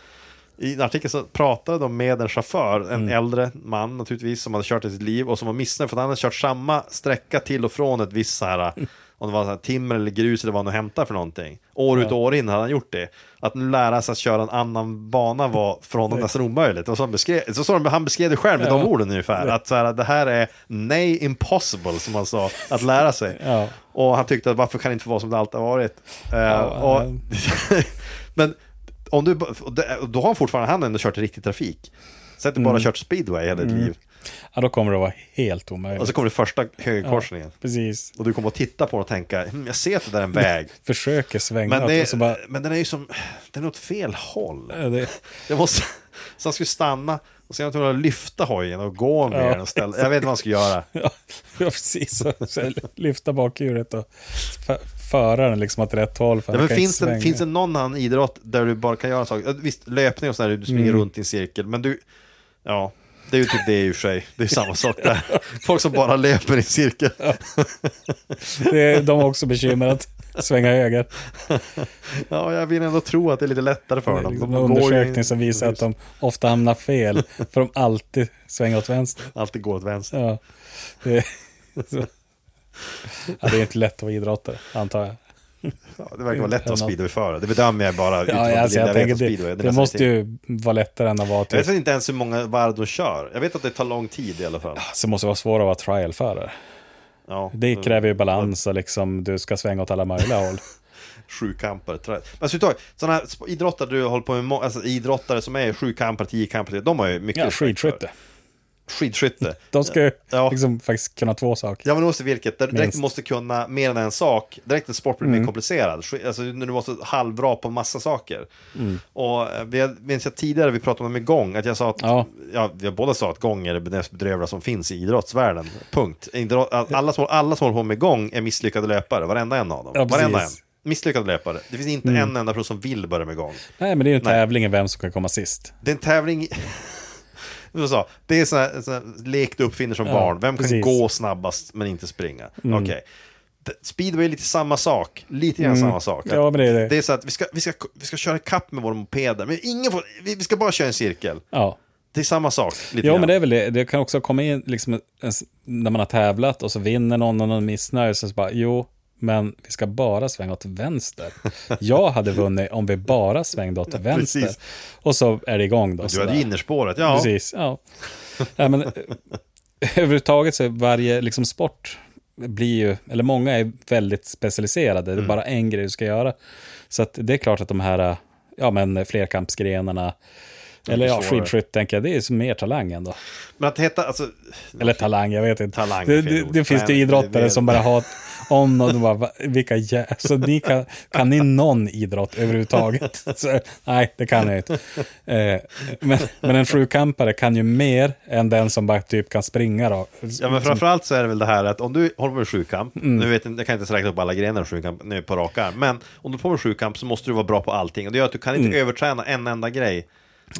i en artikel så pratade de med en chaufför, en äldre man naturligtvis, som hade kört i sitt liv och som var missnöjd för att han hade kört samma sträcka till och från ett visst så här, om det var så här timmer eller grus eller vad han nu hämtar för någonting. År ut och år in hade han gjort det. Att nu lära sig att köra en annan bana var för honom nästan omöjligt. Och så han, beskrev, så, så han beskrev det själv med de orden ungefär, att så här, det här är nej impossible, som han sa, att lära sig. Ja. Och han tyckte att varför kan det inte få vara som det alltid har varit? Eh, och, [laughs] men om du, och det- och då har han fortfarande han har ändå kört i riktig trafik. Säg att du Mm. bara har kört speedway hela ditt liv. Ja, då kommer det vara helt omöjligt. Och så kommer det första högerkorsningen. Precis. Och du kommer att titta på den och tänka, hm, jag ser att det där är en väg. Försöker svänga Men, åt och det, så bara... men den är ju som, den är åt fel håll. Ja, det, Jag måste, [laughs] så han skulle stanna och sen var han tvungen att lyfta hojen och gå med Ja, den och ställa. Jag vet inte vad han skulle göra. ja, ja, precis. Så, så lyfta bakhjulet och f- föra den liksom åt rätt håll. För Ja, han men kan inte finns, det, svänga. finns det någon annan idrott där du bara kan göra saker? Eh, Visst, löpning och sådär, du springer Mm. runt i en cirkel, men du... Ja, det är ju typ det i och för sig. Det är samma sak [laughs] där. Folk som bara löper i en cirkel. Det är, de har också bekymmer att svänga höger. Ja, jag vill ändå tro att det är lite lättare Det för är dem. liksom De en går ju- undersökning som visar att de ofta hamnar fel, för de alltid svänger åt vänster. Alltid går åt vänster. [laughs] Ja, det, så. Ja, det är inte lätt att vara idrottare, antar jag. Ja, det verkar vara lätt att vara Ja, speedwayförare. Det bedömer jag bara utifrån Ja, det jag, alltså, lilla jag jag vet tänker om speedway. det, är det nästan måste ingenting. ju vara lättare än att vara Jag typ, vet väl inte ens hur många varv de kör. Jag vet att det tar lång tid i alla fall. så måste det vara svårare att vara trialförare. Ja, Det kräver ju balans och liksom du ska svänga åt alla möjliga [laughs] håll. sjukampare. trä- Men så sådana här sp- idrottare du håller på med, må- alltså idrottare som är sjukampare, tiokampare, de har ju mycket Ja, respekt för. skidskytte. Skidskytte. [laughs] De ska ju Ja. liksom faktiskt kunna två saker. Ja men oavsett vilket, där du direkt Minst. Mm. måste kunna mer än en sak, direkt en sport blir mer komplicerad. Sk- Alltså när du måste halvbra på massa saker. Mm. Och eh, vi hade- minns jag tidigare vi pratade om med gång, att jag sa att, Ja. ja. vi båda sa att gång är det mest bedrövliga som finns i idrottsvärlden. Punkt. Idrott- Alla som, alla som håller på med gång är misslyckade löpare, varenda en av dem. Ja, precis. Mm. varenda en. Misslyckade löpare. Det finns inte en enda person som vill börja med gång. Nej, men det är ju en tävling i vem som kan komma sist. Det är en tävling... i- [laughs] Som jag sa, Det är sån här, sån här lek du uppfinner som barn. Vem kan precis. Mm. gå snabbast men inte springa? Okej. D- Speedway är lite samma sak. Lite grann samma sak. Mm. Ja, men det är det. Det är så att vi ska, vi ska, vi ska köra kapp med våra mopeder. Men ingen får, vi, vi ska bara köra en cirkel. Ja. Det är samma sak. Lite Ja, grann. men det är väl det. Det kan också komma in liksom, en s- när man har tävlat och så vinner någon och någon missnöjd. Så bara, jo, men vi ska bara svänga åt vänster. Jag hade vunnit om vi bara svängde [laughs] åt vänster. precis. Och så är det igång då. Du hade ju sådär. innerspåret. Ja, Precis, ja. Nej, men, eh, [laughs] överhuvudtaget så är varje liksom, sport blir ju, eller många är väldigt specialiserade, Mm. det är bara en grej du ska göra. Så att det är klart att de här, eh, ja men flerkampsgrenarna, Eller ja, svårare. skidskytt tänker jag, det är som mer talang ändå. Men att heta, alltså... Eller talang, jag vet inte. Talang är det, fel det, ord. det finns Nej, ju men det- idrottare det- som bara har om och de bara, "Va? vilka jä... Så ni kan, kan ni någon idrott [laughs] överhuvudtaget? Så, nej, det kan jag inte. Eh, men, men en sjukampare kan ju mer än den som bara typ kan springa då. Ja, Liksom. men framförallt så är det väl det här att om du håller på med sjukamp, Mm. nu vet jag, jag kan inte räkna upp alla grenar av sjukamp nu på raka arm, men om du håller på med sjukamp så måste du vara bra på allting och det gör att du kan inte Mm. överträna en enda grej.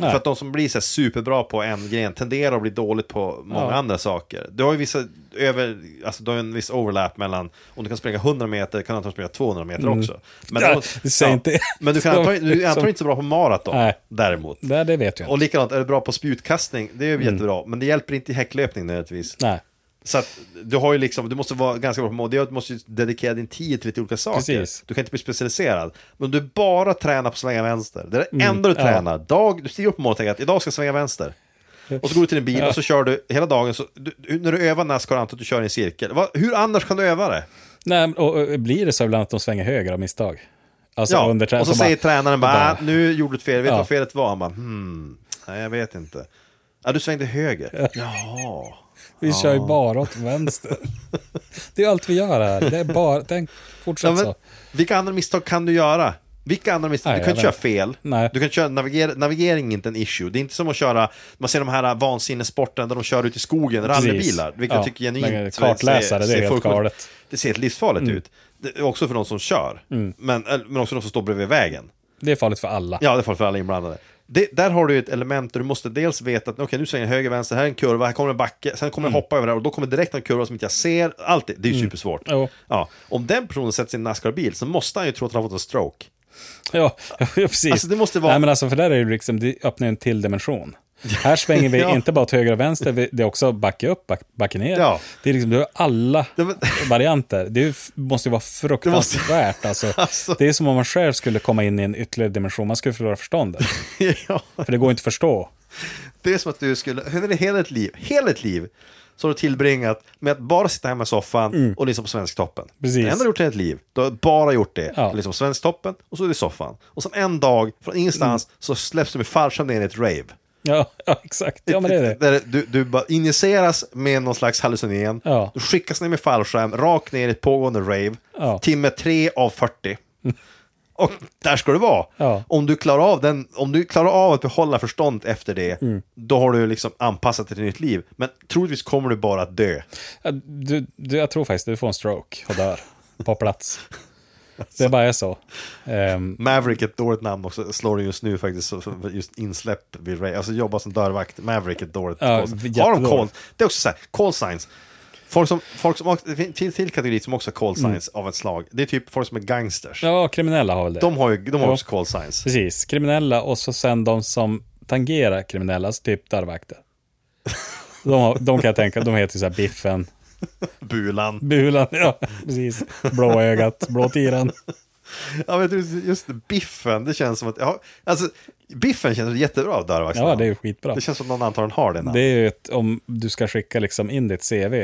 För att de som blir så här superbra på en gren tenderar att bli dåligt på många andra saker. Du har ju vissa över, alltså du har ju en viss overlap mellan, om du kan springa 100 meter kan du antagligen springa 200 meter också. Men, Mm. Ja, däremot- du säger inte- men du [laughs] kan antagligen, du är antagligen som- inte så bra på maraton Nej. Mm. däremot. Det, det vet jag Och inte. likadant, är du bra på spjutkastning, det är ju jättebra, men det hjälper inte i häcklöpning nödvändigtvis. Nej, Så att du har ju liksom, du måste vara ganska bra på mode, du måste ju dedikera din tid till lite olika saker. Precis. Du kan inte bli specialiserad. Men om du bara tränar på att svänga vänster, det är det Mm, enda du tränar. Dag, du stiger upp på målet och tänker att idag ska jag svänga vänster. Och så går du till din bil och så kör du hela dagen. Så du, du- när du övar Nascar antar jag att du kör i en cirkel. Va, hur annars kan du öva det? nej och, och blir det så ibland att de svänger höger av misstag? Alltså Ja, under trä- och så, bara- säger tränaren bara, bara- "Ah, nu gjorde du ett fel, vet du Ja. vad felet var? Han bara, hmm, nej jag vet inte. Ja, du svängde höger. Jaha. Vi kör ju bara åt [laughs] vänster. Det är allt vi gör här. Det är bara, tänk, fortsätt Ja, men, så. vilka andra misstag kan du göra? Vilka andra misstag? Nej, du kan jag köra vet. fel. Nej. Du kan köra naviger navigering är inte en issue. Det är inte som att köra, man ser de här vansinnessporten där de kör ut i skogen, Precis. rallybilar, vilket jag Ja, tycker men genuint. kartläsare, det är helt fullkomligt- galet. Mm. Det ser helt livsfarligt ut. Det är också för de som kör, men, eller- men också de som står bredvid vägen. Det är farligt för alla. Ja, det är farligt för alla inblandade. Det, där har du ju ett element där du måste dels veta att okej, nu svänger jag höger, vänster, här är en kurva, här kommer en backe, sen kommer jag hoppa över det här och då kommer direkt en kurva som inte jag ser. Allt det, det är ju supersvårt. Jo. Ja. Om den personen sätter sin Nascar-bil så måste han ju tro att han har fått en stroke. [laughs] Ja, ja precis. Alltså, det måste vara- Nej, men alltså, för där är det ju liksom, det öppnar ju en till dimension. Här svänger vi [laughs] Ja. inte bara till höger och vänster, vi- det är också backa upp, back, backa ner. Ja. Det är liksom, du har alla Det var- [laughs] varianter. Det är ju f- måste ju vara fruktansvärt. [laughs] Alltså. Det är som om man själv skulle komma in i en ytterligare dimension, man skulle förlora förståndet. [laughs] ja. För det går inte att förstå. Det är som att du skulle, hur är det hela ett liv, hela ett liv, så har du tillbringat med att bara sitta hemma i soffan och lyssna på Svensktoppen. Precis. Det enda du har gjort i ditt liv, du har bara gjort det. Ja. Liksom Svensktoppen och så är du i soffan. Och sen en dag, från ingenstans, så släpps du med farsan ner i ett rave. Ja, [laughs] ja exakt. Ja, men det är [laughs] det. Där du, du bara injiceras med någon slags hallucinogen. Ja. Du skickas ner med fallskärm, rakt ner i ett pågående rave. Ja. Timme 3 [laughs] av 40. Och där ska du vara. Ja. Om, du klarar av den, om du klarar av att behålla förstånd efter det, Mm. då har du liksom anpassat dig till ditt liv. Men troligtvis kommer du bara att dö. Ja, Du, du, jag tror faktiskt du får en stroke och dör på plats. Det bara är så. Ehm, Maverick, ett dåligt namn också, slår det just nu faktiskt, så- så- just insläpp vid Ray. Alltså jobba som dörrvakt, Maverick, ett dåligt Ja, call sign. Har de jättedåligt. call, det är också så här, call signs. Folk som, folk som, också- det finns en till kategori som också har call signs av ett slag. Det är typ folk som är gangsters. Mm. ja, kriminella har väl det. De har ju de har Ja. också call signs. Precis, kriminella och så sen de som tangerar kriminella, alltså typ dörrvakter. De, har, de kan jag tänka, de heter ju så här Biffen, Bulan. Bulan, ja, precis. Blåögat, Blåtiran. Ja, men du, just Biffen, det känns som att, ja, alltså Biffen känns jättebra av dörrvaktsnamn. Ja, det är ju skitbra. Det känns som att någon antagligen har det Det namnet. är ju ett, om du ska skicka liksom in ditt CV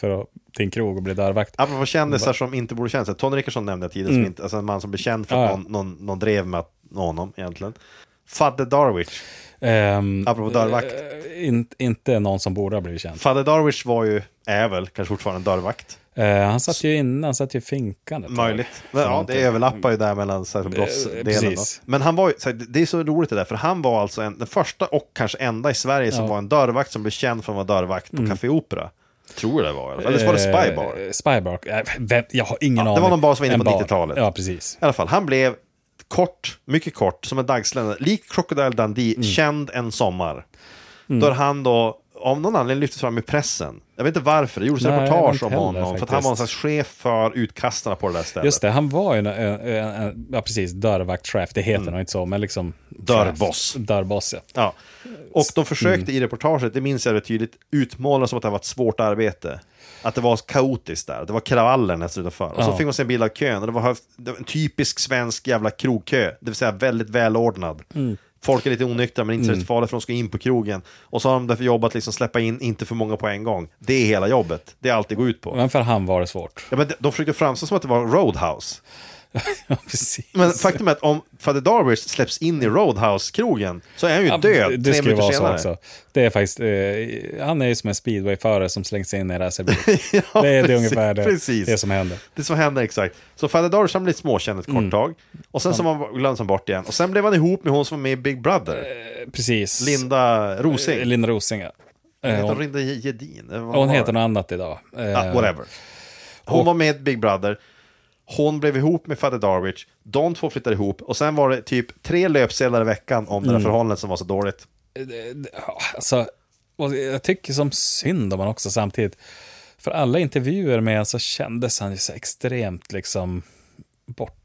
för att, till en krog och bli dörrvakt. Apropå kändisar som inte borde känna sig. Tony Rickardsson nämnde jag tidigare, som inte, alltså en man som blev känd för Mm. att Ja, ja. någon, någon, någon drev med att- honom egentligen. Fadde Darwich. Ehm, Apropå dörrvakt. eh, in, inte någon som borde ha blivit känd. Fadde Darwich var ju, är väl kanske fortfarande en dörrvakt. Eh, han satt ju inne, han satt ju i finkan. ett tag. Möjligt. Men, ja, det överlappar ju där mellan så här, brottsdelen. Då. Eh, precis. Men han var ju, så här, det är så roligt det där, för han var alltså en, den första och kanske enda i Sverige som var en dörrvakt som blev känd för att vara dörrvakt på Café Opera. Tror jag det var i alla fall. Eller så var det Spybar. Mm. Eh, Spybar. Eh, vem- Jag har ingen det aning. var någon bar som var En inne på 90-talet. Ja, precis. I alla fall, han blev kort, mycket kort, som en dagsländare. Lik Crocodile Dundee, Mm. känd en sommar. Då han då, av någon anledning, lyftes fram i pressen. Jag vet inte varför, det gjordes Nej, jag vet reportage inte om heller, honom. För att han faktiskt. var en slags chef för utkastarna på det där stället. Just det, han var ju en, en, en, en ja precis, dörrvaktchef, det heter nog inte så, men liksom... Mm. Dörrboss. chef. Dörrboss, ja. Ja. Och de försökte i reportaget, det minns jag väldigt tydligt, utmåla som att det här var ett svårt arbete. Att det var kaotiskt där, att det var kravaller nästan utanför. Och så Ja. fick man se en bild av kön, och det var, höf- det var en typisk svensk jävla krogkö, det vill säga väldigt välordnad. Mm. Folk är lite onyktra men inte så farligt för de ska in på krogen. Och så har de därför jobbat liksom släppa in inte för många på en gång. Det är hela jobbet, det är allt det går ut på. Men för han var det svårt. [laughs] Ja, men de- de försökte framstå som att det var Roadhouse. ja, precis. Men faktum är att om Fader Darwish släpps in i Roadhouse-krogen så är han ju Ja, död det- Det tre skulle minuter vara senare. så också. Det är faktiskt, eh, han är ju som en speedwayförare som slängs in i [laughs] en racerbil. Ja, det är det precis, ungefär det, precis. det som händer. Det som hände exakt. Så Fader Darwish han blev småkänd ett Mm. kort tag. Och sen så var- glömdes han bort igen. Och sen blev han ihop med hon som var med i Big Brother. Precis. Linda Rosing. Eh, Linda Rosing, ja. Eh, Heter hon Hon, Linda Gedin? Eller vad hon var heter det? något annat idag. Eh, Ja, whatever. Hon var med i Big Brother. Hon blev ihop med Fader Darwich. De två flyttade ihop. Och sen var det typ tre löpsedlar i veckan om Mm. det där förhållandet som var så dåligt. Ja, alltså, och jag tycker som synd om honom också samtidigt. För alla intervjuer med honom så kändes han ju så extremt liksom bortkommen.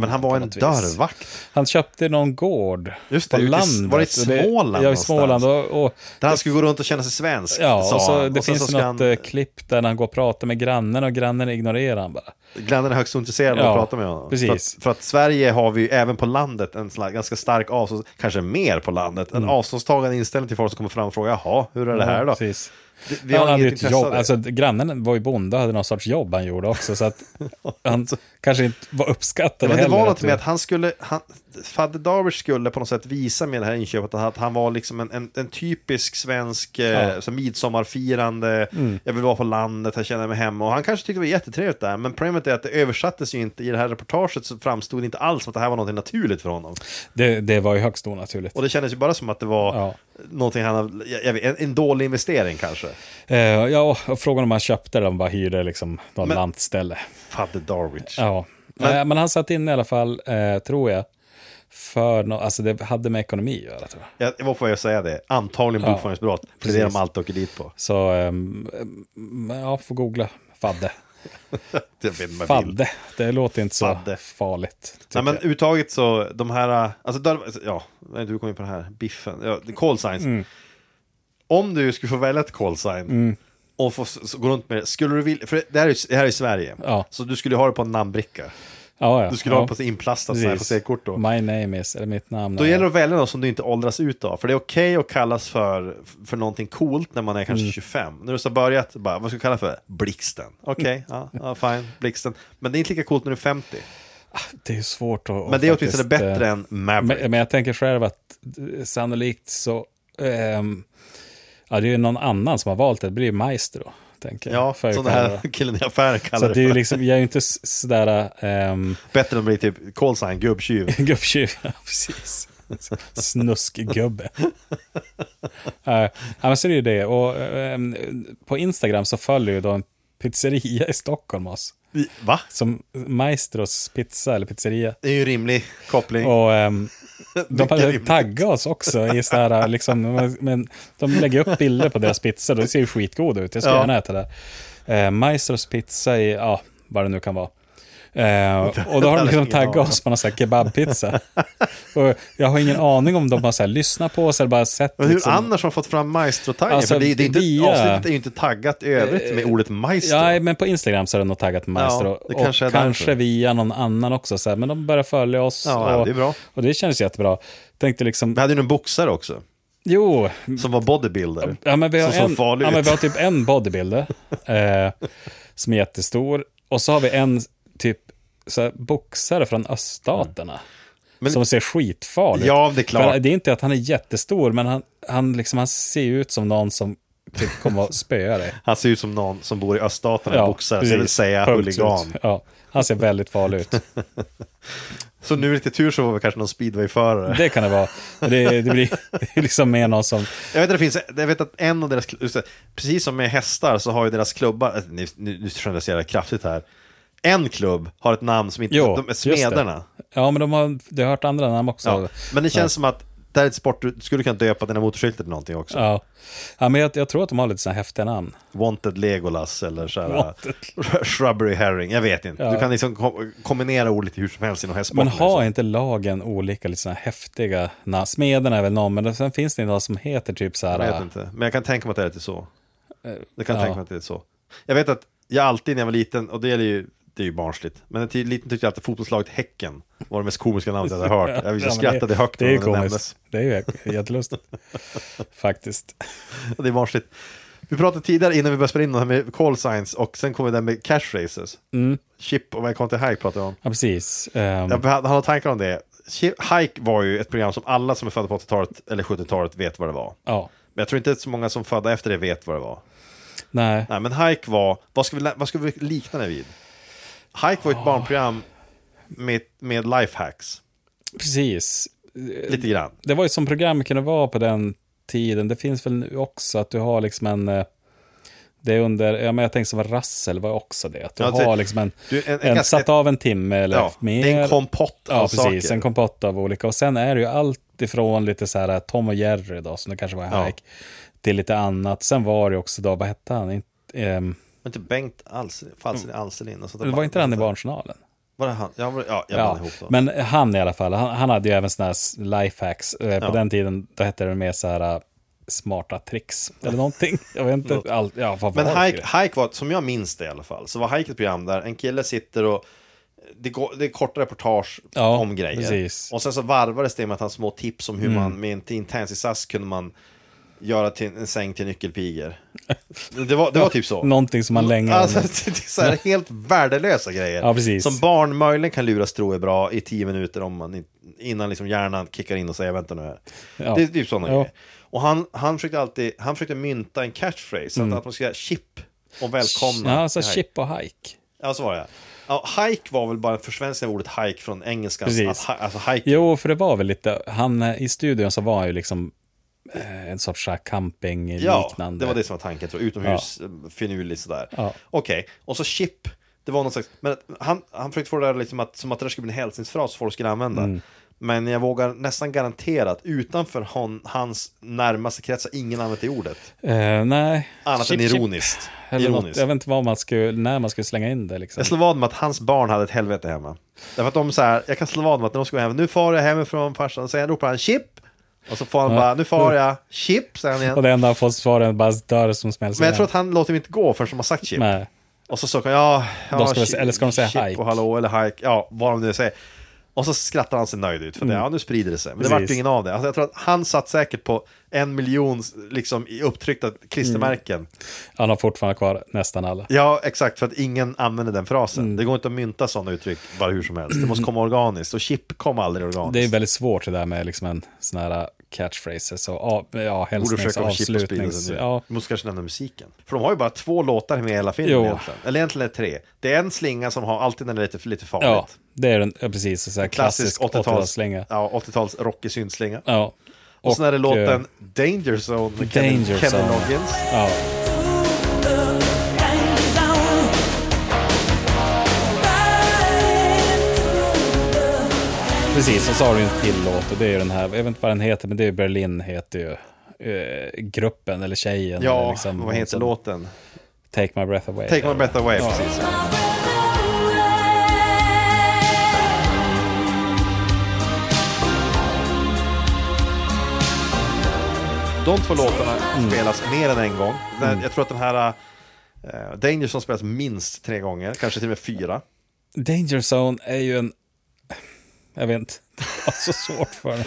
Men han var på en något vis. dörrvakt. Han köpte någon gård Just på det, ut i- landet. var det i och Småland Ja, i någonstans? Småland. Och, och, Där han skulle gå runt och känna sig svensk, ja, sa och så, han. det Och sen finns så ju ska något han- eh, klipp där han går och pratar med grannen och grannen ignorerar han bara. Glenn är högst ointresserad av Ja, att prata med honom. precis. För, att, för att Sverige har vi ju även på landet en slags, ganska stark avstånd, kanske mer på landet, en Mm. avståndstagande inställning till folk som kommer fram och frågar jaha, hur är det här då? Precis. Vi- Vi Vi han har hade ju inget ett intresse jobb, av det. alltså grannen var ju bonde och hade någon sorts jobb han gjorde också, så [laughs] att han kanske inte var uppskattad Ja, men det heller var att något du- med att han skulle, han, Fadde Darwish skulle på något sätt visa med det här inköpet att han var liksom en, en, en typisk svensk eh, som midsommarfirande, Mm. jag vill vara på landet, jag känner mig hemma och han kanske tyckte det var jättetrevligt där, men problemet är att det översattes ju inte, i det här reportaget så framstod det inte alls som att det här var något naturligt för honom. Det, det var ju högst onaturligt. Och det kändes ju bara som att det var Ja. någonting han, har- jag, jag vet, en, en dålig investering kanske. Eh, ja, och frågan om han köpte det, om bara hyrde liksom något Men- lantställe. Fadde Darwich. Ja. Men, men han satt in i alla fall, eh, tror jag, för no, alltså det hade med ekonomi att göra tror jag. Jag jag var på väg att säga det, antagligen Ja, bokföringsbrott, för det är det precis. de alltid åker dit på. Så, ehm, ehm, ja, får googla. Fadde. Jag vet inte vad jag vill. Fadde, det låter inte så Fadde. farligt. tycker Nej men jag. uttaget så, de här, äh, alltså, där, alltså, ja, nej, du kom in på den här, biffen, ja, the call signs. Mm. Om du skulle få välja ett call sign och få s- s- gå runt med det, skulle du vilja, för det här är, ju- det här är i Sverige, Ja. så du skulle ha det på en namnbricka. ja, ja, Du skulle ja. ha det på ett inplastat sån här på Precis. C-kort då. My name is, eller mitt namn Då är... gäller det att välja något som du inte åldras ut av. För det är okej att kallas för, för någonting coolt när man är Mm. kanske 25. När du så har börjat, bara, vad ska du kalla för? Blixten. Okej, Mm. ja, ja, fine, blixten. Men det är inte lika coolt när du är 50. Det är ju svårt att... Men det är att åtminstone faktiskt, bättre eh, än Maverick. Men, men jag tänker själv att eh, sannolikt så... ehm, ja, det är ju någon annan som har valt det. Det blir ju Maestro, tänker jag. Ja, Får jag som den kalla här [laughs] killen i affären Så kallar att det är ju för. liksom, jag är ju inte s- sådär um, Bättre än att bli typ call sign, gubbtjuv. [laughs] gubbtjuv. Ja, precis. Snuskgubbe. [laughs] Uh, ja, men så är det ju det. Och ehm, på Instagram så följer ju då en pizzeria i Stockholm oss. Va? Som Maestros pizza eller pizzeria. Det är ju en rimlig koppling. Och ehm, [laughs] de Mycket hade rimligt. taggat oss också i så [laughs] här, liksom, men de lägger upp bilder på deras pizza, då ser ju skitgoda ut. Jag ska Ja. gärna äta det. Eh, Maestros pizza i, ja, vad det nu kan vara. [laughs] Eh, och då har de liksom Ingen aning. taggat oss på någon sån här [laughs] kebabpizza. och jag har ingen aning om de har så här lyssnat på oss eller bara sett Men hur liksom- annars har de fått fram maestro-taggen? Alltså, För det, det är inte, via- Avsnittet är ju inte taggat i övrigt med ordet maestro. Ja, men på Instagram så har de nog taggat Maestro. Ja, det och kanske kanske, är därför. via någon annan också. Så här, men de börjar följa oss. Ja, ja, och, det är bra. och det känns jättebra. Tänkte liksom, Vi hade ju en boxare också, jo, som var bodybuilder. Ja, men vi har, som såg en, farlig ja, men ut. vi har typ en [laughs] bodybuilder eh, som är jättestor. Och så har vi en typ så här, boxare från öststaterna. Mm. Men- som ser skitfarlig ut. Ja, det är klart. För Det är inte att han är jättestor, men han, han, liksom, han ser ju ut som någon som typ kommer att spöa [laughs] dig. Han ser ut som någon som bor i öststaterna, Ja, boxare, så precis. jag vill säga Punkt slut. huligan. Ja, han ser väldigt farlig ut. Så nu är det lite tur så var vi kanske någon speedwayförare. Det kan det vara. Det, det blir [laughs] det är liksom mer någon som... Jag vet, att det finns, jag vet att en av deras, just det, precis som med hästar så har ju deras klubbar, nu, nu nu generaliserar jag kraftigt här, en klubb har ett namn som inte, Jo, de är just det. smederna. Ja, men de har, de har hört andra namn också. Ja. Men det känns som att det här är ett sport du skulle kunna döpa dina motorcyklar till någonting också. Ja. ja, men jag, jag tror att de har lite sådana häftiga namn. Wanted Legolas eller så här, äh, Shrubbery Herring, jag vet inte. Du kan liksom kom, kombinera ord lite hur som helst inom hästsporten. liksom. Men har inte lagen olika lite såna här häftiga namn? Smederna är väl någon, men sen finns det någon som heter typ så här... Jag vet inte, men jag kan tänka mig att det är lite så. Jag kan Eh, ja. tänka mig att det är så. Jag vet att jag alltid när jag var liten, och det gäller ju, det är ju barnsligt, men när jag var liten tyckte jag alltid fotbollslaget Häcken var det mest komiska namnet jag hade hört. Jag äh, men visste skrattade det, högt Det är ju när det komiskt. nämndes. [laughs] Det är ju jättelustigt. Faktiskt. Det är barnsligt. Vi pratade tidigare innan vi började spela in det här med call signs och sen kom vi där med cash races. Mm. Chip och Welcome to Hike pratade vi om. Ja, precis. Ehm, Jag hade hade tankar om det. Chip- Hike var ju ett program som alla som är födda på 80-talet eller 70-talet vet vad det var. ja. Men jag tror inte att så många som födda efter det vet vad det var. Nej. Nej, men Hike var, vad ska vi, lä- vad ska vi likna det vid? Hike Ah. var ett barnprogram med, med lifehacks, Precis. Eh, lite grann. Det var ju som program kunde vara på den tiden. Det finns väl nu också att du har liksom en... eh, Det är under, ja, men jag tänkte som var rassel var också det. Att du Ja, det- har liksom en, du, en- en, en ganska- satt av en timme eller Ja, mer. det är en kompott av Ja, precis. saker. En kompott av olika. Och sen är det ju allt ifrån lite så här eh, Tom och Jerry då, som det kanske var Ja. Hike, till lite annat. Sen var det också då, vad hette han? Inte, ehm, Men inte Bengt Alse- Falselin, Alselin och sånt där Mm. det var band. inte han i Barnjournalen? Var det han? Ja, var- ja jag blandade Ja, ihop dem. men han i alla fall, han, han hade ju även sådana här lifehacks. Eh, På Ja. den tiden då hette det mer så här eh, smarta tricks eller någonting. [laughs] Jag vet Något. inte. Allt, ja, vad Men var det för hike, grej? hike var, som jag minns det i alla fall, så var Hike ett program där en kille sitter och det, går, det är korta reportage Ja, om grejer. precis. Mm. Och sen så varvades det med att han små tips om hur man med en intensinsats kunde man göra till en säng till nyckelpigor. Det var, det var typ så. Någonting som man länge... Alltså, det är så här helt värdelösa grejer. Ja, precis. Som barn möjligen kan luras tro är bra i tio minuter om man, inte- innan liksom hjärnan kickar in och säger vänta nu här. Ja. Det är typ sådana Ja. grejer. Och han, han försökte alltid, han försökte mynta en catchphrase, att, att man skulle säga chip och välkomna. Mm. ja, alltså till hike. chip och hike. Ja, så var det. Ja, hike var väl bara en försvenskning av ordet hike från engelskan. Precis. Att, hi- alltså hike. Jo, för det var väl lite, han eh, i studion så var han ju liksom eh, en sorts så här Ja, camping-liknande. det var det som var tanken tror jag. Utomhus, eh, finurligt sådär. Ja. Okej, och så chip. Det var någon slags, men att- han, han försökte få det där liksom att, som att det där skulle bli en hälsningsfras folk skulle använda. Mm. Men jag vågar nästan garantera att utanför hon, hans närmaste krets har ingen använt det ordet. Eh, nej. Annat Chip, än chip. ironiskt. Eller något, ironiskt. jag vet inte vad man skulle, när man skulle slänga in det liksom. Jag slår vad med att hans barn hade ett helvete hemma. Därför att de så här, jag kan slå vad med att när de ska gå hem, nu far jag hemifrån farsan, sen ropar han chip. Och så får han bara, nu far jag, chip, säger han Och igen. det enda han får svar är en bara dörr som smälls Men jag igen. tror att han låter dem inte gå förrän de har sagt chip. Nej. Och så sa han, ja, ja De ska väl- chi- eller ska de säga chip hike? och hallå eller hike, ja, vad de nu säger. Och så skrattar han sig nöjd ut för det, ja nu sprider det sig. Men det Mm. Precis. vart ju ingen av det. Alltså, jag tror att han satt säkert på en miljon liksom, i upptryckta klistermärken. Mm. Han har fortfarande kvar nästan alla. Ja, exakt, för att ingen använder den frasen. Mm. Det går inte att mynta sådana uttryck bara hur som helst. Det måste komma organiskt, och chip kom aldrig organiskt. Det är väldigt svårt det där med liksom en sån här catchphrases och ja, ja, Borde försöka ha chip och sprida hälsningsavslutnings... sig nu. Ja, Du måste kanske nämna musiken. För de har ju bara två låtar med i hela filmen Jo. egentligen. Eller egentligen är det tre. Det är en slinga som har alltid den är lite, lite farligt. ja, det är en, ja, precis. En sån här klassisk 80-talsslänga. Ja. Ja, 80-tals rockig syntslinga. Ja. Och, sen är det låten eh, Danger Zone med Kevin, Danger Kevin Zone. Loggins. Ja, precis. Och så har du en till låt och det är ju den här, jag vet inte vad den heter, men det är ju Berlin heter ju eh, gruppen eller tjejen. eller Ja, liksom, vad heter som- låten? Take My Breath Away. Take My Breath Away, Ja. precis. De två låtarna Mm. spelas mer än en gång. Den- Jag tror att den här eh, Danger Zone spelas minst tre gånger, kanske till och med fyra. Danger Zone är ju en... Jag vet inte. [laughs] Det var så svårt för mig.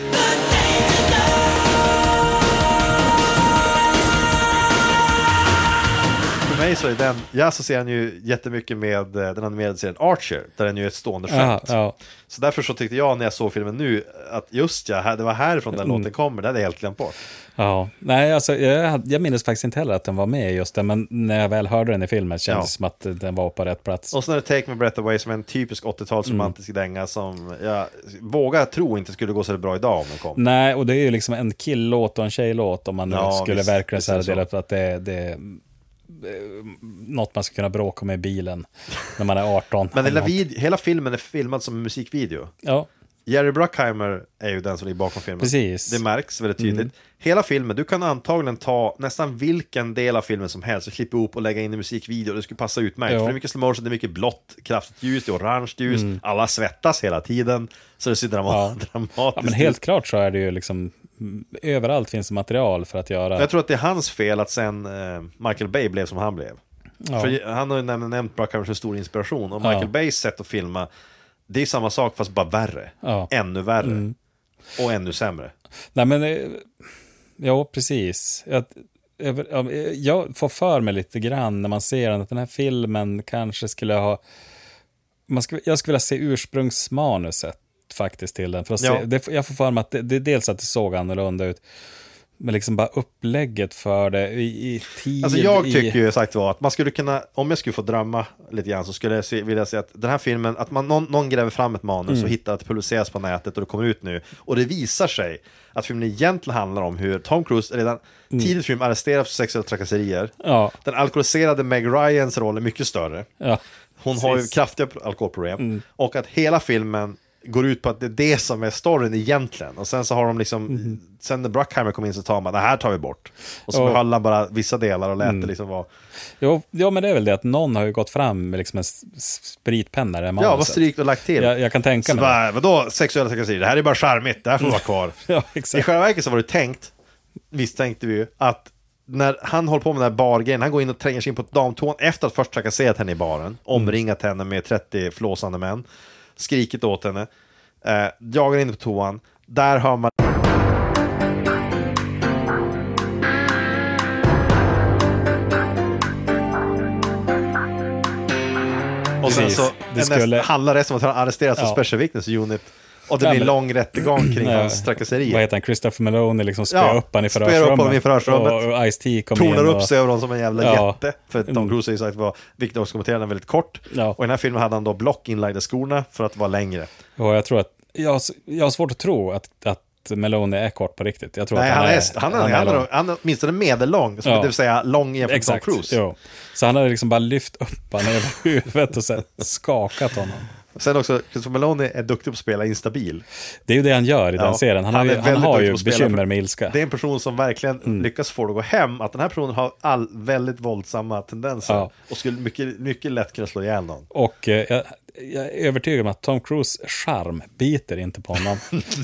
För mig så är den, jag associerar den ju jättemycket med eh, den animerade serien Archer, där den ju är ett stående Ja, skämt. ja. Så därför så tyckte jag när jag såg filmen nu att just ja, här- det var härifrån Mm. den låten kommer, det hade jag helt glömt bort. Ja, nej, alltså, jag, hade- jag minns faktiskt inte heller att den var med i just det, men när jag väl hörde den i filmen kändes det Ja. som att den var på rätt plats. Och sen är det Take My Breath Away som är en typisk 80-tals romantisk Mm. dänga som jag vågar tro inte skulle gå så bra idag om den kom. Nej, och det är ju liksom en killlåt och en tjejlåt om man nu Ja, skulle visst, verkligen visst så är här det så. dela på att det är, det är eh, något man ska kunna bråka med i bilen när man är 18. [laughs] Men Eller hela, något. vid, hela filmen är filmad som en musikvideo. Ja, Jerry Bruckheimer är ju den som ligger bakom filmen. Precis. Mm. Det märks väldigt tydligt. Hela filmen, du kan antagligen ta nästan vilken del av filmen som helst och klippa ihop och lägga in i musikvideo. Det skulle passa utmärkt. Ja. Mm. För det är mycket slow motion, det är mycket blått, kraftigt ljus, det är orange ljus. Alla svettas hela tiden. Så det ser drama- Ja. [laughs] dramatiskt ja, men ut. helt klart så är det ju liksom, mm, överallt finns det material för att göra. Jag tror att det är hans fel att sen eh, Michael Bay blev som han blev. För han har ju nämnt, nämnt Bruckheimer som stor inspiration. Och Michael Ja. Bays sätt att filma, det är samma sak fast bara värre. Ja. Mm. Ännu värre. Och ännu sämre. Nej, men... eh, Ja, precis. Jag, över, ja, jag får för mig lite grann när man ser den att den här filmen kanske skulle ha... Man skulle, jag skulle vilja se ursprungsmanuset faktiskt till den. För att se, Ja. det, jag får för mig att det, det är dels att det såg annorlunda ut, men liksom bara upplägget för det i, i tid. Alltså jag i, tycker ju sagt var att man skulle kunna, om jag skulle få drömma lite grann så skulle jag se, vilja se att den här filmen, att man, någon, någon gräver fram ett manus Mm. och hittar att det publiceras på nätet och det kommer ut nu. Och det visar sig att filmen egentligen handlar om hur Tom Cruise redan tidigt i film arresteras för sexuella trakasserier. Mm. Ja. Den alkoholiserade Meg Ryans roll är mycket större. Ja. Hon har ju Precis. Mm. kraftiga alkoholproblem. Och att hela filmen går ut på att det är det som är storyn egentligen. Och sen så har de liksom, sen när Bruckheimer kom in så tar man, det här tar vi bort. Och så Mhm. Ja. Mm. behöll han bara vissa delar och lät det liksom vara, Jo, ja, men det är väl det att någon har ju gått fram med liksom en s- s- spritpenna i det här ja, manuset. vad strykt och lagt till. Jag, jag kan tänka så mig. bara, vadå sexuella trakasserier, det här är bara charmigt, det här får vara kvar. [laughs] Ja, I exakt. själva verket så var det tänkt, visst tänkte vi ju, att när han håller på med den här bargrejen, han går in och tränger sig in på ett damtoan efter att först trakasserat henne i Mm. baren, omringat henne med 30 flåsande män, skrikit åt henne, eh, jagar in på toan, där hör man Och sen Precis. så Det näst- skulle- handlar det som att han arresterats för Ja. Special Victims Unit och det Ja, blir men- lång rättegång kring Nej, hans Vad trakasserier. heter han? Christopher Meloni liksom spöar Ja, upp han i spöar upp förhörsrummet. honom i förhörsrummet. Och, och Ice-T kommer in. tornar och- upp sig över honom som en jävla Ja. jätte. För att Tom Mm. Cruise har ju sagt var, vilket också kommenterade, den väldigt kort. Ja. Och i den här filmen hade han då block inlagda skorna för att vara längre. Och jag tror att, jag, har s- jag har svårt att tro att, att Meloni är kort på riktigt. Jag tror Nej, att han, är, han, är, han, är, lång. han, är åtminstone medellång, som Ja. det vill säga lång jämfört med Exakt, Tom Cruise. jo. Så han hade liksom bara lyft upp honom över [laughs] huvudet och sen skakat honom. Sen också, Christopher Meloni är duktig på att spela instabil. Det är ju det han gör i den serien. Han, har ju, han väldigt har duktig ju på att spela bekymmer för- med ilska. Mm. Det är en person som verkligen lyckas få det att gå hem, att den här personen har all, väldigt våldsamma tendenser. Ja. Och skulle mycket, mycket lätt kunna slå ihjäl någon. Och eh, jag, jag är övertygad om att Tom Cruise charm biter inte på honom.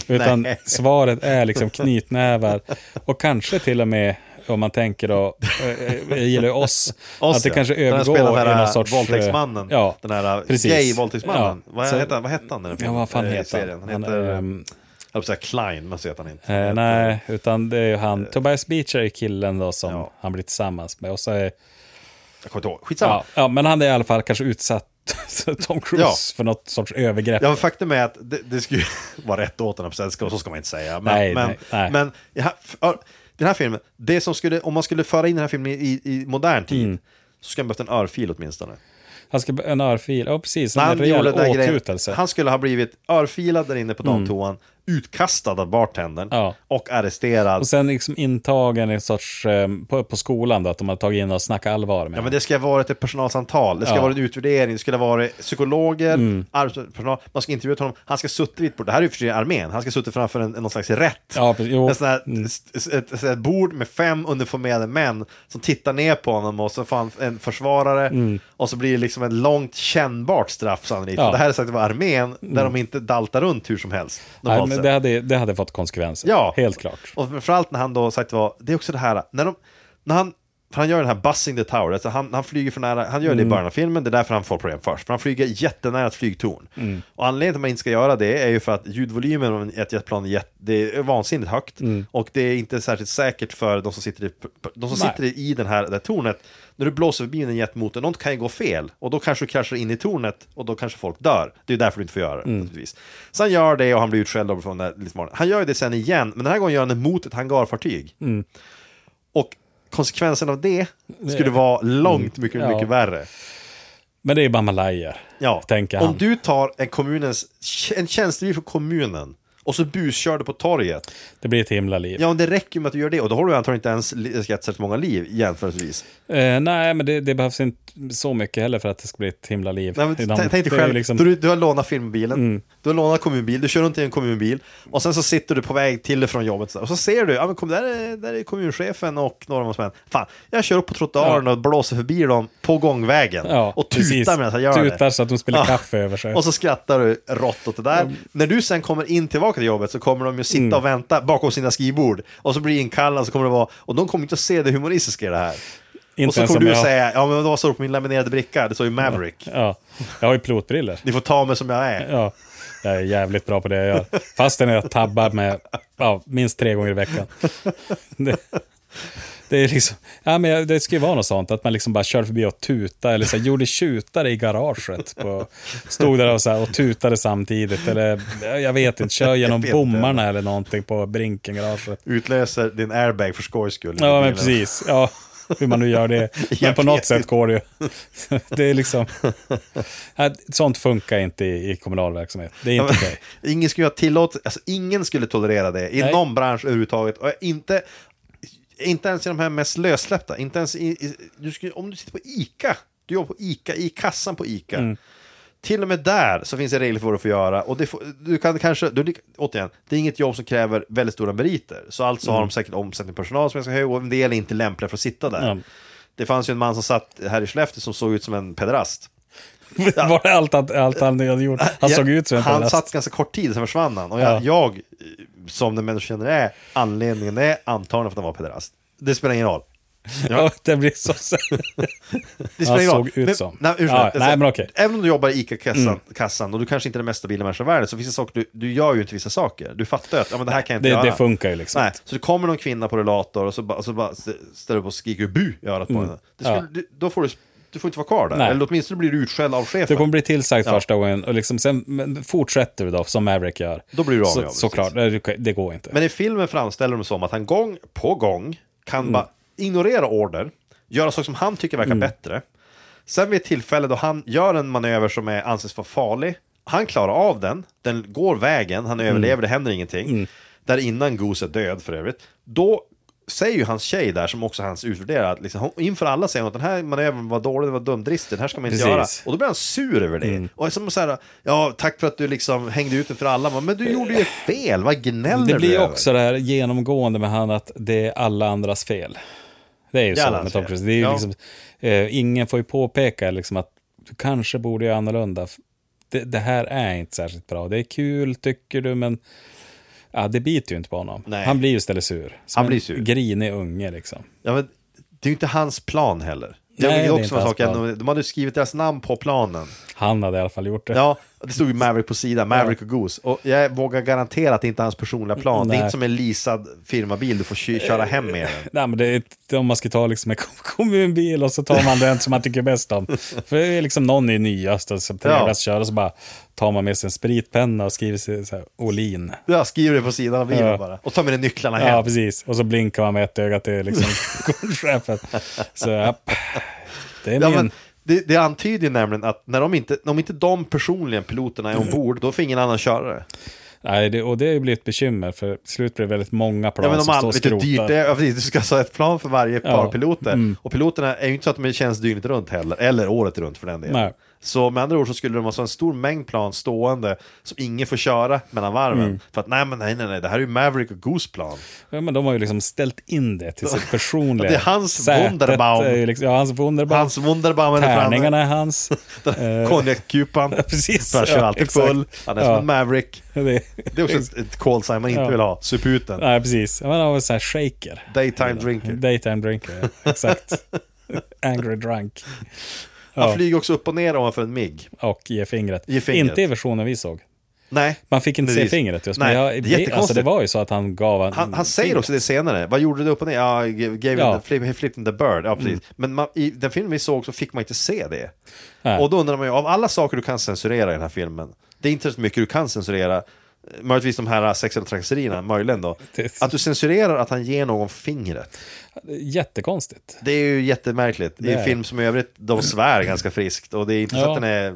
utan [laughs] Nej. svaret är liksom knytnävar. Och kanske till och med, om man tänker då, eh, eh, jag gillar ju [laughs] oss, Oss, att det ja. kanske Den här övergår spelar den i här någon sorts... eh, Våldtäktsmannen. Ja, Den här eh, precis. gay-våldtäktsmannen. Ja, Vad, så- hette han, vad hette han? i den Ja, filmen? vad fan Eh, i heter serien? han? Han heter... ehm, Jag höll på att säga Klein, men så heter han inte. Eh, Han heter- nej, utan det är ju han. Tobias Beecher är killen då som Ja. han blir tillsammans med. Och så är, Jag kommer inte ihåg. Skitsamma. ja, Ja. ja, men han är i alla fall kanske utsatt [laughs] Tom Cruise Ja. för något sorts övergrepp. men faktum är att det, det skulle [laughs] ju vara rätt åt honom, så ska så ska man inte säga. Men, Nej, men, nej, nej. men ja, för- den här filmen, det som skulle, om man skulle föra in den här filmen i, i modern tid, Mm. så skulle man behövt en örfil åtminstone. Han ska en örfil, ja precis, När en rejäl den här grejen, åtutelse. han skulle ha blivit örfilad där inne på damtoan, utkastad av bartendern Mm. Ja. och arresterad. Och sen liksom intagen i en sorts, eh, på, på skolan då, att de har tagit in och snackat allvar med Ja, men honom. det ska ha varit ett personalsamtal, det ska Ja. Mm. ha varit en utvärdering, det skulle ha varit psykologer, arbetspersonal, man ska intervjua honom, han ska ha suttit vid ett bord, det här är ju för sig armén, han ska ha suttit framför en, någon slags rätt. Ja, precis. Jo. Mm. En sån här, ett, ett, ett, ett bord med fem uniformerade män som tittar ner på honom och så får han en försvarare och så blir det liksom ett långt kännbart straff sannolikt. Mm. Ja. Mm. Det här är sagt att vara armén, där de inte daltar runt hur som helst. Nej, normalt men sett. det, hade, det hade fått konsekvenser, Ja. helt klart. Och framförallt när han då sagt var, det är också det här, när, de, när han, för han gör den här bussing the tower, alltså han, han flyger för nära, han gör Mm. det i början av filmen, det är därför han får problem först, för han flyger jättenära ett flygtorn. Mm. Och anledningen till att man inte ska göra det är ju för att ljudvolymen av ett jetplan är, jätt, det är vansinnigt högt, Mm. och det är inte särskilt säkert för de som sitter i, de som Nej. sitter i den här, det här tornet. När du blåser förbi en jetmotor, något kan ju gå fel, och då kanske du kraschar in i tornet, och då kanske folk dör. Det är därför du inte får göra det, Mm. naturligtvis. Så han gör det, och han blir utskälld av- från den här lite smarta- Han gör det sen igen, men den här gången gör han det mot ett hangarfartyg. Mm. Och konsekvensen av det skulle vara långt mycket, Mm. Ja. mycket värre. Men det är ju bara malajer, Ja. tänker han. Om du tar en, kommunens, en tjänstebil för kommunen och så buskör du på torget. Det blir ett himla liv. Ja, men det räcker ju med att du gör det och då har du antagligen inte ens li- särskilt många liv jämförelsevis. Eh, nej, men det, det behövs inte så mycket heller för att det ska bli ett himla liv. Nej, men Utan t- tänk dig det är själv, liksom- Mm. du, du har lånat filmbilen, du har lånat kommunbil, du kör runt i en kommunbil och sen så sitter du på väg till och från jobbet och så ser du, ja men kom, där, är, där är kommunchefen och Norrmalmsmän. Fan, jag kör upp på trottoaren och blåser förbi dem på gångvägen ja, och precis. tutar medan jag gör det. Tutar så att de spiller Ja. kaffe över sig. [laughs] Och så skrattar du rått åt det där. När du sen kommer in tillbaka till jobbet så kommer de ju sitta Mm. och vänta bakom sina skrivbord. Och så blir du inkallad så kommer det vara, och de kommer inte att se det humoristiska i det här. Inte och så ens kommer om du jag- säga, ja men vad står det på min laminerade bricka? Det står ju Maverick. Ja. Jag har ju pilotbriller. Ni får ta mig som jag är. Ja, jag är jävligt bra på det jag gör. Fastän jag tabbar med ja, minst tre gånger i veckan. Det, Det, är liksom, ja, men jag- det ska ju vara något sånt, att man liksom bara kör förbi och tuta eller så här, gjorde tjutare i garaget. På, stod där och, så här, och tutade samtidigt, eller jag vet inte, kör genom vet inte. bommarna eller någonting på Brinkengaraget. Utlöser din airbag för skojs skull. Ja, men precis. Ja, hur man nu gör det. Men [laughs] Jag på vet något sätt inte. går det ju. Det är liksom... Nej, Sånt funkar inte i, i kommunal verksamhet. Det är inte okej. [laughs] Ingen skulle ha tillåtit, alltså ingen skulle tolerera det i Nej. någon bransch överhuvudtaget. Och inte, inte ens i de här mest lössläppta. Inte ens i, i, du skulle, om du sitter på ICA, du jobbar på ICA, i kassan på ICA. Mm. Till och med där så finns det regler för vad du får göra. Och det får, du kan kanske, du, återigen, det är inget jobb som kräver väldigt stora meriter. Så alltså har Mm. de säkert omsättning på personal som är ganska hög och en del är inte lämpliga för att sitta där. Ja. Det fanns ju en man som satt här i Skellefteå som såg ut som en pederast. Var det allt, han- allt han hade gjort? Han Ja, såg ut som en Han pedast. satt ganska kort tid, sen försvann han. Och jag, jag eh, som den människa jag känner är, anledningen är antagligen för att han var pederast. Det spelar ingen roll. Ja, det blir så... så- Det spelar Han ingen roll. såg ut men, som. Nej, ursäkta. Ja, Alltså, nej, men okej. Mm. Även om du jobbar i ICA-kassan kassan, och du kanske inte är den mest stabila människan i världen, så finns det saker du, du gör ju inte vissa saker. Du fattar ju att ja, men det här kan jag inte Det, göra. det funkar ju liksom Nej, inte. så det kommer någon kvinna på rullator och så bara, och så bara st- ställer du upp och skriker bu i örat på henne. Det skulle, Mm. Ja. du, då får du, du får inte vara kvar där. Nej. Eller åtminstone blir du utskälld av chefen. Du kommer bli tillsagd Ja. första gången och liksom, sen men fortsätter du då, som Maverick gör. Då blir du av med så, honom, Såklart, det, det går inte. Men i filmen framställer de som att han gång på gång kan bara ignorera order, göra saker som han tycker verkar bättre. Sen vid ett tillfälle då han gör en manöver som är, anses vara farlig, han klarar av den, den går vägen, han överlever, det händer ingenting. Där innan Goose är död för övrigt. Då säger ju hans tjej där, som också är hans utvärderare, att liksom, hon- inför alla säger hon att den här manövern var dålig, det var dumdristig, den här ska man inte Precis. göra. Och då blir han sur över det. Och är som så här, ja tack för att du liksom hängde ut den för alla, men du gjorde ju fel, vad gnäller Det blir du ju över? också det här genomgående med han att det är alla andras fel. Det är ju Det är så alla med andras Tom fel. Cruise. Det är ju Ja. liksom, eh, ingen får ju påpeka liksom att du kanske borde göra annorlunda. Det, det här är inte särskilt bra. Det är kul tycker du, men ja, det biter ju inte på honom. Nej. Han blir ju istället sur. Som Han blir en sur. grinig unge liksom. Ja, men det är ju inte hans plan heller. Det Nej, Nej, det det är också inte var hans sak, att plan. de, de hade ju skrivit deras namn på planen. Han hade i alla fall gjort det. Ja, det stod ju Maverick på sidan, Maverick och Goose. Och jag vågar garantera att det inte är hans personliga plan. Det är Nej. inte som en leasad firmabil du får kö- köra hem med den. Nej, men det är, ett- om man ska ta liksom en kom- [laughs] kommunbil och så tar man den som man tycker bäst om. För det är liksom någon är nyast och som trevligast att köra så bara tar man med sig en spritpenna och skriver sig så här, Olin. Jag skriver det på sidan av bilen Ja. bara. Och tar med dig nycklarna hem. Ja, precis. Och så blinkar man med ett öga till liksom, [laughs] chefen. Så japp. det är Ja, min. men det, det antyder ju nämligen att när de inte, om inte de personligen, piloterna, är ombord, då får ingen annan köra det. Nej, det, och det har ju blivit ett bekymmer för till slut blir det väldigt många Ja, plan men de som står andra, och vet du hur dyrt det skrotar. är? Ja, precis, Du ska ha ett plan för varje par Ja. Mm. piloter. Och piloterna är ju inte så att de tjänst dygnet runt heller, eller året runt för den delen. Nej. Så med andra ord så skulle de ha så en stor mängd plan stående som ingen får köra mellan varven. Mm. För att nej, men nej, nej, nej, det här är ju Maverick och Goose plan. Ja, men de har ju liksom ställt in det till [laughs] sitt personliga Det är hans Sätet Wunderbaum. är ju Liksom, ja, hans Wunderbaum. Hans Wunderbaum är framme, [laughs] Tärningarna är hans. Eh, [laughs] konjakskupan, precis, för han kör ja, alltid exakt. full. Han är som Ja. en Maverick. det, Det är också ett, ett call sign man inte Ja. vill ha, suputen. nej, precis. Man har väl så här shaker. Daytime drinker. Daytime [laughs] drinker, ja. exakt. Angry drunk. Han Ja. flyger också upp och ner ovanför en MIG. Och ge fingret. Ge fingret. Inte i versionen vi såg. Nej, Man fick inte se Precis. fingret just. Nej, men det är jag, det, alltså, jättekonstigt. det var ju så att han gav en, Han, han säger också det senare. Vad gjorde du upp och ner? Ja, I gave Ja. Mm. It the, flip, flipped the bird. Ja, precis. Men man, i den filmen vi såg så fick man inte se det. Nej. Och då undrar man ju, av alla saker du kan censurera i den här filmen, det är inte så mycket du kan censurera, eh, möjligtvis de här sexuella trakasserierna, möjligen då, [laughs] Det- att du censurerar att han ger någon fingret. Jättekonstigt. Det är ju jättemärkligt. I Det en är film som i övrigt, de svär ganska friskt och det är inte så Ja. att den är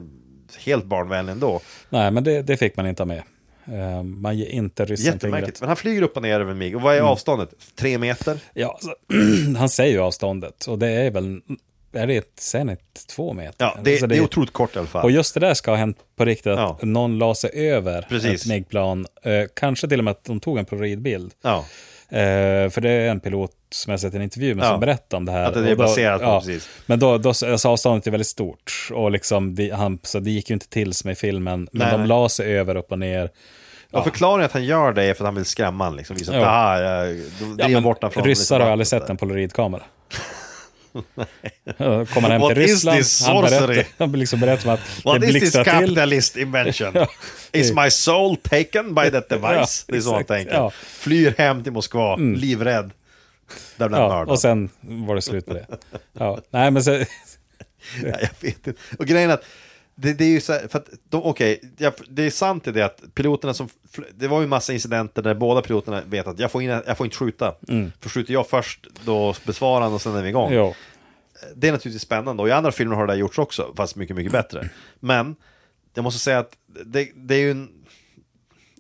helt barnvänlig ändå. Nej, men det, det fick man inte ha med. Eh, Man ger inte ryssen Jättemärkligt. fingret. Men han flyger upp och ner över mig. Och vad är Mm. avståndet? Tre meter? Ja, så, [clears throat] han säger ju avståndet och det är väl, är det ett, sen ett två meter? Ja, det, Alltså, det är otroligt kort i alla fall. Och just det där ska ha hänt på riktigt, att Ja. någon la sig över Precis. ett MIG-plan. Eh, kanske till och med att de tog en polaroidbild. Ja. Eh, för det är en pilot som jag sett i en intervju med Ja. som berättar om det här. Att det är Och då- baserat på, precis. Men då, då alltså, avståndet är väldigt stort. Och liksom, det, han, så det gick ju inte till som i filmen, men Nej, de nej. la sig över upp och ner. Och förklaringen att han gör det är för att han vill skrämma honom. Liksom, visa att Ja. ah, jag, de drev bort honom från ryssar har aldrig vattnet sett en [laughs] polaroidkamera. Eh, Kommer han hem What till is Ryssland, this han sorcery? berättar, [laughs] han liksom berättar om att What det is this blixtrar till. [laughs] capitalist invention? Is my soul taken by that device? Ja, det är så han exakt, tänker. ja. Mm. Flyr hem till Moskva, livrädd. Där blev han Ja, mördad. och sen var det slut på det. Ja, nej, men så, Ja, [laughs] jag vet inte. Och grejen är att det, det är ju så här, för att de, okej, jag- det är sant i det att piloterna som, fl- det var ju massa incidenter där båda piloterna vet att jag får, in, jag får inte skjuta. Mm. För skjuter jag först, då besvarar han och sen är vi igång. jo. Det är naturligtvis spännande och i andra filmer har det där gjorts också, fast mycket, mycket bättre. Men jag måste säga att det, det är ju en...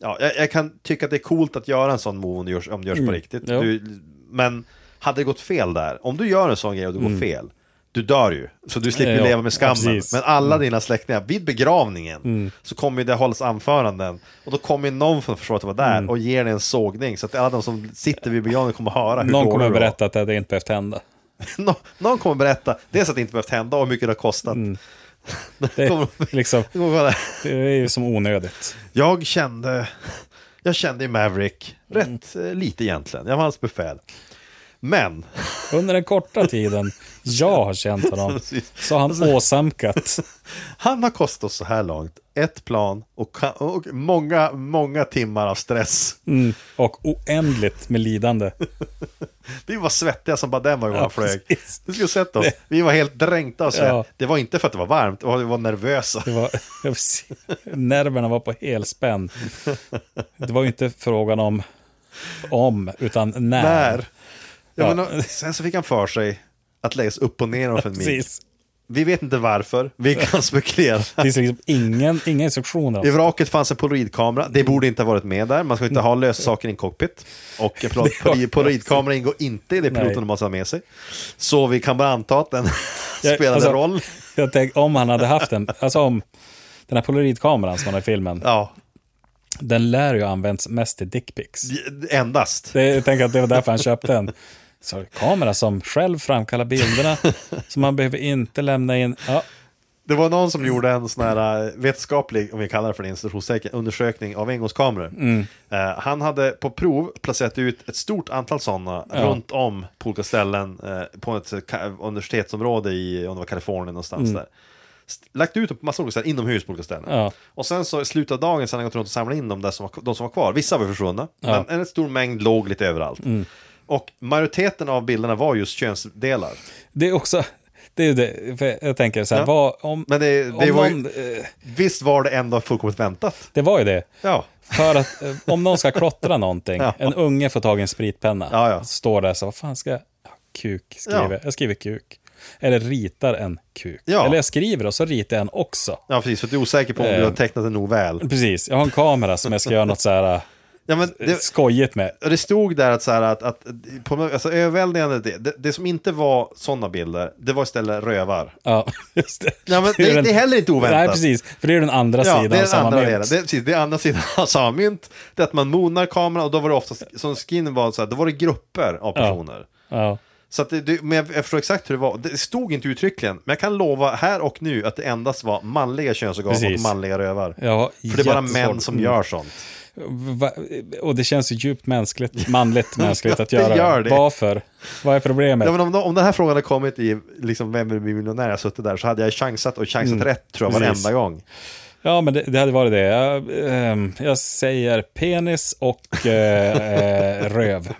Ja, jag, jag kan tycka att det är coolt att göra en sån move om det görs, om det görs Mm. på riktigt. jo. Du, men hade det gått fel där, om du gör en sån grej och det går fel, du dör ju. Så du slipper Mm. Ja, ja. leva med skammen. Ja, precis. Mm. men alla dina släktingar, vid begravningen, så kommer ju det hållas anföranden. Och då kommer ju någon från försvaret att vara Mm. där och ger dig en sågning. Så att alla de som sitter vid begravningen kommer höra hur någon dålig kommer du att var. berätta att det hade inte behövt hända. Nå- någon kommer berätta, dels att det inte behövt hända och hur mycket det har kostat. Mm. [laughs] Det, Kommer- [laughs] är liksom, Det kommer vara- det är ju som onödigt. Jag kände, jag kände i Maverick rätt Mm. eh, lite egentligen, jag var hans befäl. Men, [laughs] Under den korta tiden jag har känt honom så har Alltså- han åsamkat. han har kostat oss så här långt, ett plan och, ka- och många, många timmar av stress. Mm, och oändligt med lidande. Vi var svettiga som bara den var ju Ja, han flög. precis. Du skulle sett oss, vi var helt dränkta av svett. Ja. Det var inte för att det var varmt, det var- vi var nervösa. Det var, jag vill se- nerverna var på helspänn. Det var ju inte frågan om om, utan när. När? Ja, Ja. Men, och- sen så fick han för sig att läggas upp och ner [laughs] för en mil. Precis. Vi vet inte varför, vi [laughs] kan spekulera. Det finns liksom ingen, inga instruktioner. I om- vraket fanns en polaroidkamera, det borde inte ha varit med där, man ska inte ha lösa saker i en cockpit. [laughs] Och eh, förlåt, poli- polaroidkamera ingår inte i det Nej. piloten måste ha med sig. Så vi kan bara anta att den [laughs] Jag- spelade alltså, roll. Jag tänkte, om han hade haft en, alltså om den här polaroidkameran som han har i filmen, Ja, den lär ju ha använts mest till dickpics. endast. Det- Jag tänker att det var därför han köpte en så, kamera som själv framkallar [laughs] bilderna, som man behöver inte lämna in. Ja, Det var någon som gjorde en sån här eh, vetenskaplig, om vi kallar det för det, institutionstecken, undersökning av engångskameror. Mm. Eh, han hade på prov placerat ut ett stort antal sådana runt om på olika ställen eh, på ett eh, ka- universitetsområde i, om det var Kalifornien någonstans där. St- Lagt ut dem på massa olika ställen, inomhus på olika ställen. Mm. Ja. Och sen så i slutet av dagen så hade han gått runt och samlat in dem där som var, de som var kvar. Vissa var försvunna, Ja. Mm. men en stor mängd låg lite överallt. Och majoriteten av bilderna var just könsdelar. det är också, det är det, för jag tänker så här, Ja. vad om... Men det, det om var ju, någon, eh, visst var det ändå fullkomligt väntat? det var ju det. Ja. För att eh, om någon ska klottra någonting, [laughs] Ja. en unge får tag i en spritpenna, Ja, ja. står där så, vad fan ska jag, ja, kuk skriver, Ja. jag skriver kuk. Eller ritar en kuk. Ja. Eller jag skriver och så ritar jag en också. Ja, precis, för att du är osäker på om du Eh. har tecknat en novell. Precis, jag har en kamera som jag ska göra något så här Ja, men eh, det, skojigt med. det stod där att, så här, att, att på, alltså, överväldigande, det, det, det som inte var sådana bilder, det var istället rövar. Ja, [laughs] just det. Ja, men ju det- det är heller inte oväntat. Nej, precis. För det är den andra Ja, det sidan är av den samma andra mynt. delen. Det, är precis, det är andra sidan av samma mynt. Det är att man monar kameran och då var det oftast, som skin var, så här, då var det grupper av personer. Ja. Så att det, det, men jag, jag förstår exakt hur det var. Det stod inte uttryckligen, men jag kan lova här och nu att det endast var manliga könsorgan och Precis. manliga rövar. Ja, För det är bara jättesvårt. män som gör sånt. Va- Och det känns ju djupt mänskligt, manligt mänskligt att [laughs] Ja, det göra gör det. Varför? Vad är problemet? Ja, men om, om den här frågan hade kommit i liksom, Vem vill bli miljonär? Jag suttit där så hade jag chansat och chansat rätt tror jag Mm. precis. varenda gång. Ja, men det, det hade varit det. Jag, ehm, jag säger penis och eh, eh, [laughs] röv.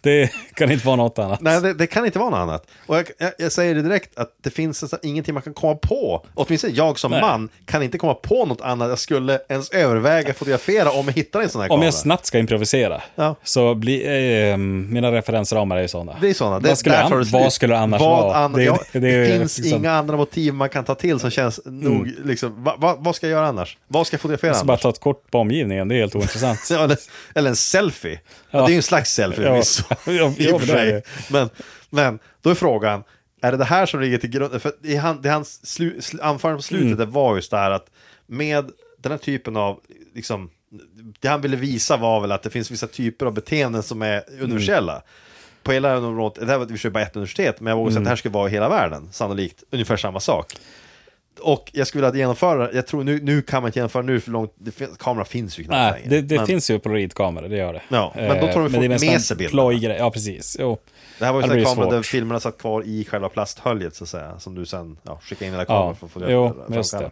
Det kan inte vara något annat. Nej, det, det kan inte vara något annat. Och jag, jag, jag säger det direkt att det finns alltså ingenting man kan komma på. Åtminstone jag som Nej. man kan inte komma på något annat jag skulle ens överväga fotografera om jag hittar en sån här Om kamera. jag snabbt ska improvisera, Ja. så blir eh, mina referensramar är ju sådana. Det är sådana. Det, vad, skulle där an- tar det slut. vad skulle det annars Vad vara? An- är- ja, det, är finns liksom- inga andra motiv man kan ta till som känns nog, liksom, va, va, vad ska jag göra annars? Vad ska jag fotografera Så bara annars? ta ett kort på omgivningen, det är helt ointressant. [laughs] Ja, Eller, eller en selfie. Ja. Ja. det är ju en slags [laughs] selfie Ja. förvisso. Ja, I och för det är sig. det. Men, men då är frågan, är det det här som ligger till grund? För i han, det hans slu, slu, anförande på slutet Mm. det var just det här att med den här typen av, liksom, det han ville visa var väl att det finns vissa typer av beteenden som är Mm. universella. På hela det här området, det här var i och för sig bara ett universitet, men jag Mm. vågar säga att det här skulle vara i hela världen, sannolikt ungefär samma sak. Och jag skulle vilja genomföra, jag tror nu, nu kan man inte genomföra nu för långt, det fin- kameran finns ju knappt Nej, längre. Äh, det, det Men- finns ju polaroidkameror, det gör det. Ja, men då tar de Eh, folk men det är mest med en sig bilderna. plojgrej. Ja, precis. Jo. Det här var ju Ja, det en blir kamera svårt. där filmerna satt kvar i själva plasthöljet så att säga. Som du sen ja, skickade in i den där kameran Ja, för att få det jo, framkalla. just det.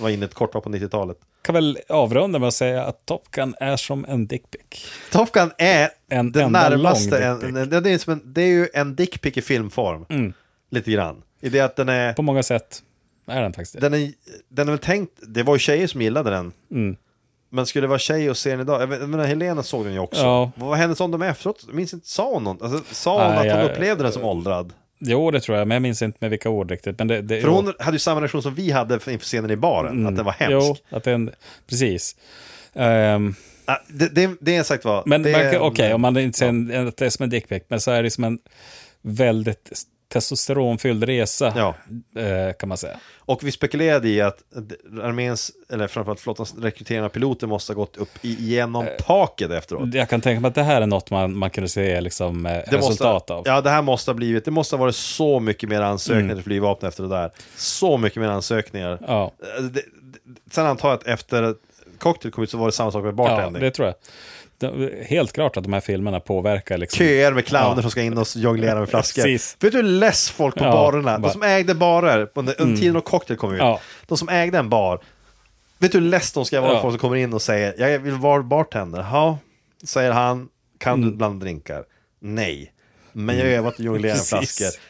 var inne ett kort tag på 90-talet. Kan väl avrunda med att säga att Top Gun är som en dickpic. Top Gun är En den enda närmaste, lång en, dick en, det, är som en, det är ju en dickpic i filmform. Lite grann. I det att den är, Mm. På många sätt är den faktiskt det. den är, den är väl tänkt, det var ju tjejer som gillade den. Mm. Men skulle det vara tjej och se den idag, jag vet- jag menar Helena såg den ju också. Ja. Vad hände om de efteråt? Jag minns inte, sa hon något? Alltså, sa hon Nej, att hon jag- upplevde den som åldrad? Jo, det tror jag, men jag minns inte med vilka ord riktigt. Men det, det, För hon hade ju samma reaktion som vi hade inför scenen i baren, att den var hemsk. Mm. Jo, att den, precis. Ehm, Ah, Det, det, det är sagt vad. men det, man kan- okej, om man inte säger en- att det är som en dickpic, men så är det som en väldigt testosteronfylld resa, Ja. eh, kan man säga. Och vi spekulerade i att arméns, eller framförallt flottans rekrytering av piloter måste ha gått upp i- igenom taket efteråt. Jag kan tänka mig att Eh, det här är något man, man kunde se liksom, eh, Det måste, resultat av. Mm. Ja, det här måste ha blivit, det måste ha varit så mycket mer ansökningar till flygvapnet efter det där. Så mycket mer ansökningar. Ja. Eh, Det, det, sen antar jag att efter Cocktail kom ut så var det samma sak med Ja, bartending. det tror jag. Det- Helt klart att de här filmerna påverkar. Liksom. Köer med clowner Ja. som ska in och jonglera med flaskor. Precis. Vet du hur less folk på Ja, barerna, de bara- Mm. som ägde barer under under tiden och cocktail kom ut, Ja. de som ägde en bar, vet du hur less de ska vara Ja. folk som kommer in och säger jag vill vara bartender, ja, säger han, kan Mm. du blanda drinkar? Nej, men jag har övat att jonglera med [laughs] Precis. flaskor.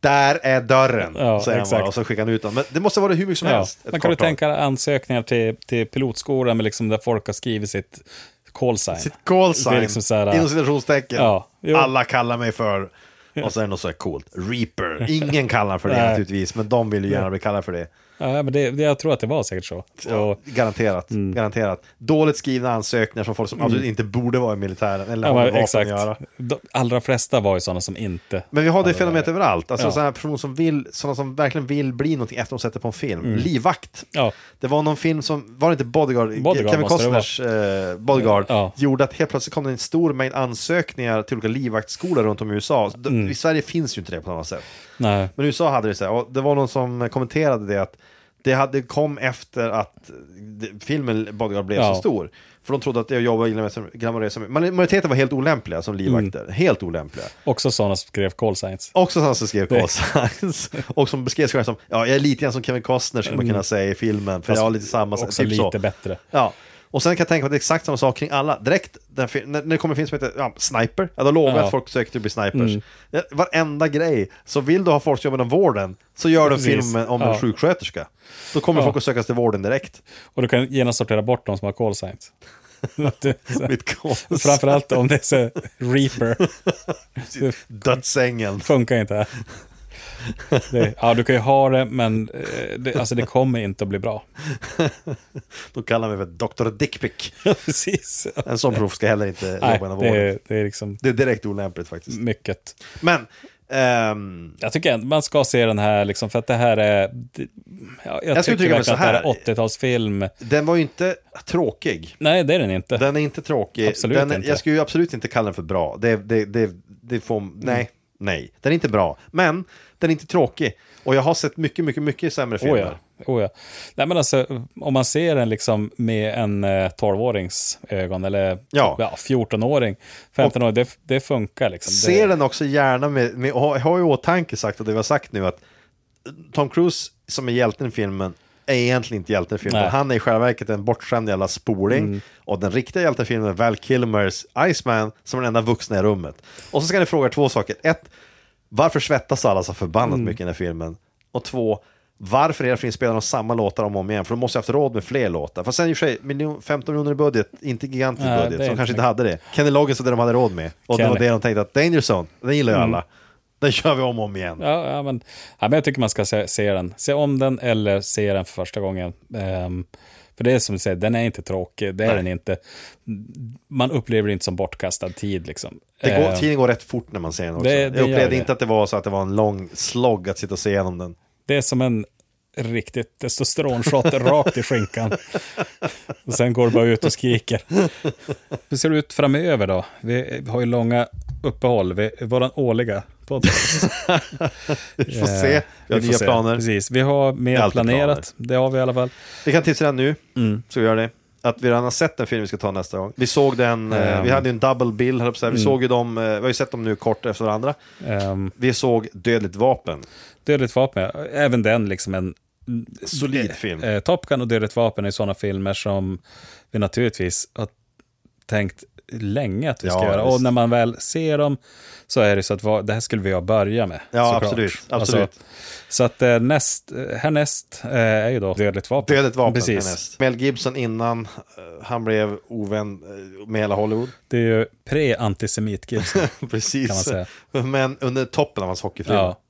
Där är dörren, Ja, säger han bara exakt. och så skickar han ut dem. Men det måste vara hur mycket som Ja. helst. ett Man kan ju kort tag. tänka ansökningar till, till pilotskolan med liksom där folk har skrivit sitt call sign. Sitt call Det sign, är liksom så här, inom citationstecken. Ja, jo. Alla kallar mig för... Och sen något så här coolt, Reaper. Ingen kallar för det Nej. naturligtvis, men de vill ju gärna bli kallade för det. ja, men det, det, jag tror att det var säkert så. Och, Garanterat, Mm. garanterat. Dåligt skrivna ansökningar från folk som absolut inte borde vara i militären eller ja, har med men, vapen exakt. att göra. De allra flesta var ju sådana som inte... Men vi har det fenomenet överallt. Alltså Ja. sådana här personer som vill, sådana som verkligen vill bli någonting efter de sätter på en film. Livvakt. Mm. Ja. Det var någon film som, var det inte Bodyguard? Bodyguard Kevin måste det Costners eh, Bodyguard. Ja. Gjorde att helt plötsligt kom det en stor mängd ansökningar till olika livvaktsskolor runt om i USA. Så d- Mm. I Sverige finns ju inte det på samma sätt. Nej. Men i USA hade det så här, och det var någon som kommenterade det att det hade kom efter att det- filmen Bodyguard blev Ja. så stor. För de trodde att det att jobba inom glamorösa... men Majoriteten var helt olämpliga som livvakter. Mm. Helt olämpliga. Också sådana som skrev call signs. Också sådana som skrev Call Signs. [laughs] Och som beskrev sig själv som, ja, jag är lite grann som Kevin Costner skulle man kunna säga i filmen, för Mm. Fast jag har lite samma... också typ så. lite bättre. Ja. Och sen kan jag tänka mig att det är exakt samma sak kring alla. Direkt den, fi- när, när det kommer en film som heter ja, Sniper, ja, då lovar jag Ja. Mm. att folk söker till att bli snipers. Ja, Varenda grej, så vill du ha folk som jobbar inom vården, så gör du en Precis. film om en Ja. sjuksköterska. Då kommer folk att söka sig till vården direkt. Och du kan genast sortera bort de som har call [laughs] signs. Mitt kors. Framförallt om det är så [laughs] Reaper. Dödsängeln. funkar inte. här. Det, ja, du kan ju ha det, men eh, det, alltså, det kommer inte att bli [laughs] bra. De kallar mig för Dr. Dickpick. Precis. En sån proff ska heller inte Nej, jobba inom det, vården. är- det är liksom Det är direkt olämpligt faktiskt. mycket. Men, ehm, Jag tycker ändå man ska se den här, liksom, för att det här är... Det, ja, jag, Jag skulle tycker tycka verkligen så att det här är här. 80-talsfilm. den var ju inte tråkig. Nej, det är den inte. Den är inte tråkig. Absolut den, inte. Jag skulle ju absolut inte kalla den för bra. Det, det, det, det får, Mm. nej, nej. Den är inte bra. Men den är inte tråkig. Och jag har sett mycket, mycket, mycket sämre filmer. Oh ja. Oh ja. Nej, men alltså, om man ser den liksom med en eh, 12-årings ögon, eller Ja. 14-åring, 15-åring, det, det funkar. Liksom. Se det, den också gärna med, med ha, ha i åtanke sagt och det vi har sagt nu att Tom Cruise som är hjälten i filmen är egentligen inte hjälten i filmen. Nej. Mm. Han är i själva verket en bortskämd jävla spoling. Och den riktiga hjälten i filmen är Val Kilmers Iceman som är den enda vuxna i rummet. Och så ska ni fråga två saker. Ett, varför svettas alla så förbannat Mm. mycket i den här filmen? Och två, varför hela filmen spelar de samma låtar om och om igen? För de måste ha haft råd med fler låtar. Fast sen i och för sig, miljon, 15 miljoner i budget, inte gigantisk Nej, budget, det är så de inte kanske inte hade det. Kenny Loggins var det de hade råd med. Och det var Kenny. det de tänkte att Danger Zone, den gillar ju Mm. alla. Den kör vi om och om igen. Ja, ja, men, ja, men jag tycker man ska se, se den. Se om den eller se den för första gången. Ehm, för det är som du säger, den är inte tråkig, det är den inte. Man upplever det inte som bortkastad tid liksom. Det går, Ehm, tiden går rätt fort när man ser den också. det- det jag gör upplevde det. inte att det var så att det var en lång slog att sitta och se igenom den. det är som en riktigt [laughs] testosteronshot rakt i skinkan. Och sen går du bara ut och skriker. Hur ser det ut framöver då? Vi har ju långa uppehåll, vi, våran årliga podcast. [laughs] Vi får se, vi Vi har får nya se. planer. Precis, vi har Det är mer alltid planerat. Det har vi i alla fall. Vi kan tipsa den nu, Mm. så vi gör det. Att vi redan har sett den film vi ska ta nästa gång. Vi såg Ehm. den, eh, vi hade ju en double bill, höll jag på att säga. vi såg ju dem, eh, vi har ju sett dem nu kort efter varandra. Mm. Ehm, Vi såg Dödligt vapen. Dödligt vapen, ja. även den liksom en Solid film. Eh, Top Gun och Dödligt vapen är sådana filmer som vi naturligtvis har tänkt länge att vi ska Ja, göra. visst. Och när man väl ser dem så är det så att vad, det här skulle vi ha börjat med. Alltså, Ja, absolut, absolut. så att eh, näst, eh, härnäst eh, är ju då Dödligt vapen. Dödligt vapen. Precis. härnäst. Mel Gibson innan eh, han blev ovän eh, med [laughs] hela Hollywood. Det är ju pre-antisemit Gibson. [laughs] Precis. Kan man säga. Men under toppen av hans hockeyfrilla. ja.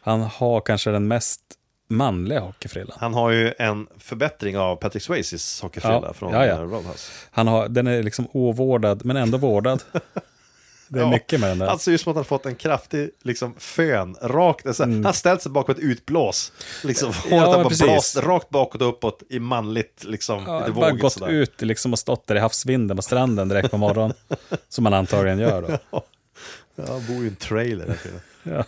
Han har kanske den mest manliga hockeyfrillan. Han har ju en förbättring av Patrick Swayzes hockeyfrilla Ja, från ja, ja. eh, Roadhouse. Han har, den är liksom ovårdad, men ändå [laughs] vårdad. Det är Ja. Alltså, mycket med den där. Han ser ut som att han fått en kraftig liksom, fön rakt. Alltså, Han ställt sig bakom ett utblås. Liksom, Mm. Ja, håret har bara precis. blåst rakt bakåt och uppåt i manligt, liksom, Ja, lite bara vågigt gått sådär. ut liksom och stått där i havsvinden på stranden direkt på morgonen. som man antagligen gör då. [laughs] Ja, han bor ju i en trailer. där killen. [laughs] Ja.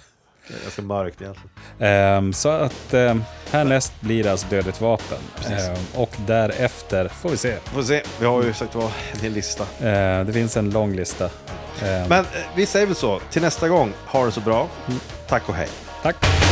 Det är ganska mörkt egentligen. Ehm, så att um, härnäst blir det alltså Dödligt vapen. Ehm, och därefter får vi se. Får se, vi har ju sagt vad, en hel lista. Ehm, det finns en lång lista. Ehm, Mm. Men eh, vi säger väl så, till nästa gång, ha det så bra. Tack och hej. Tack!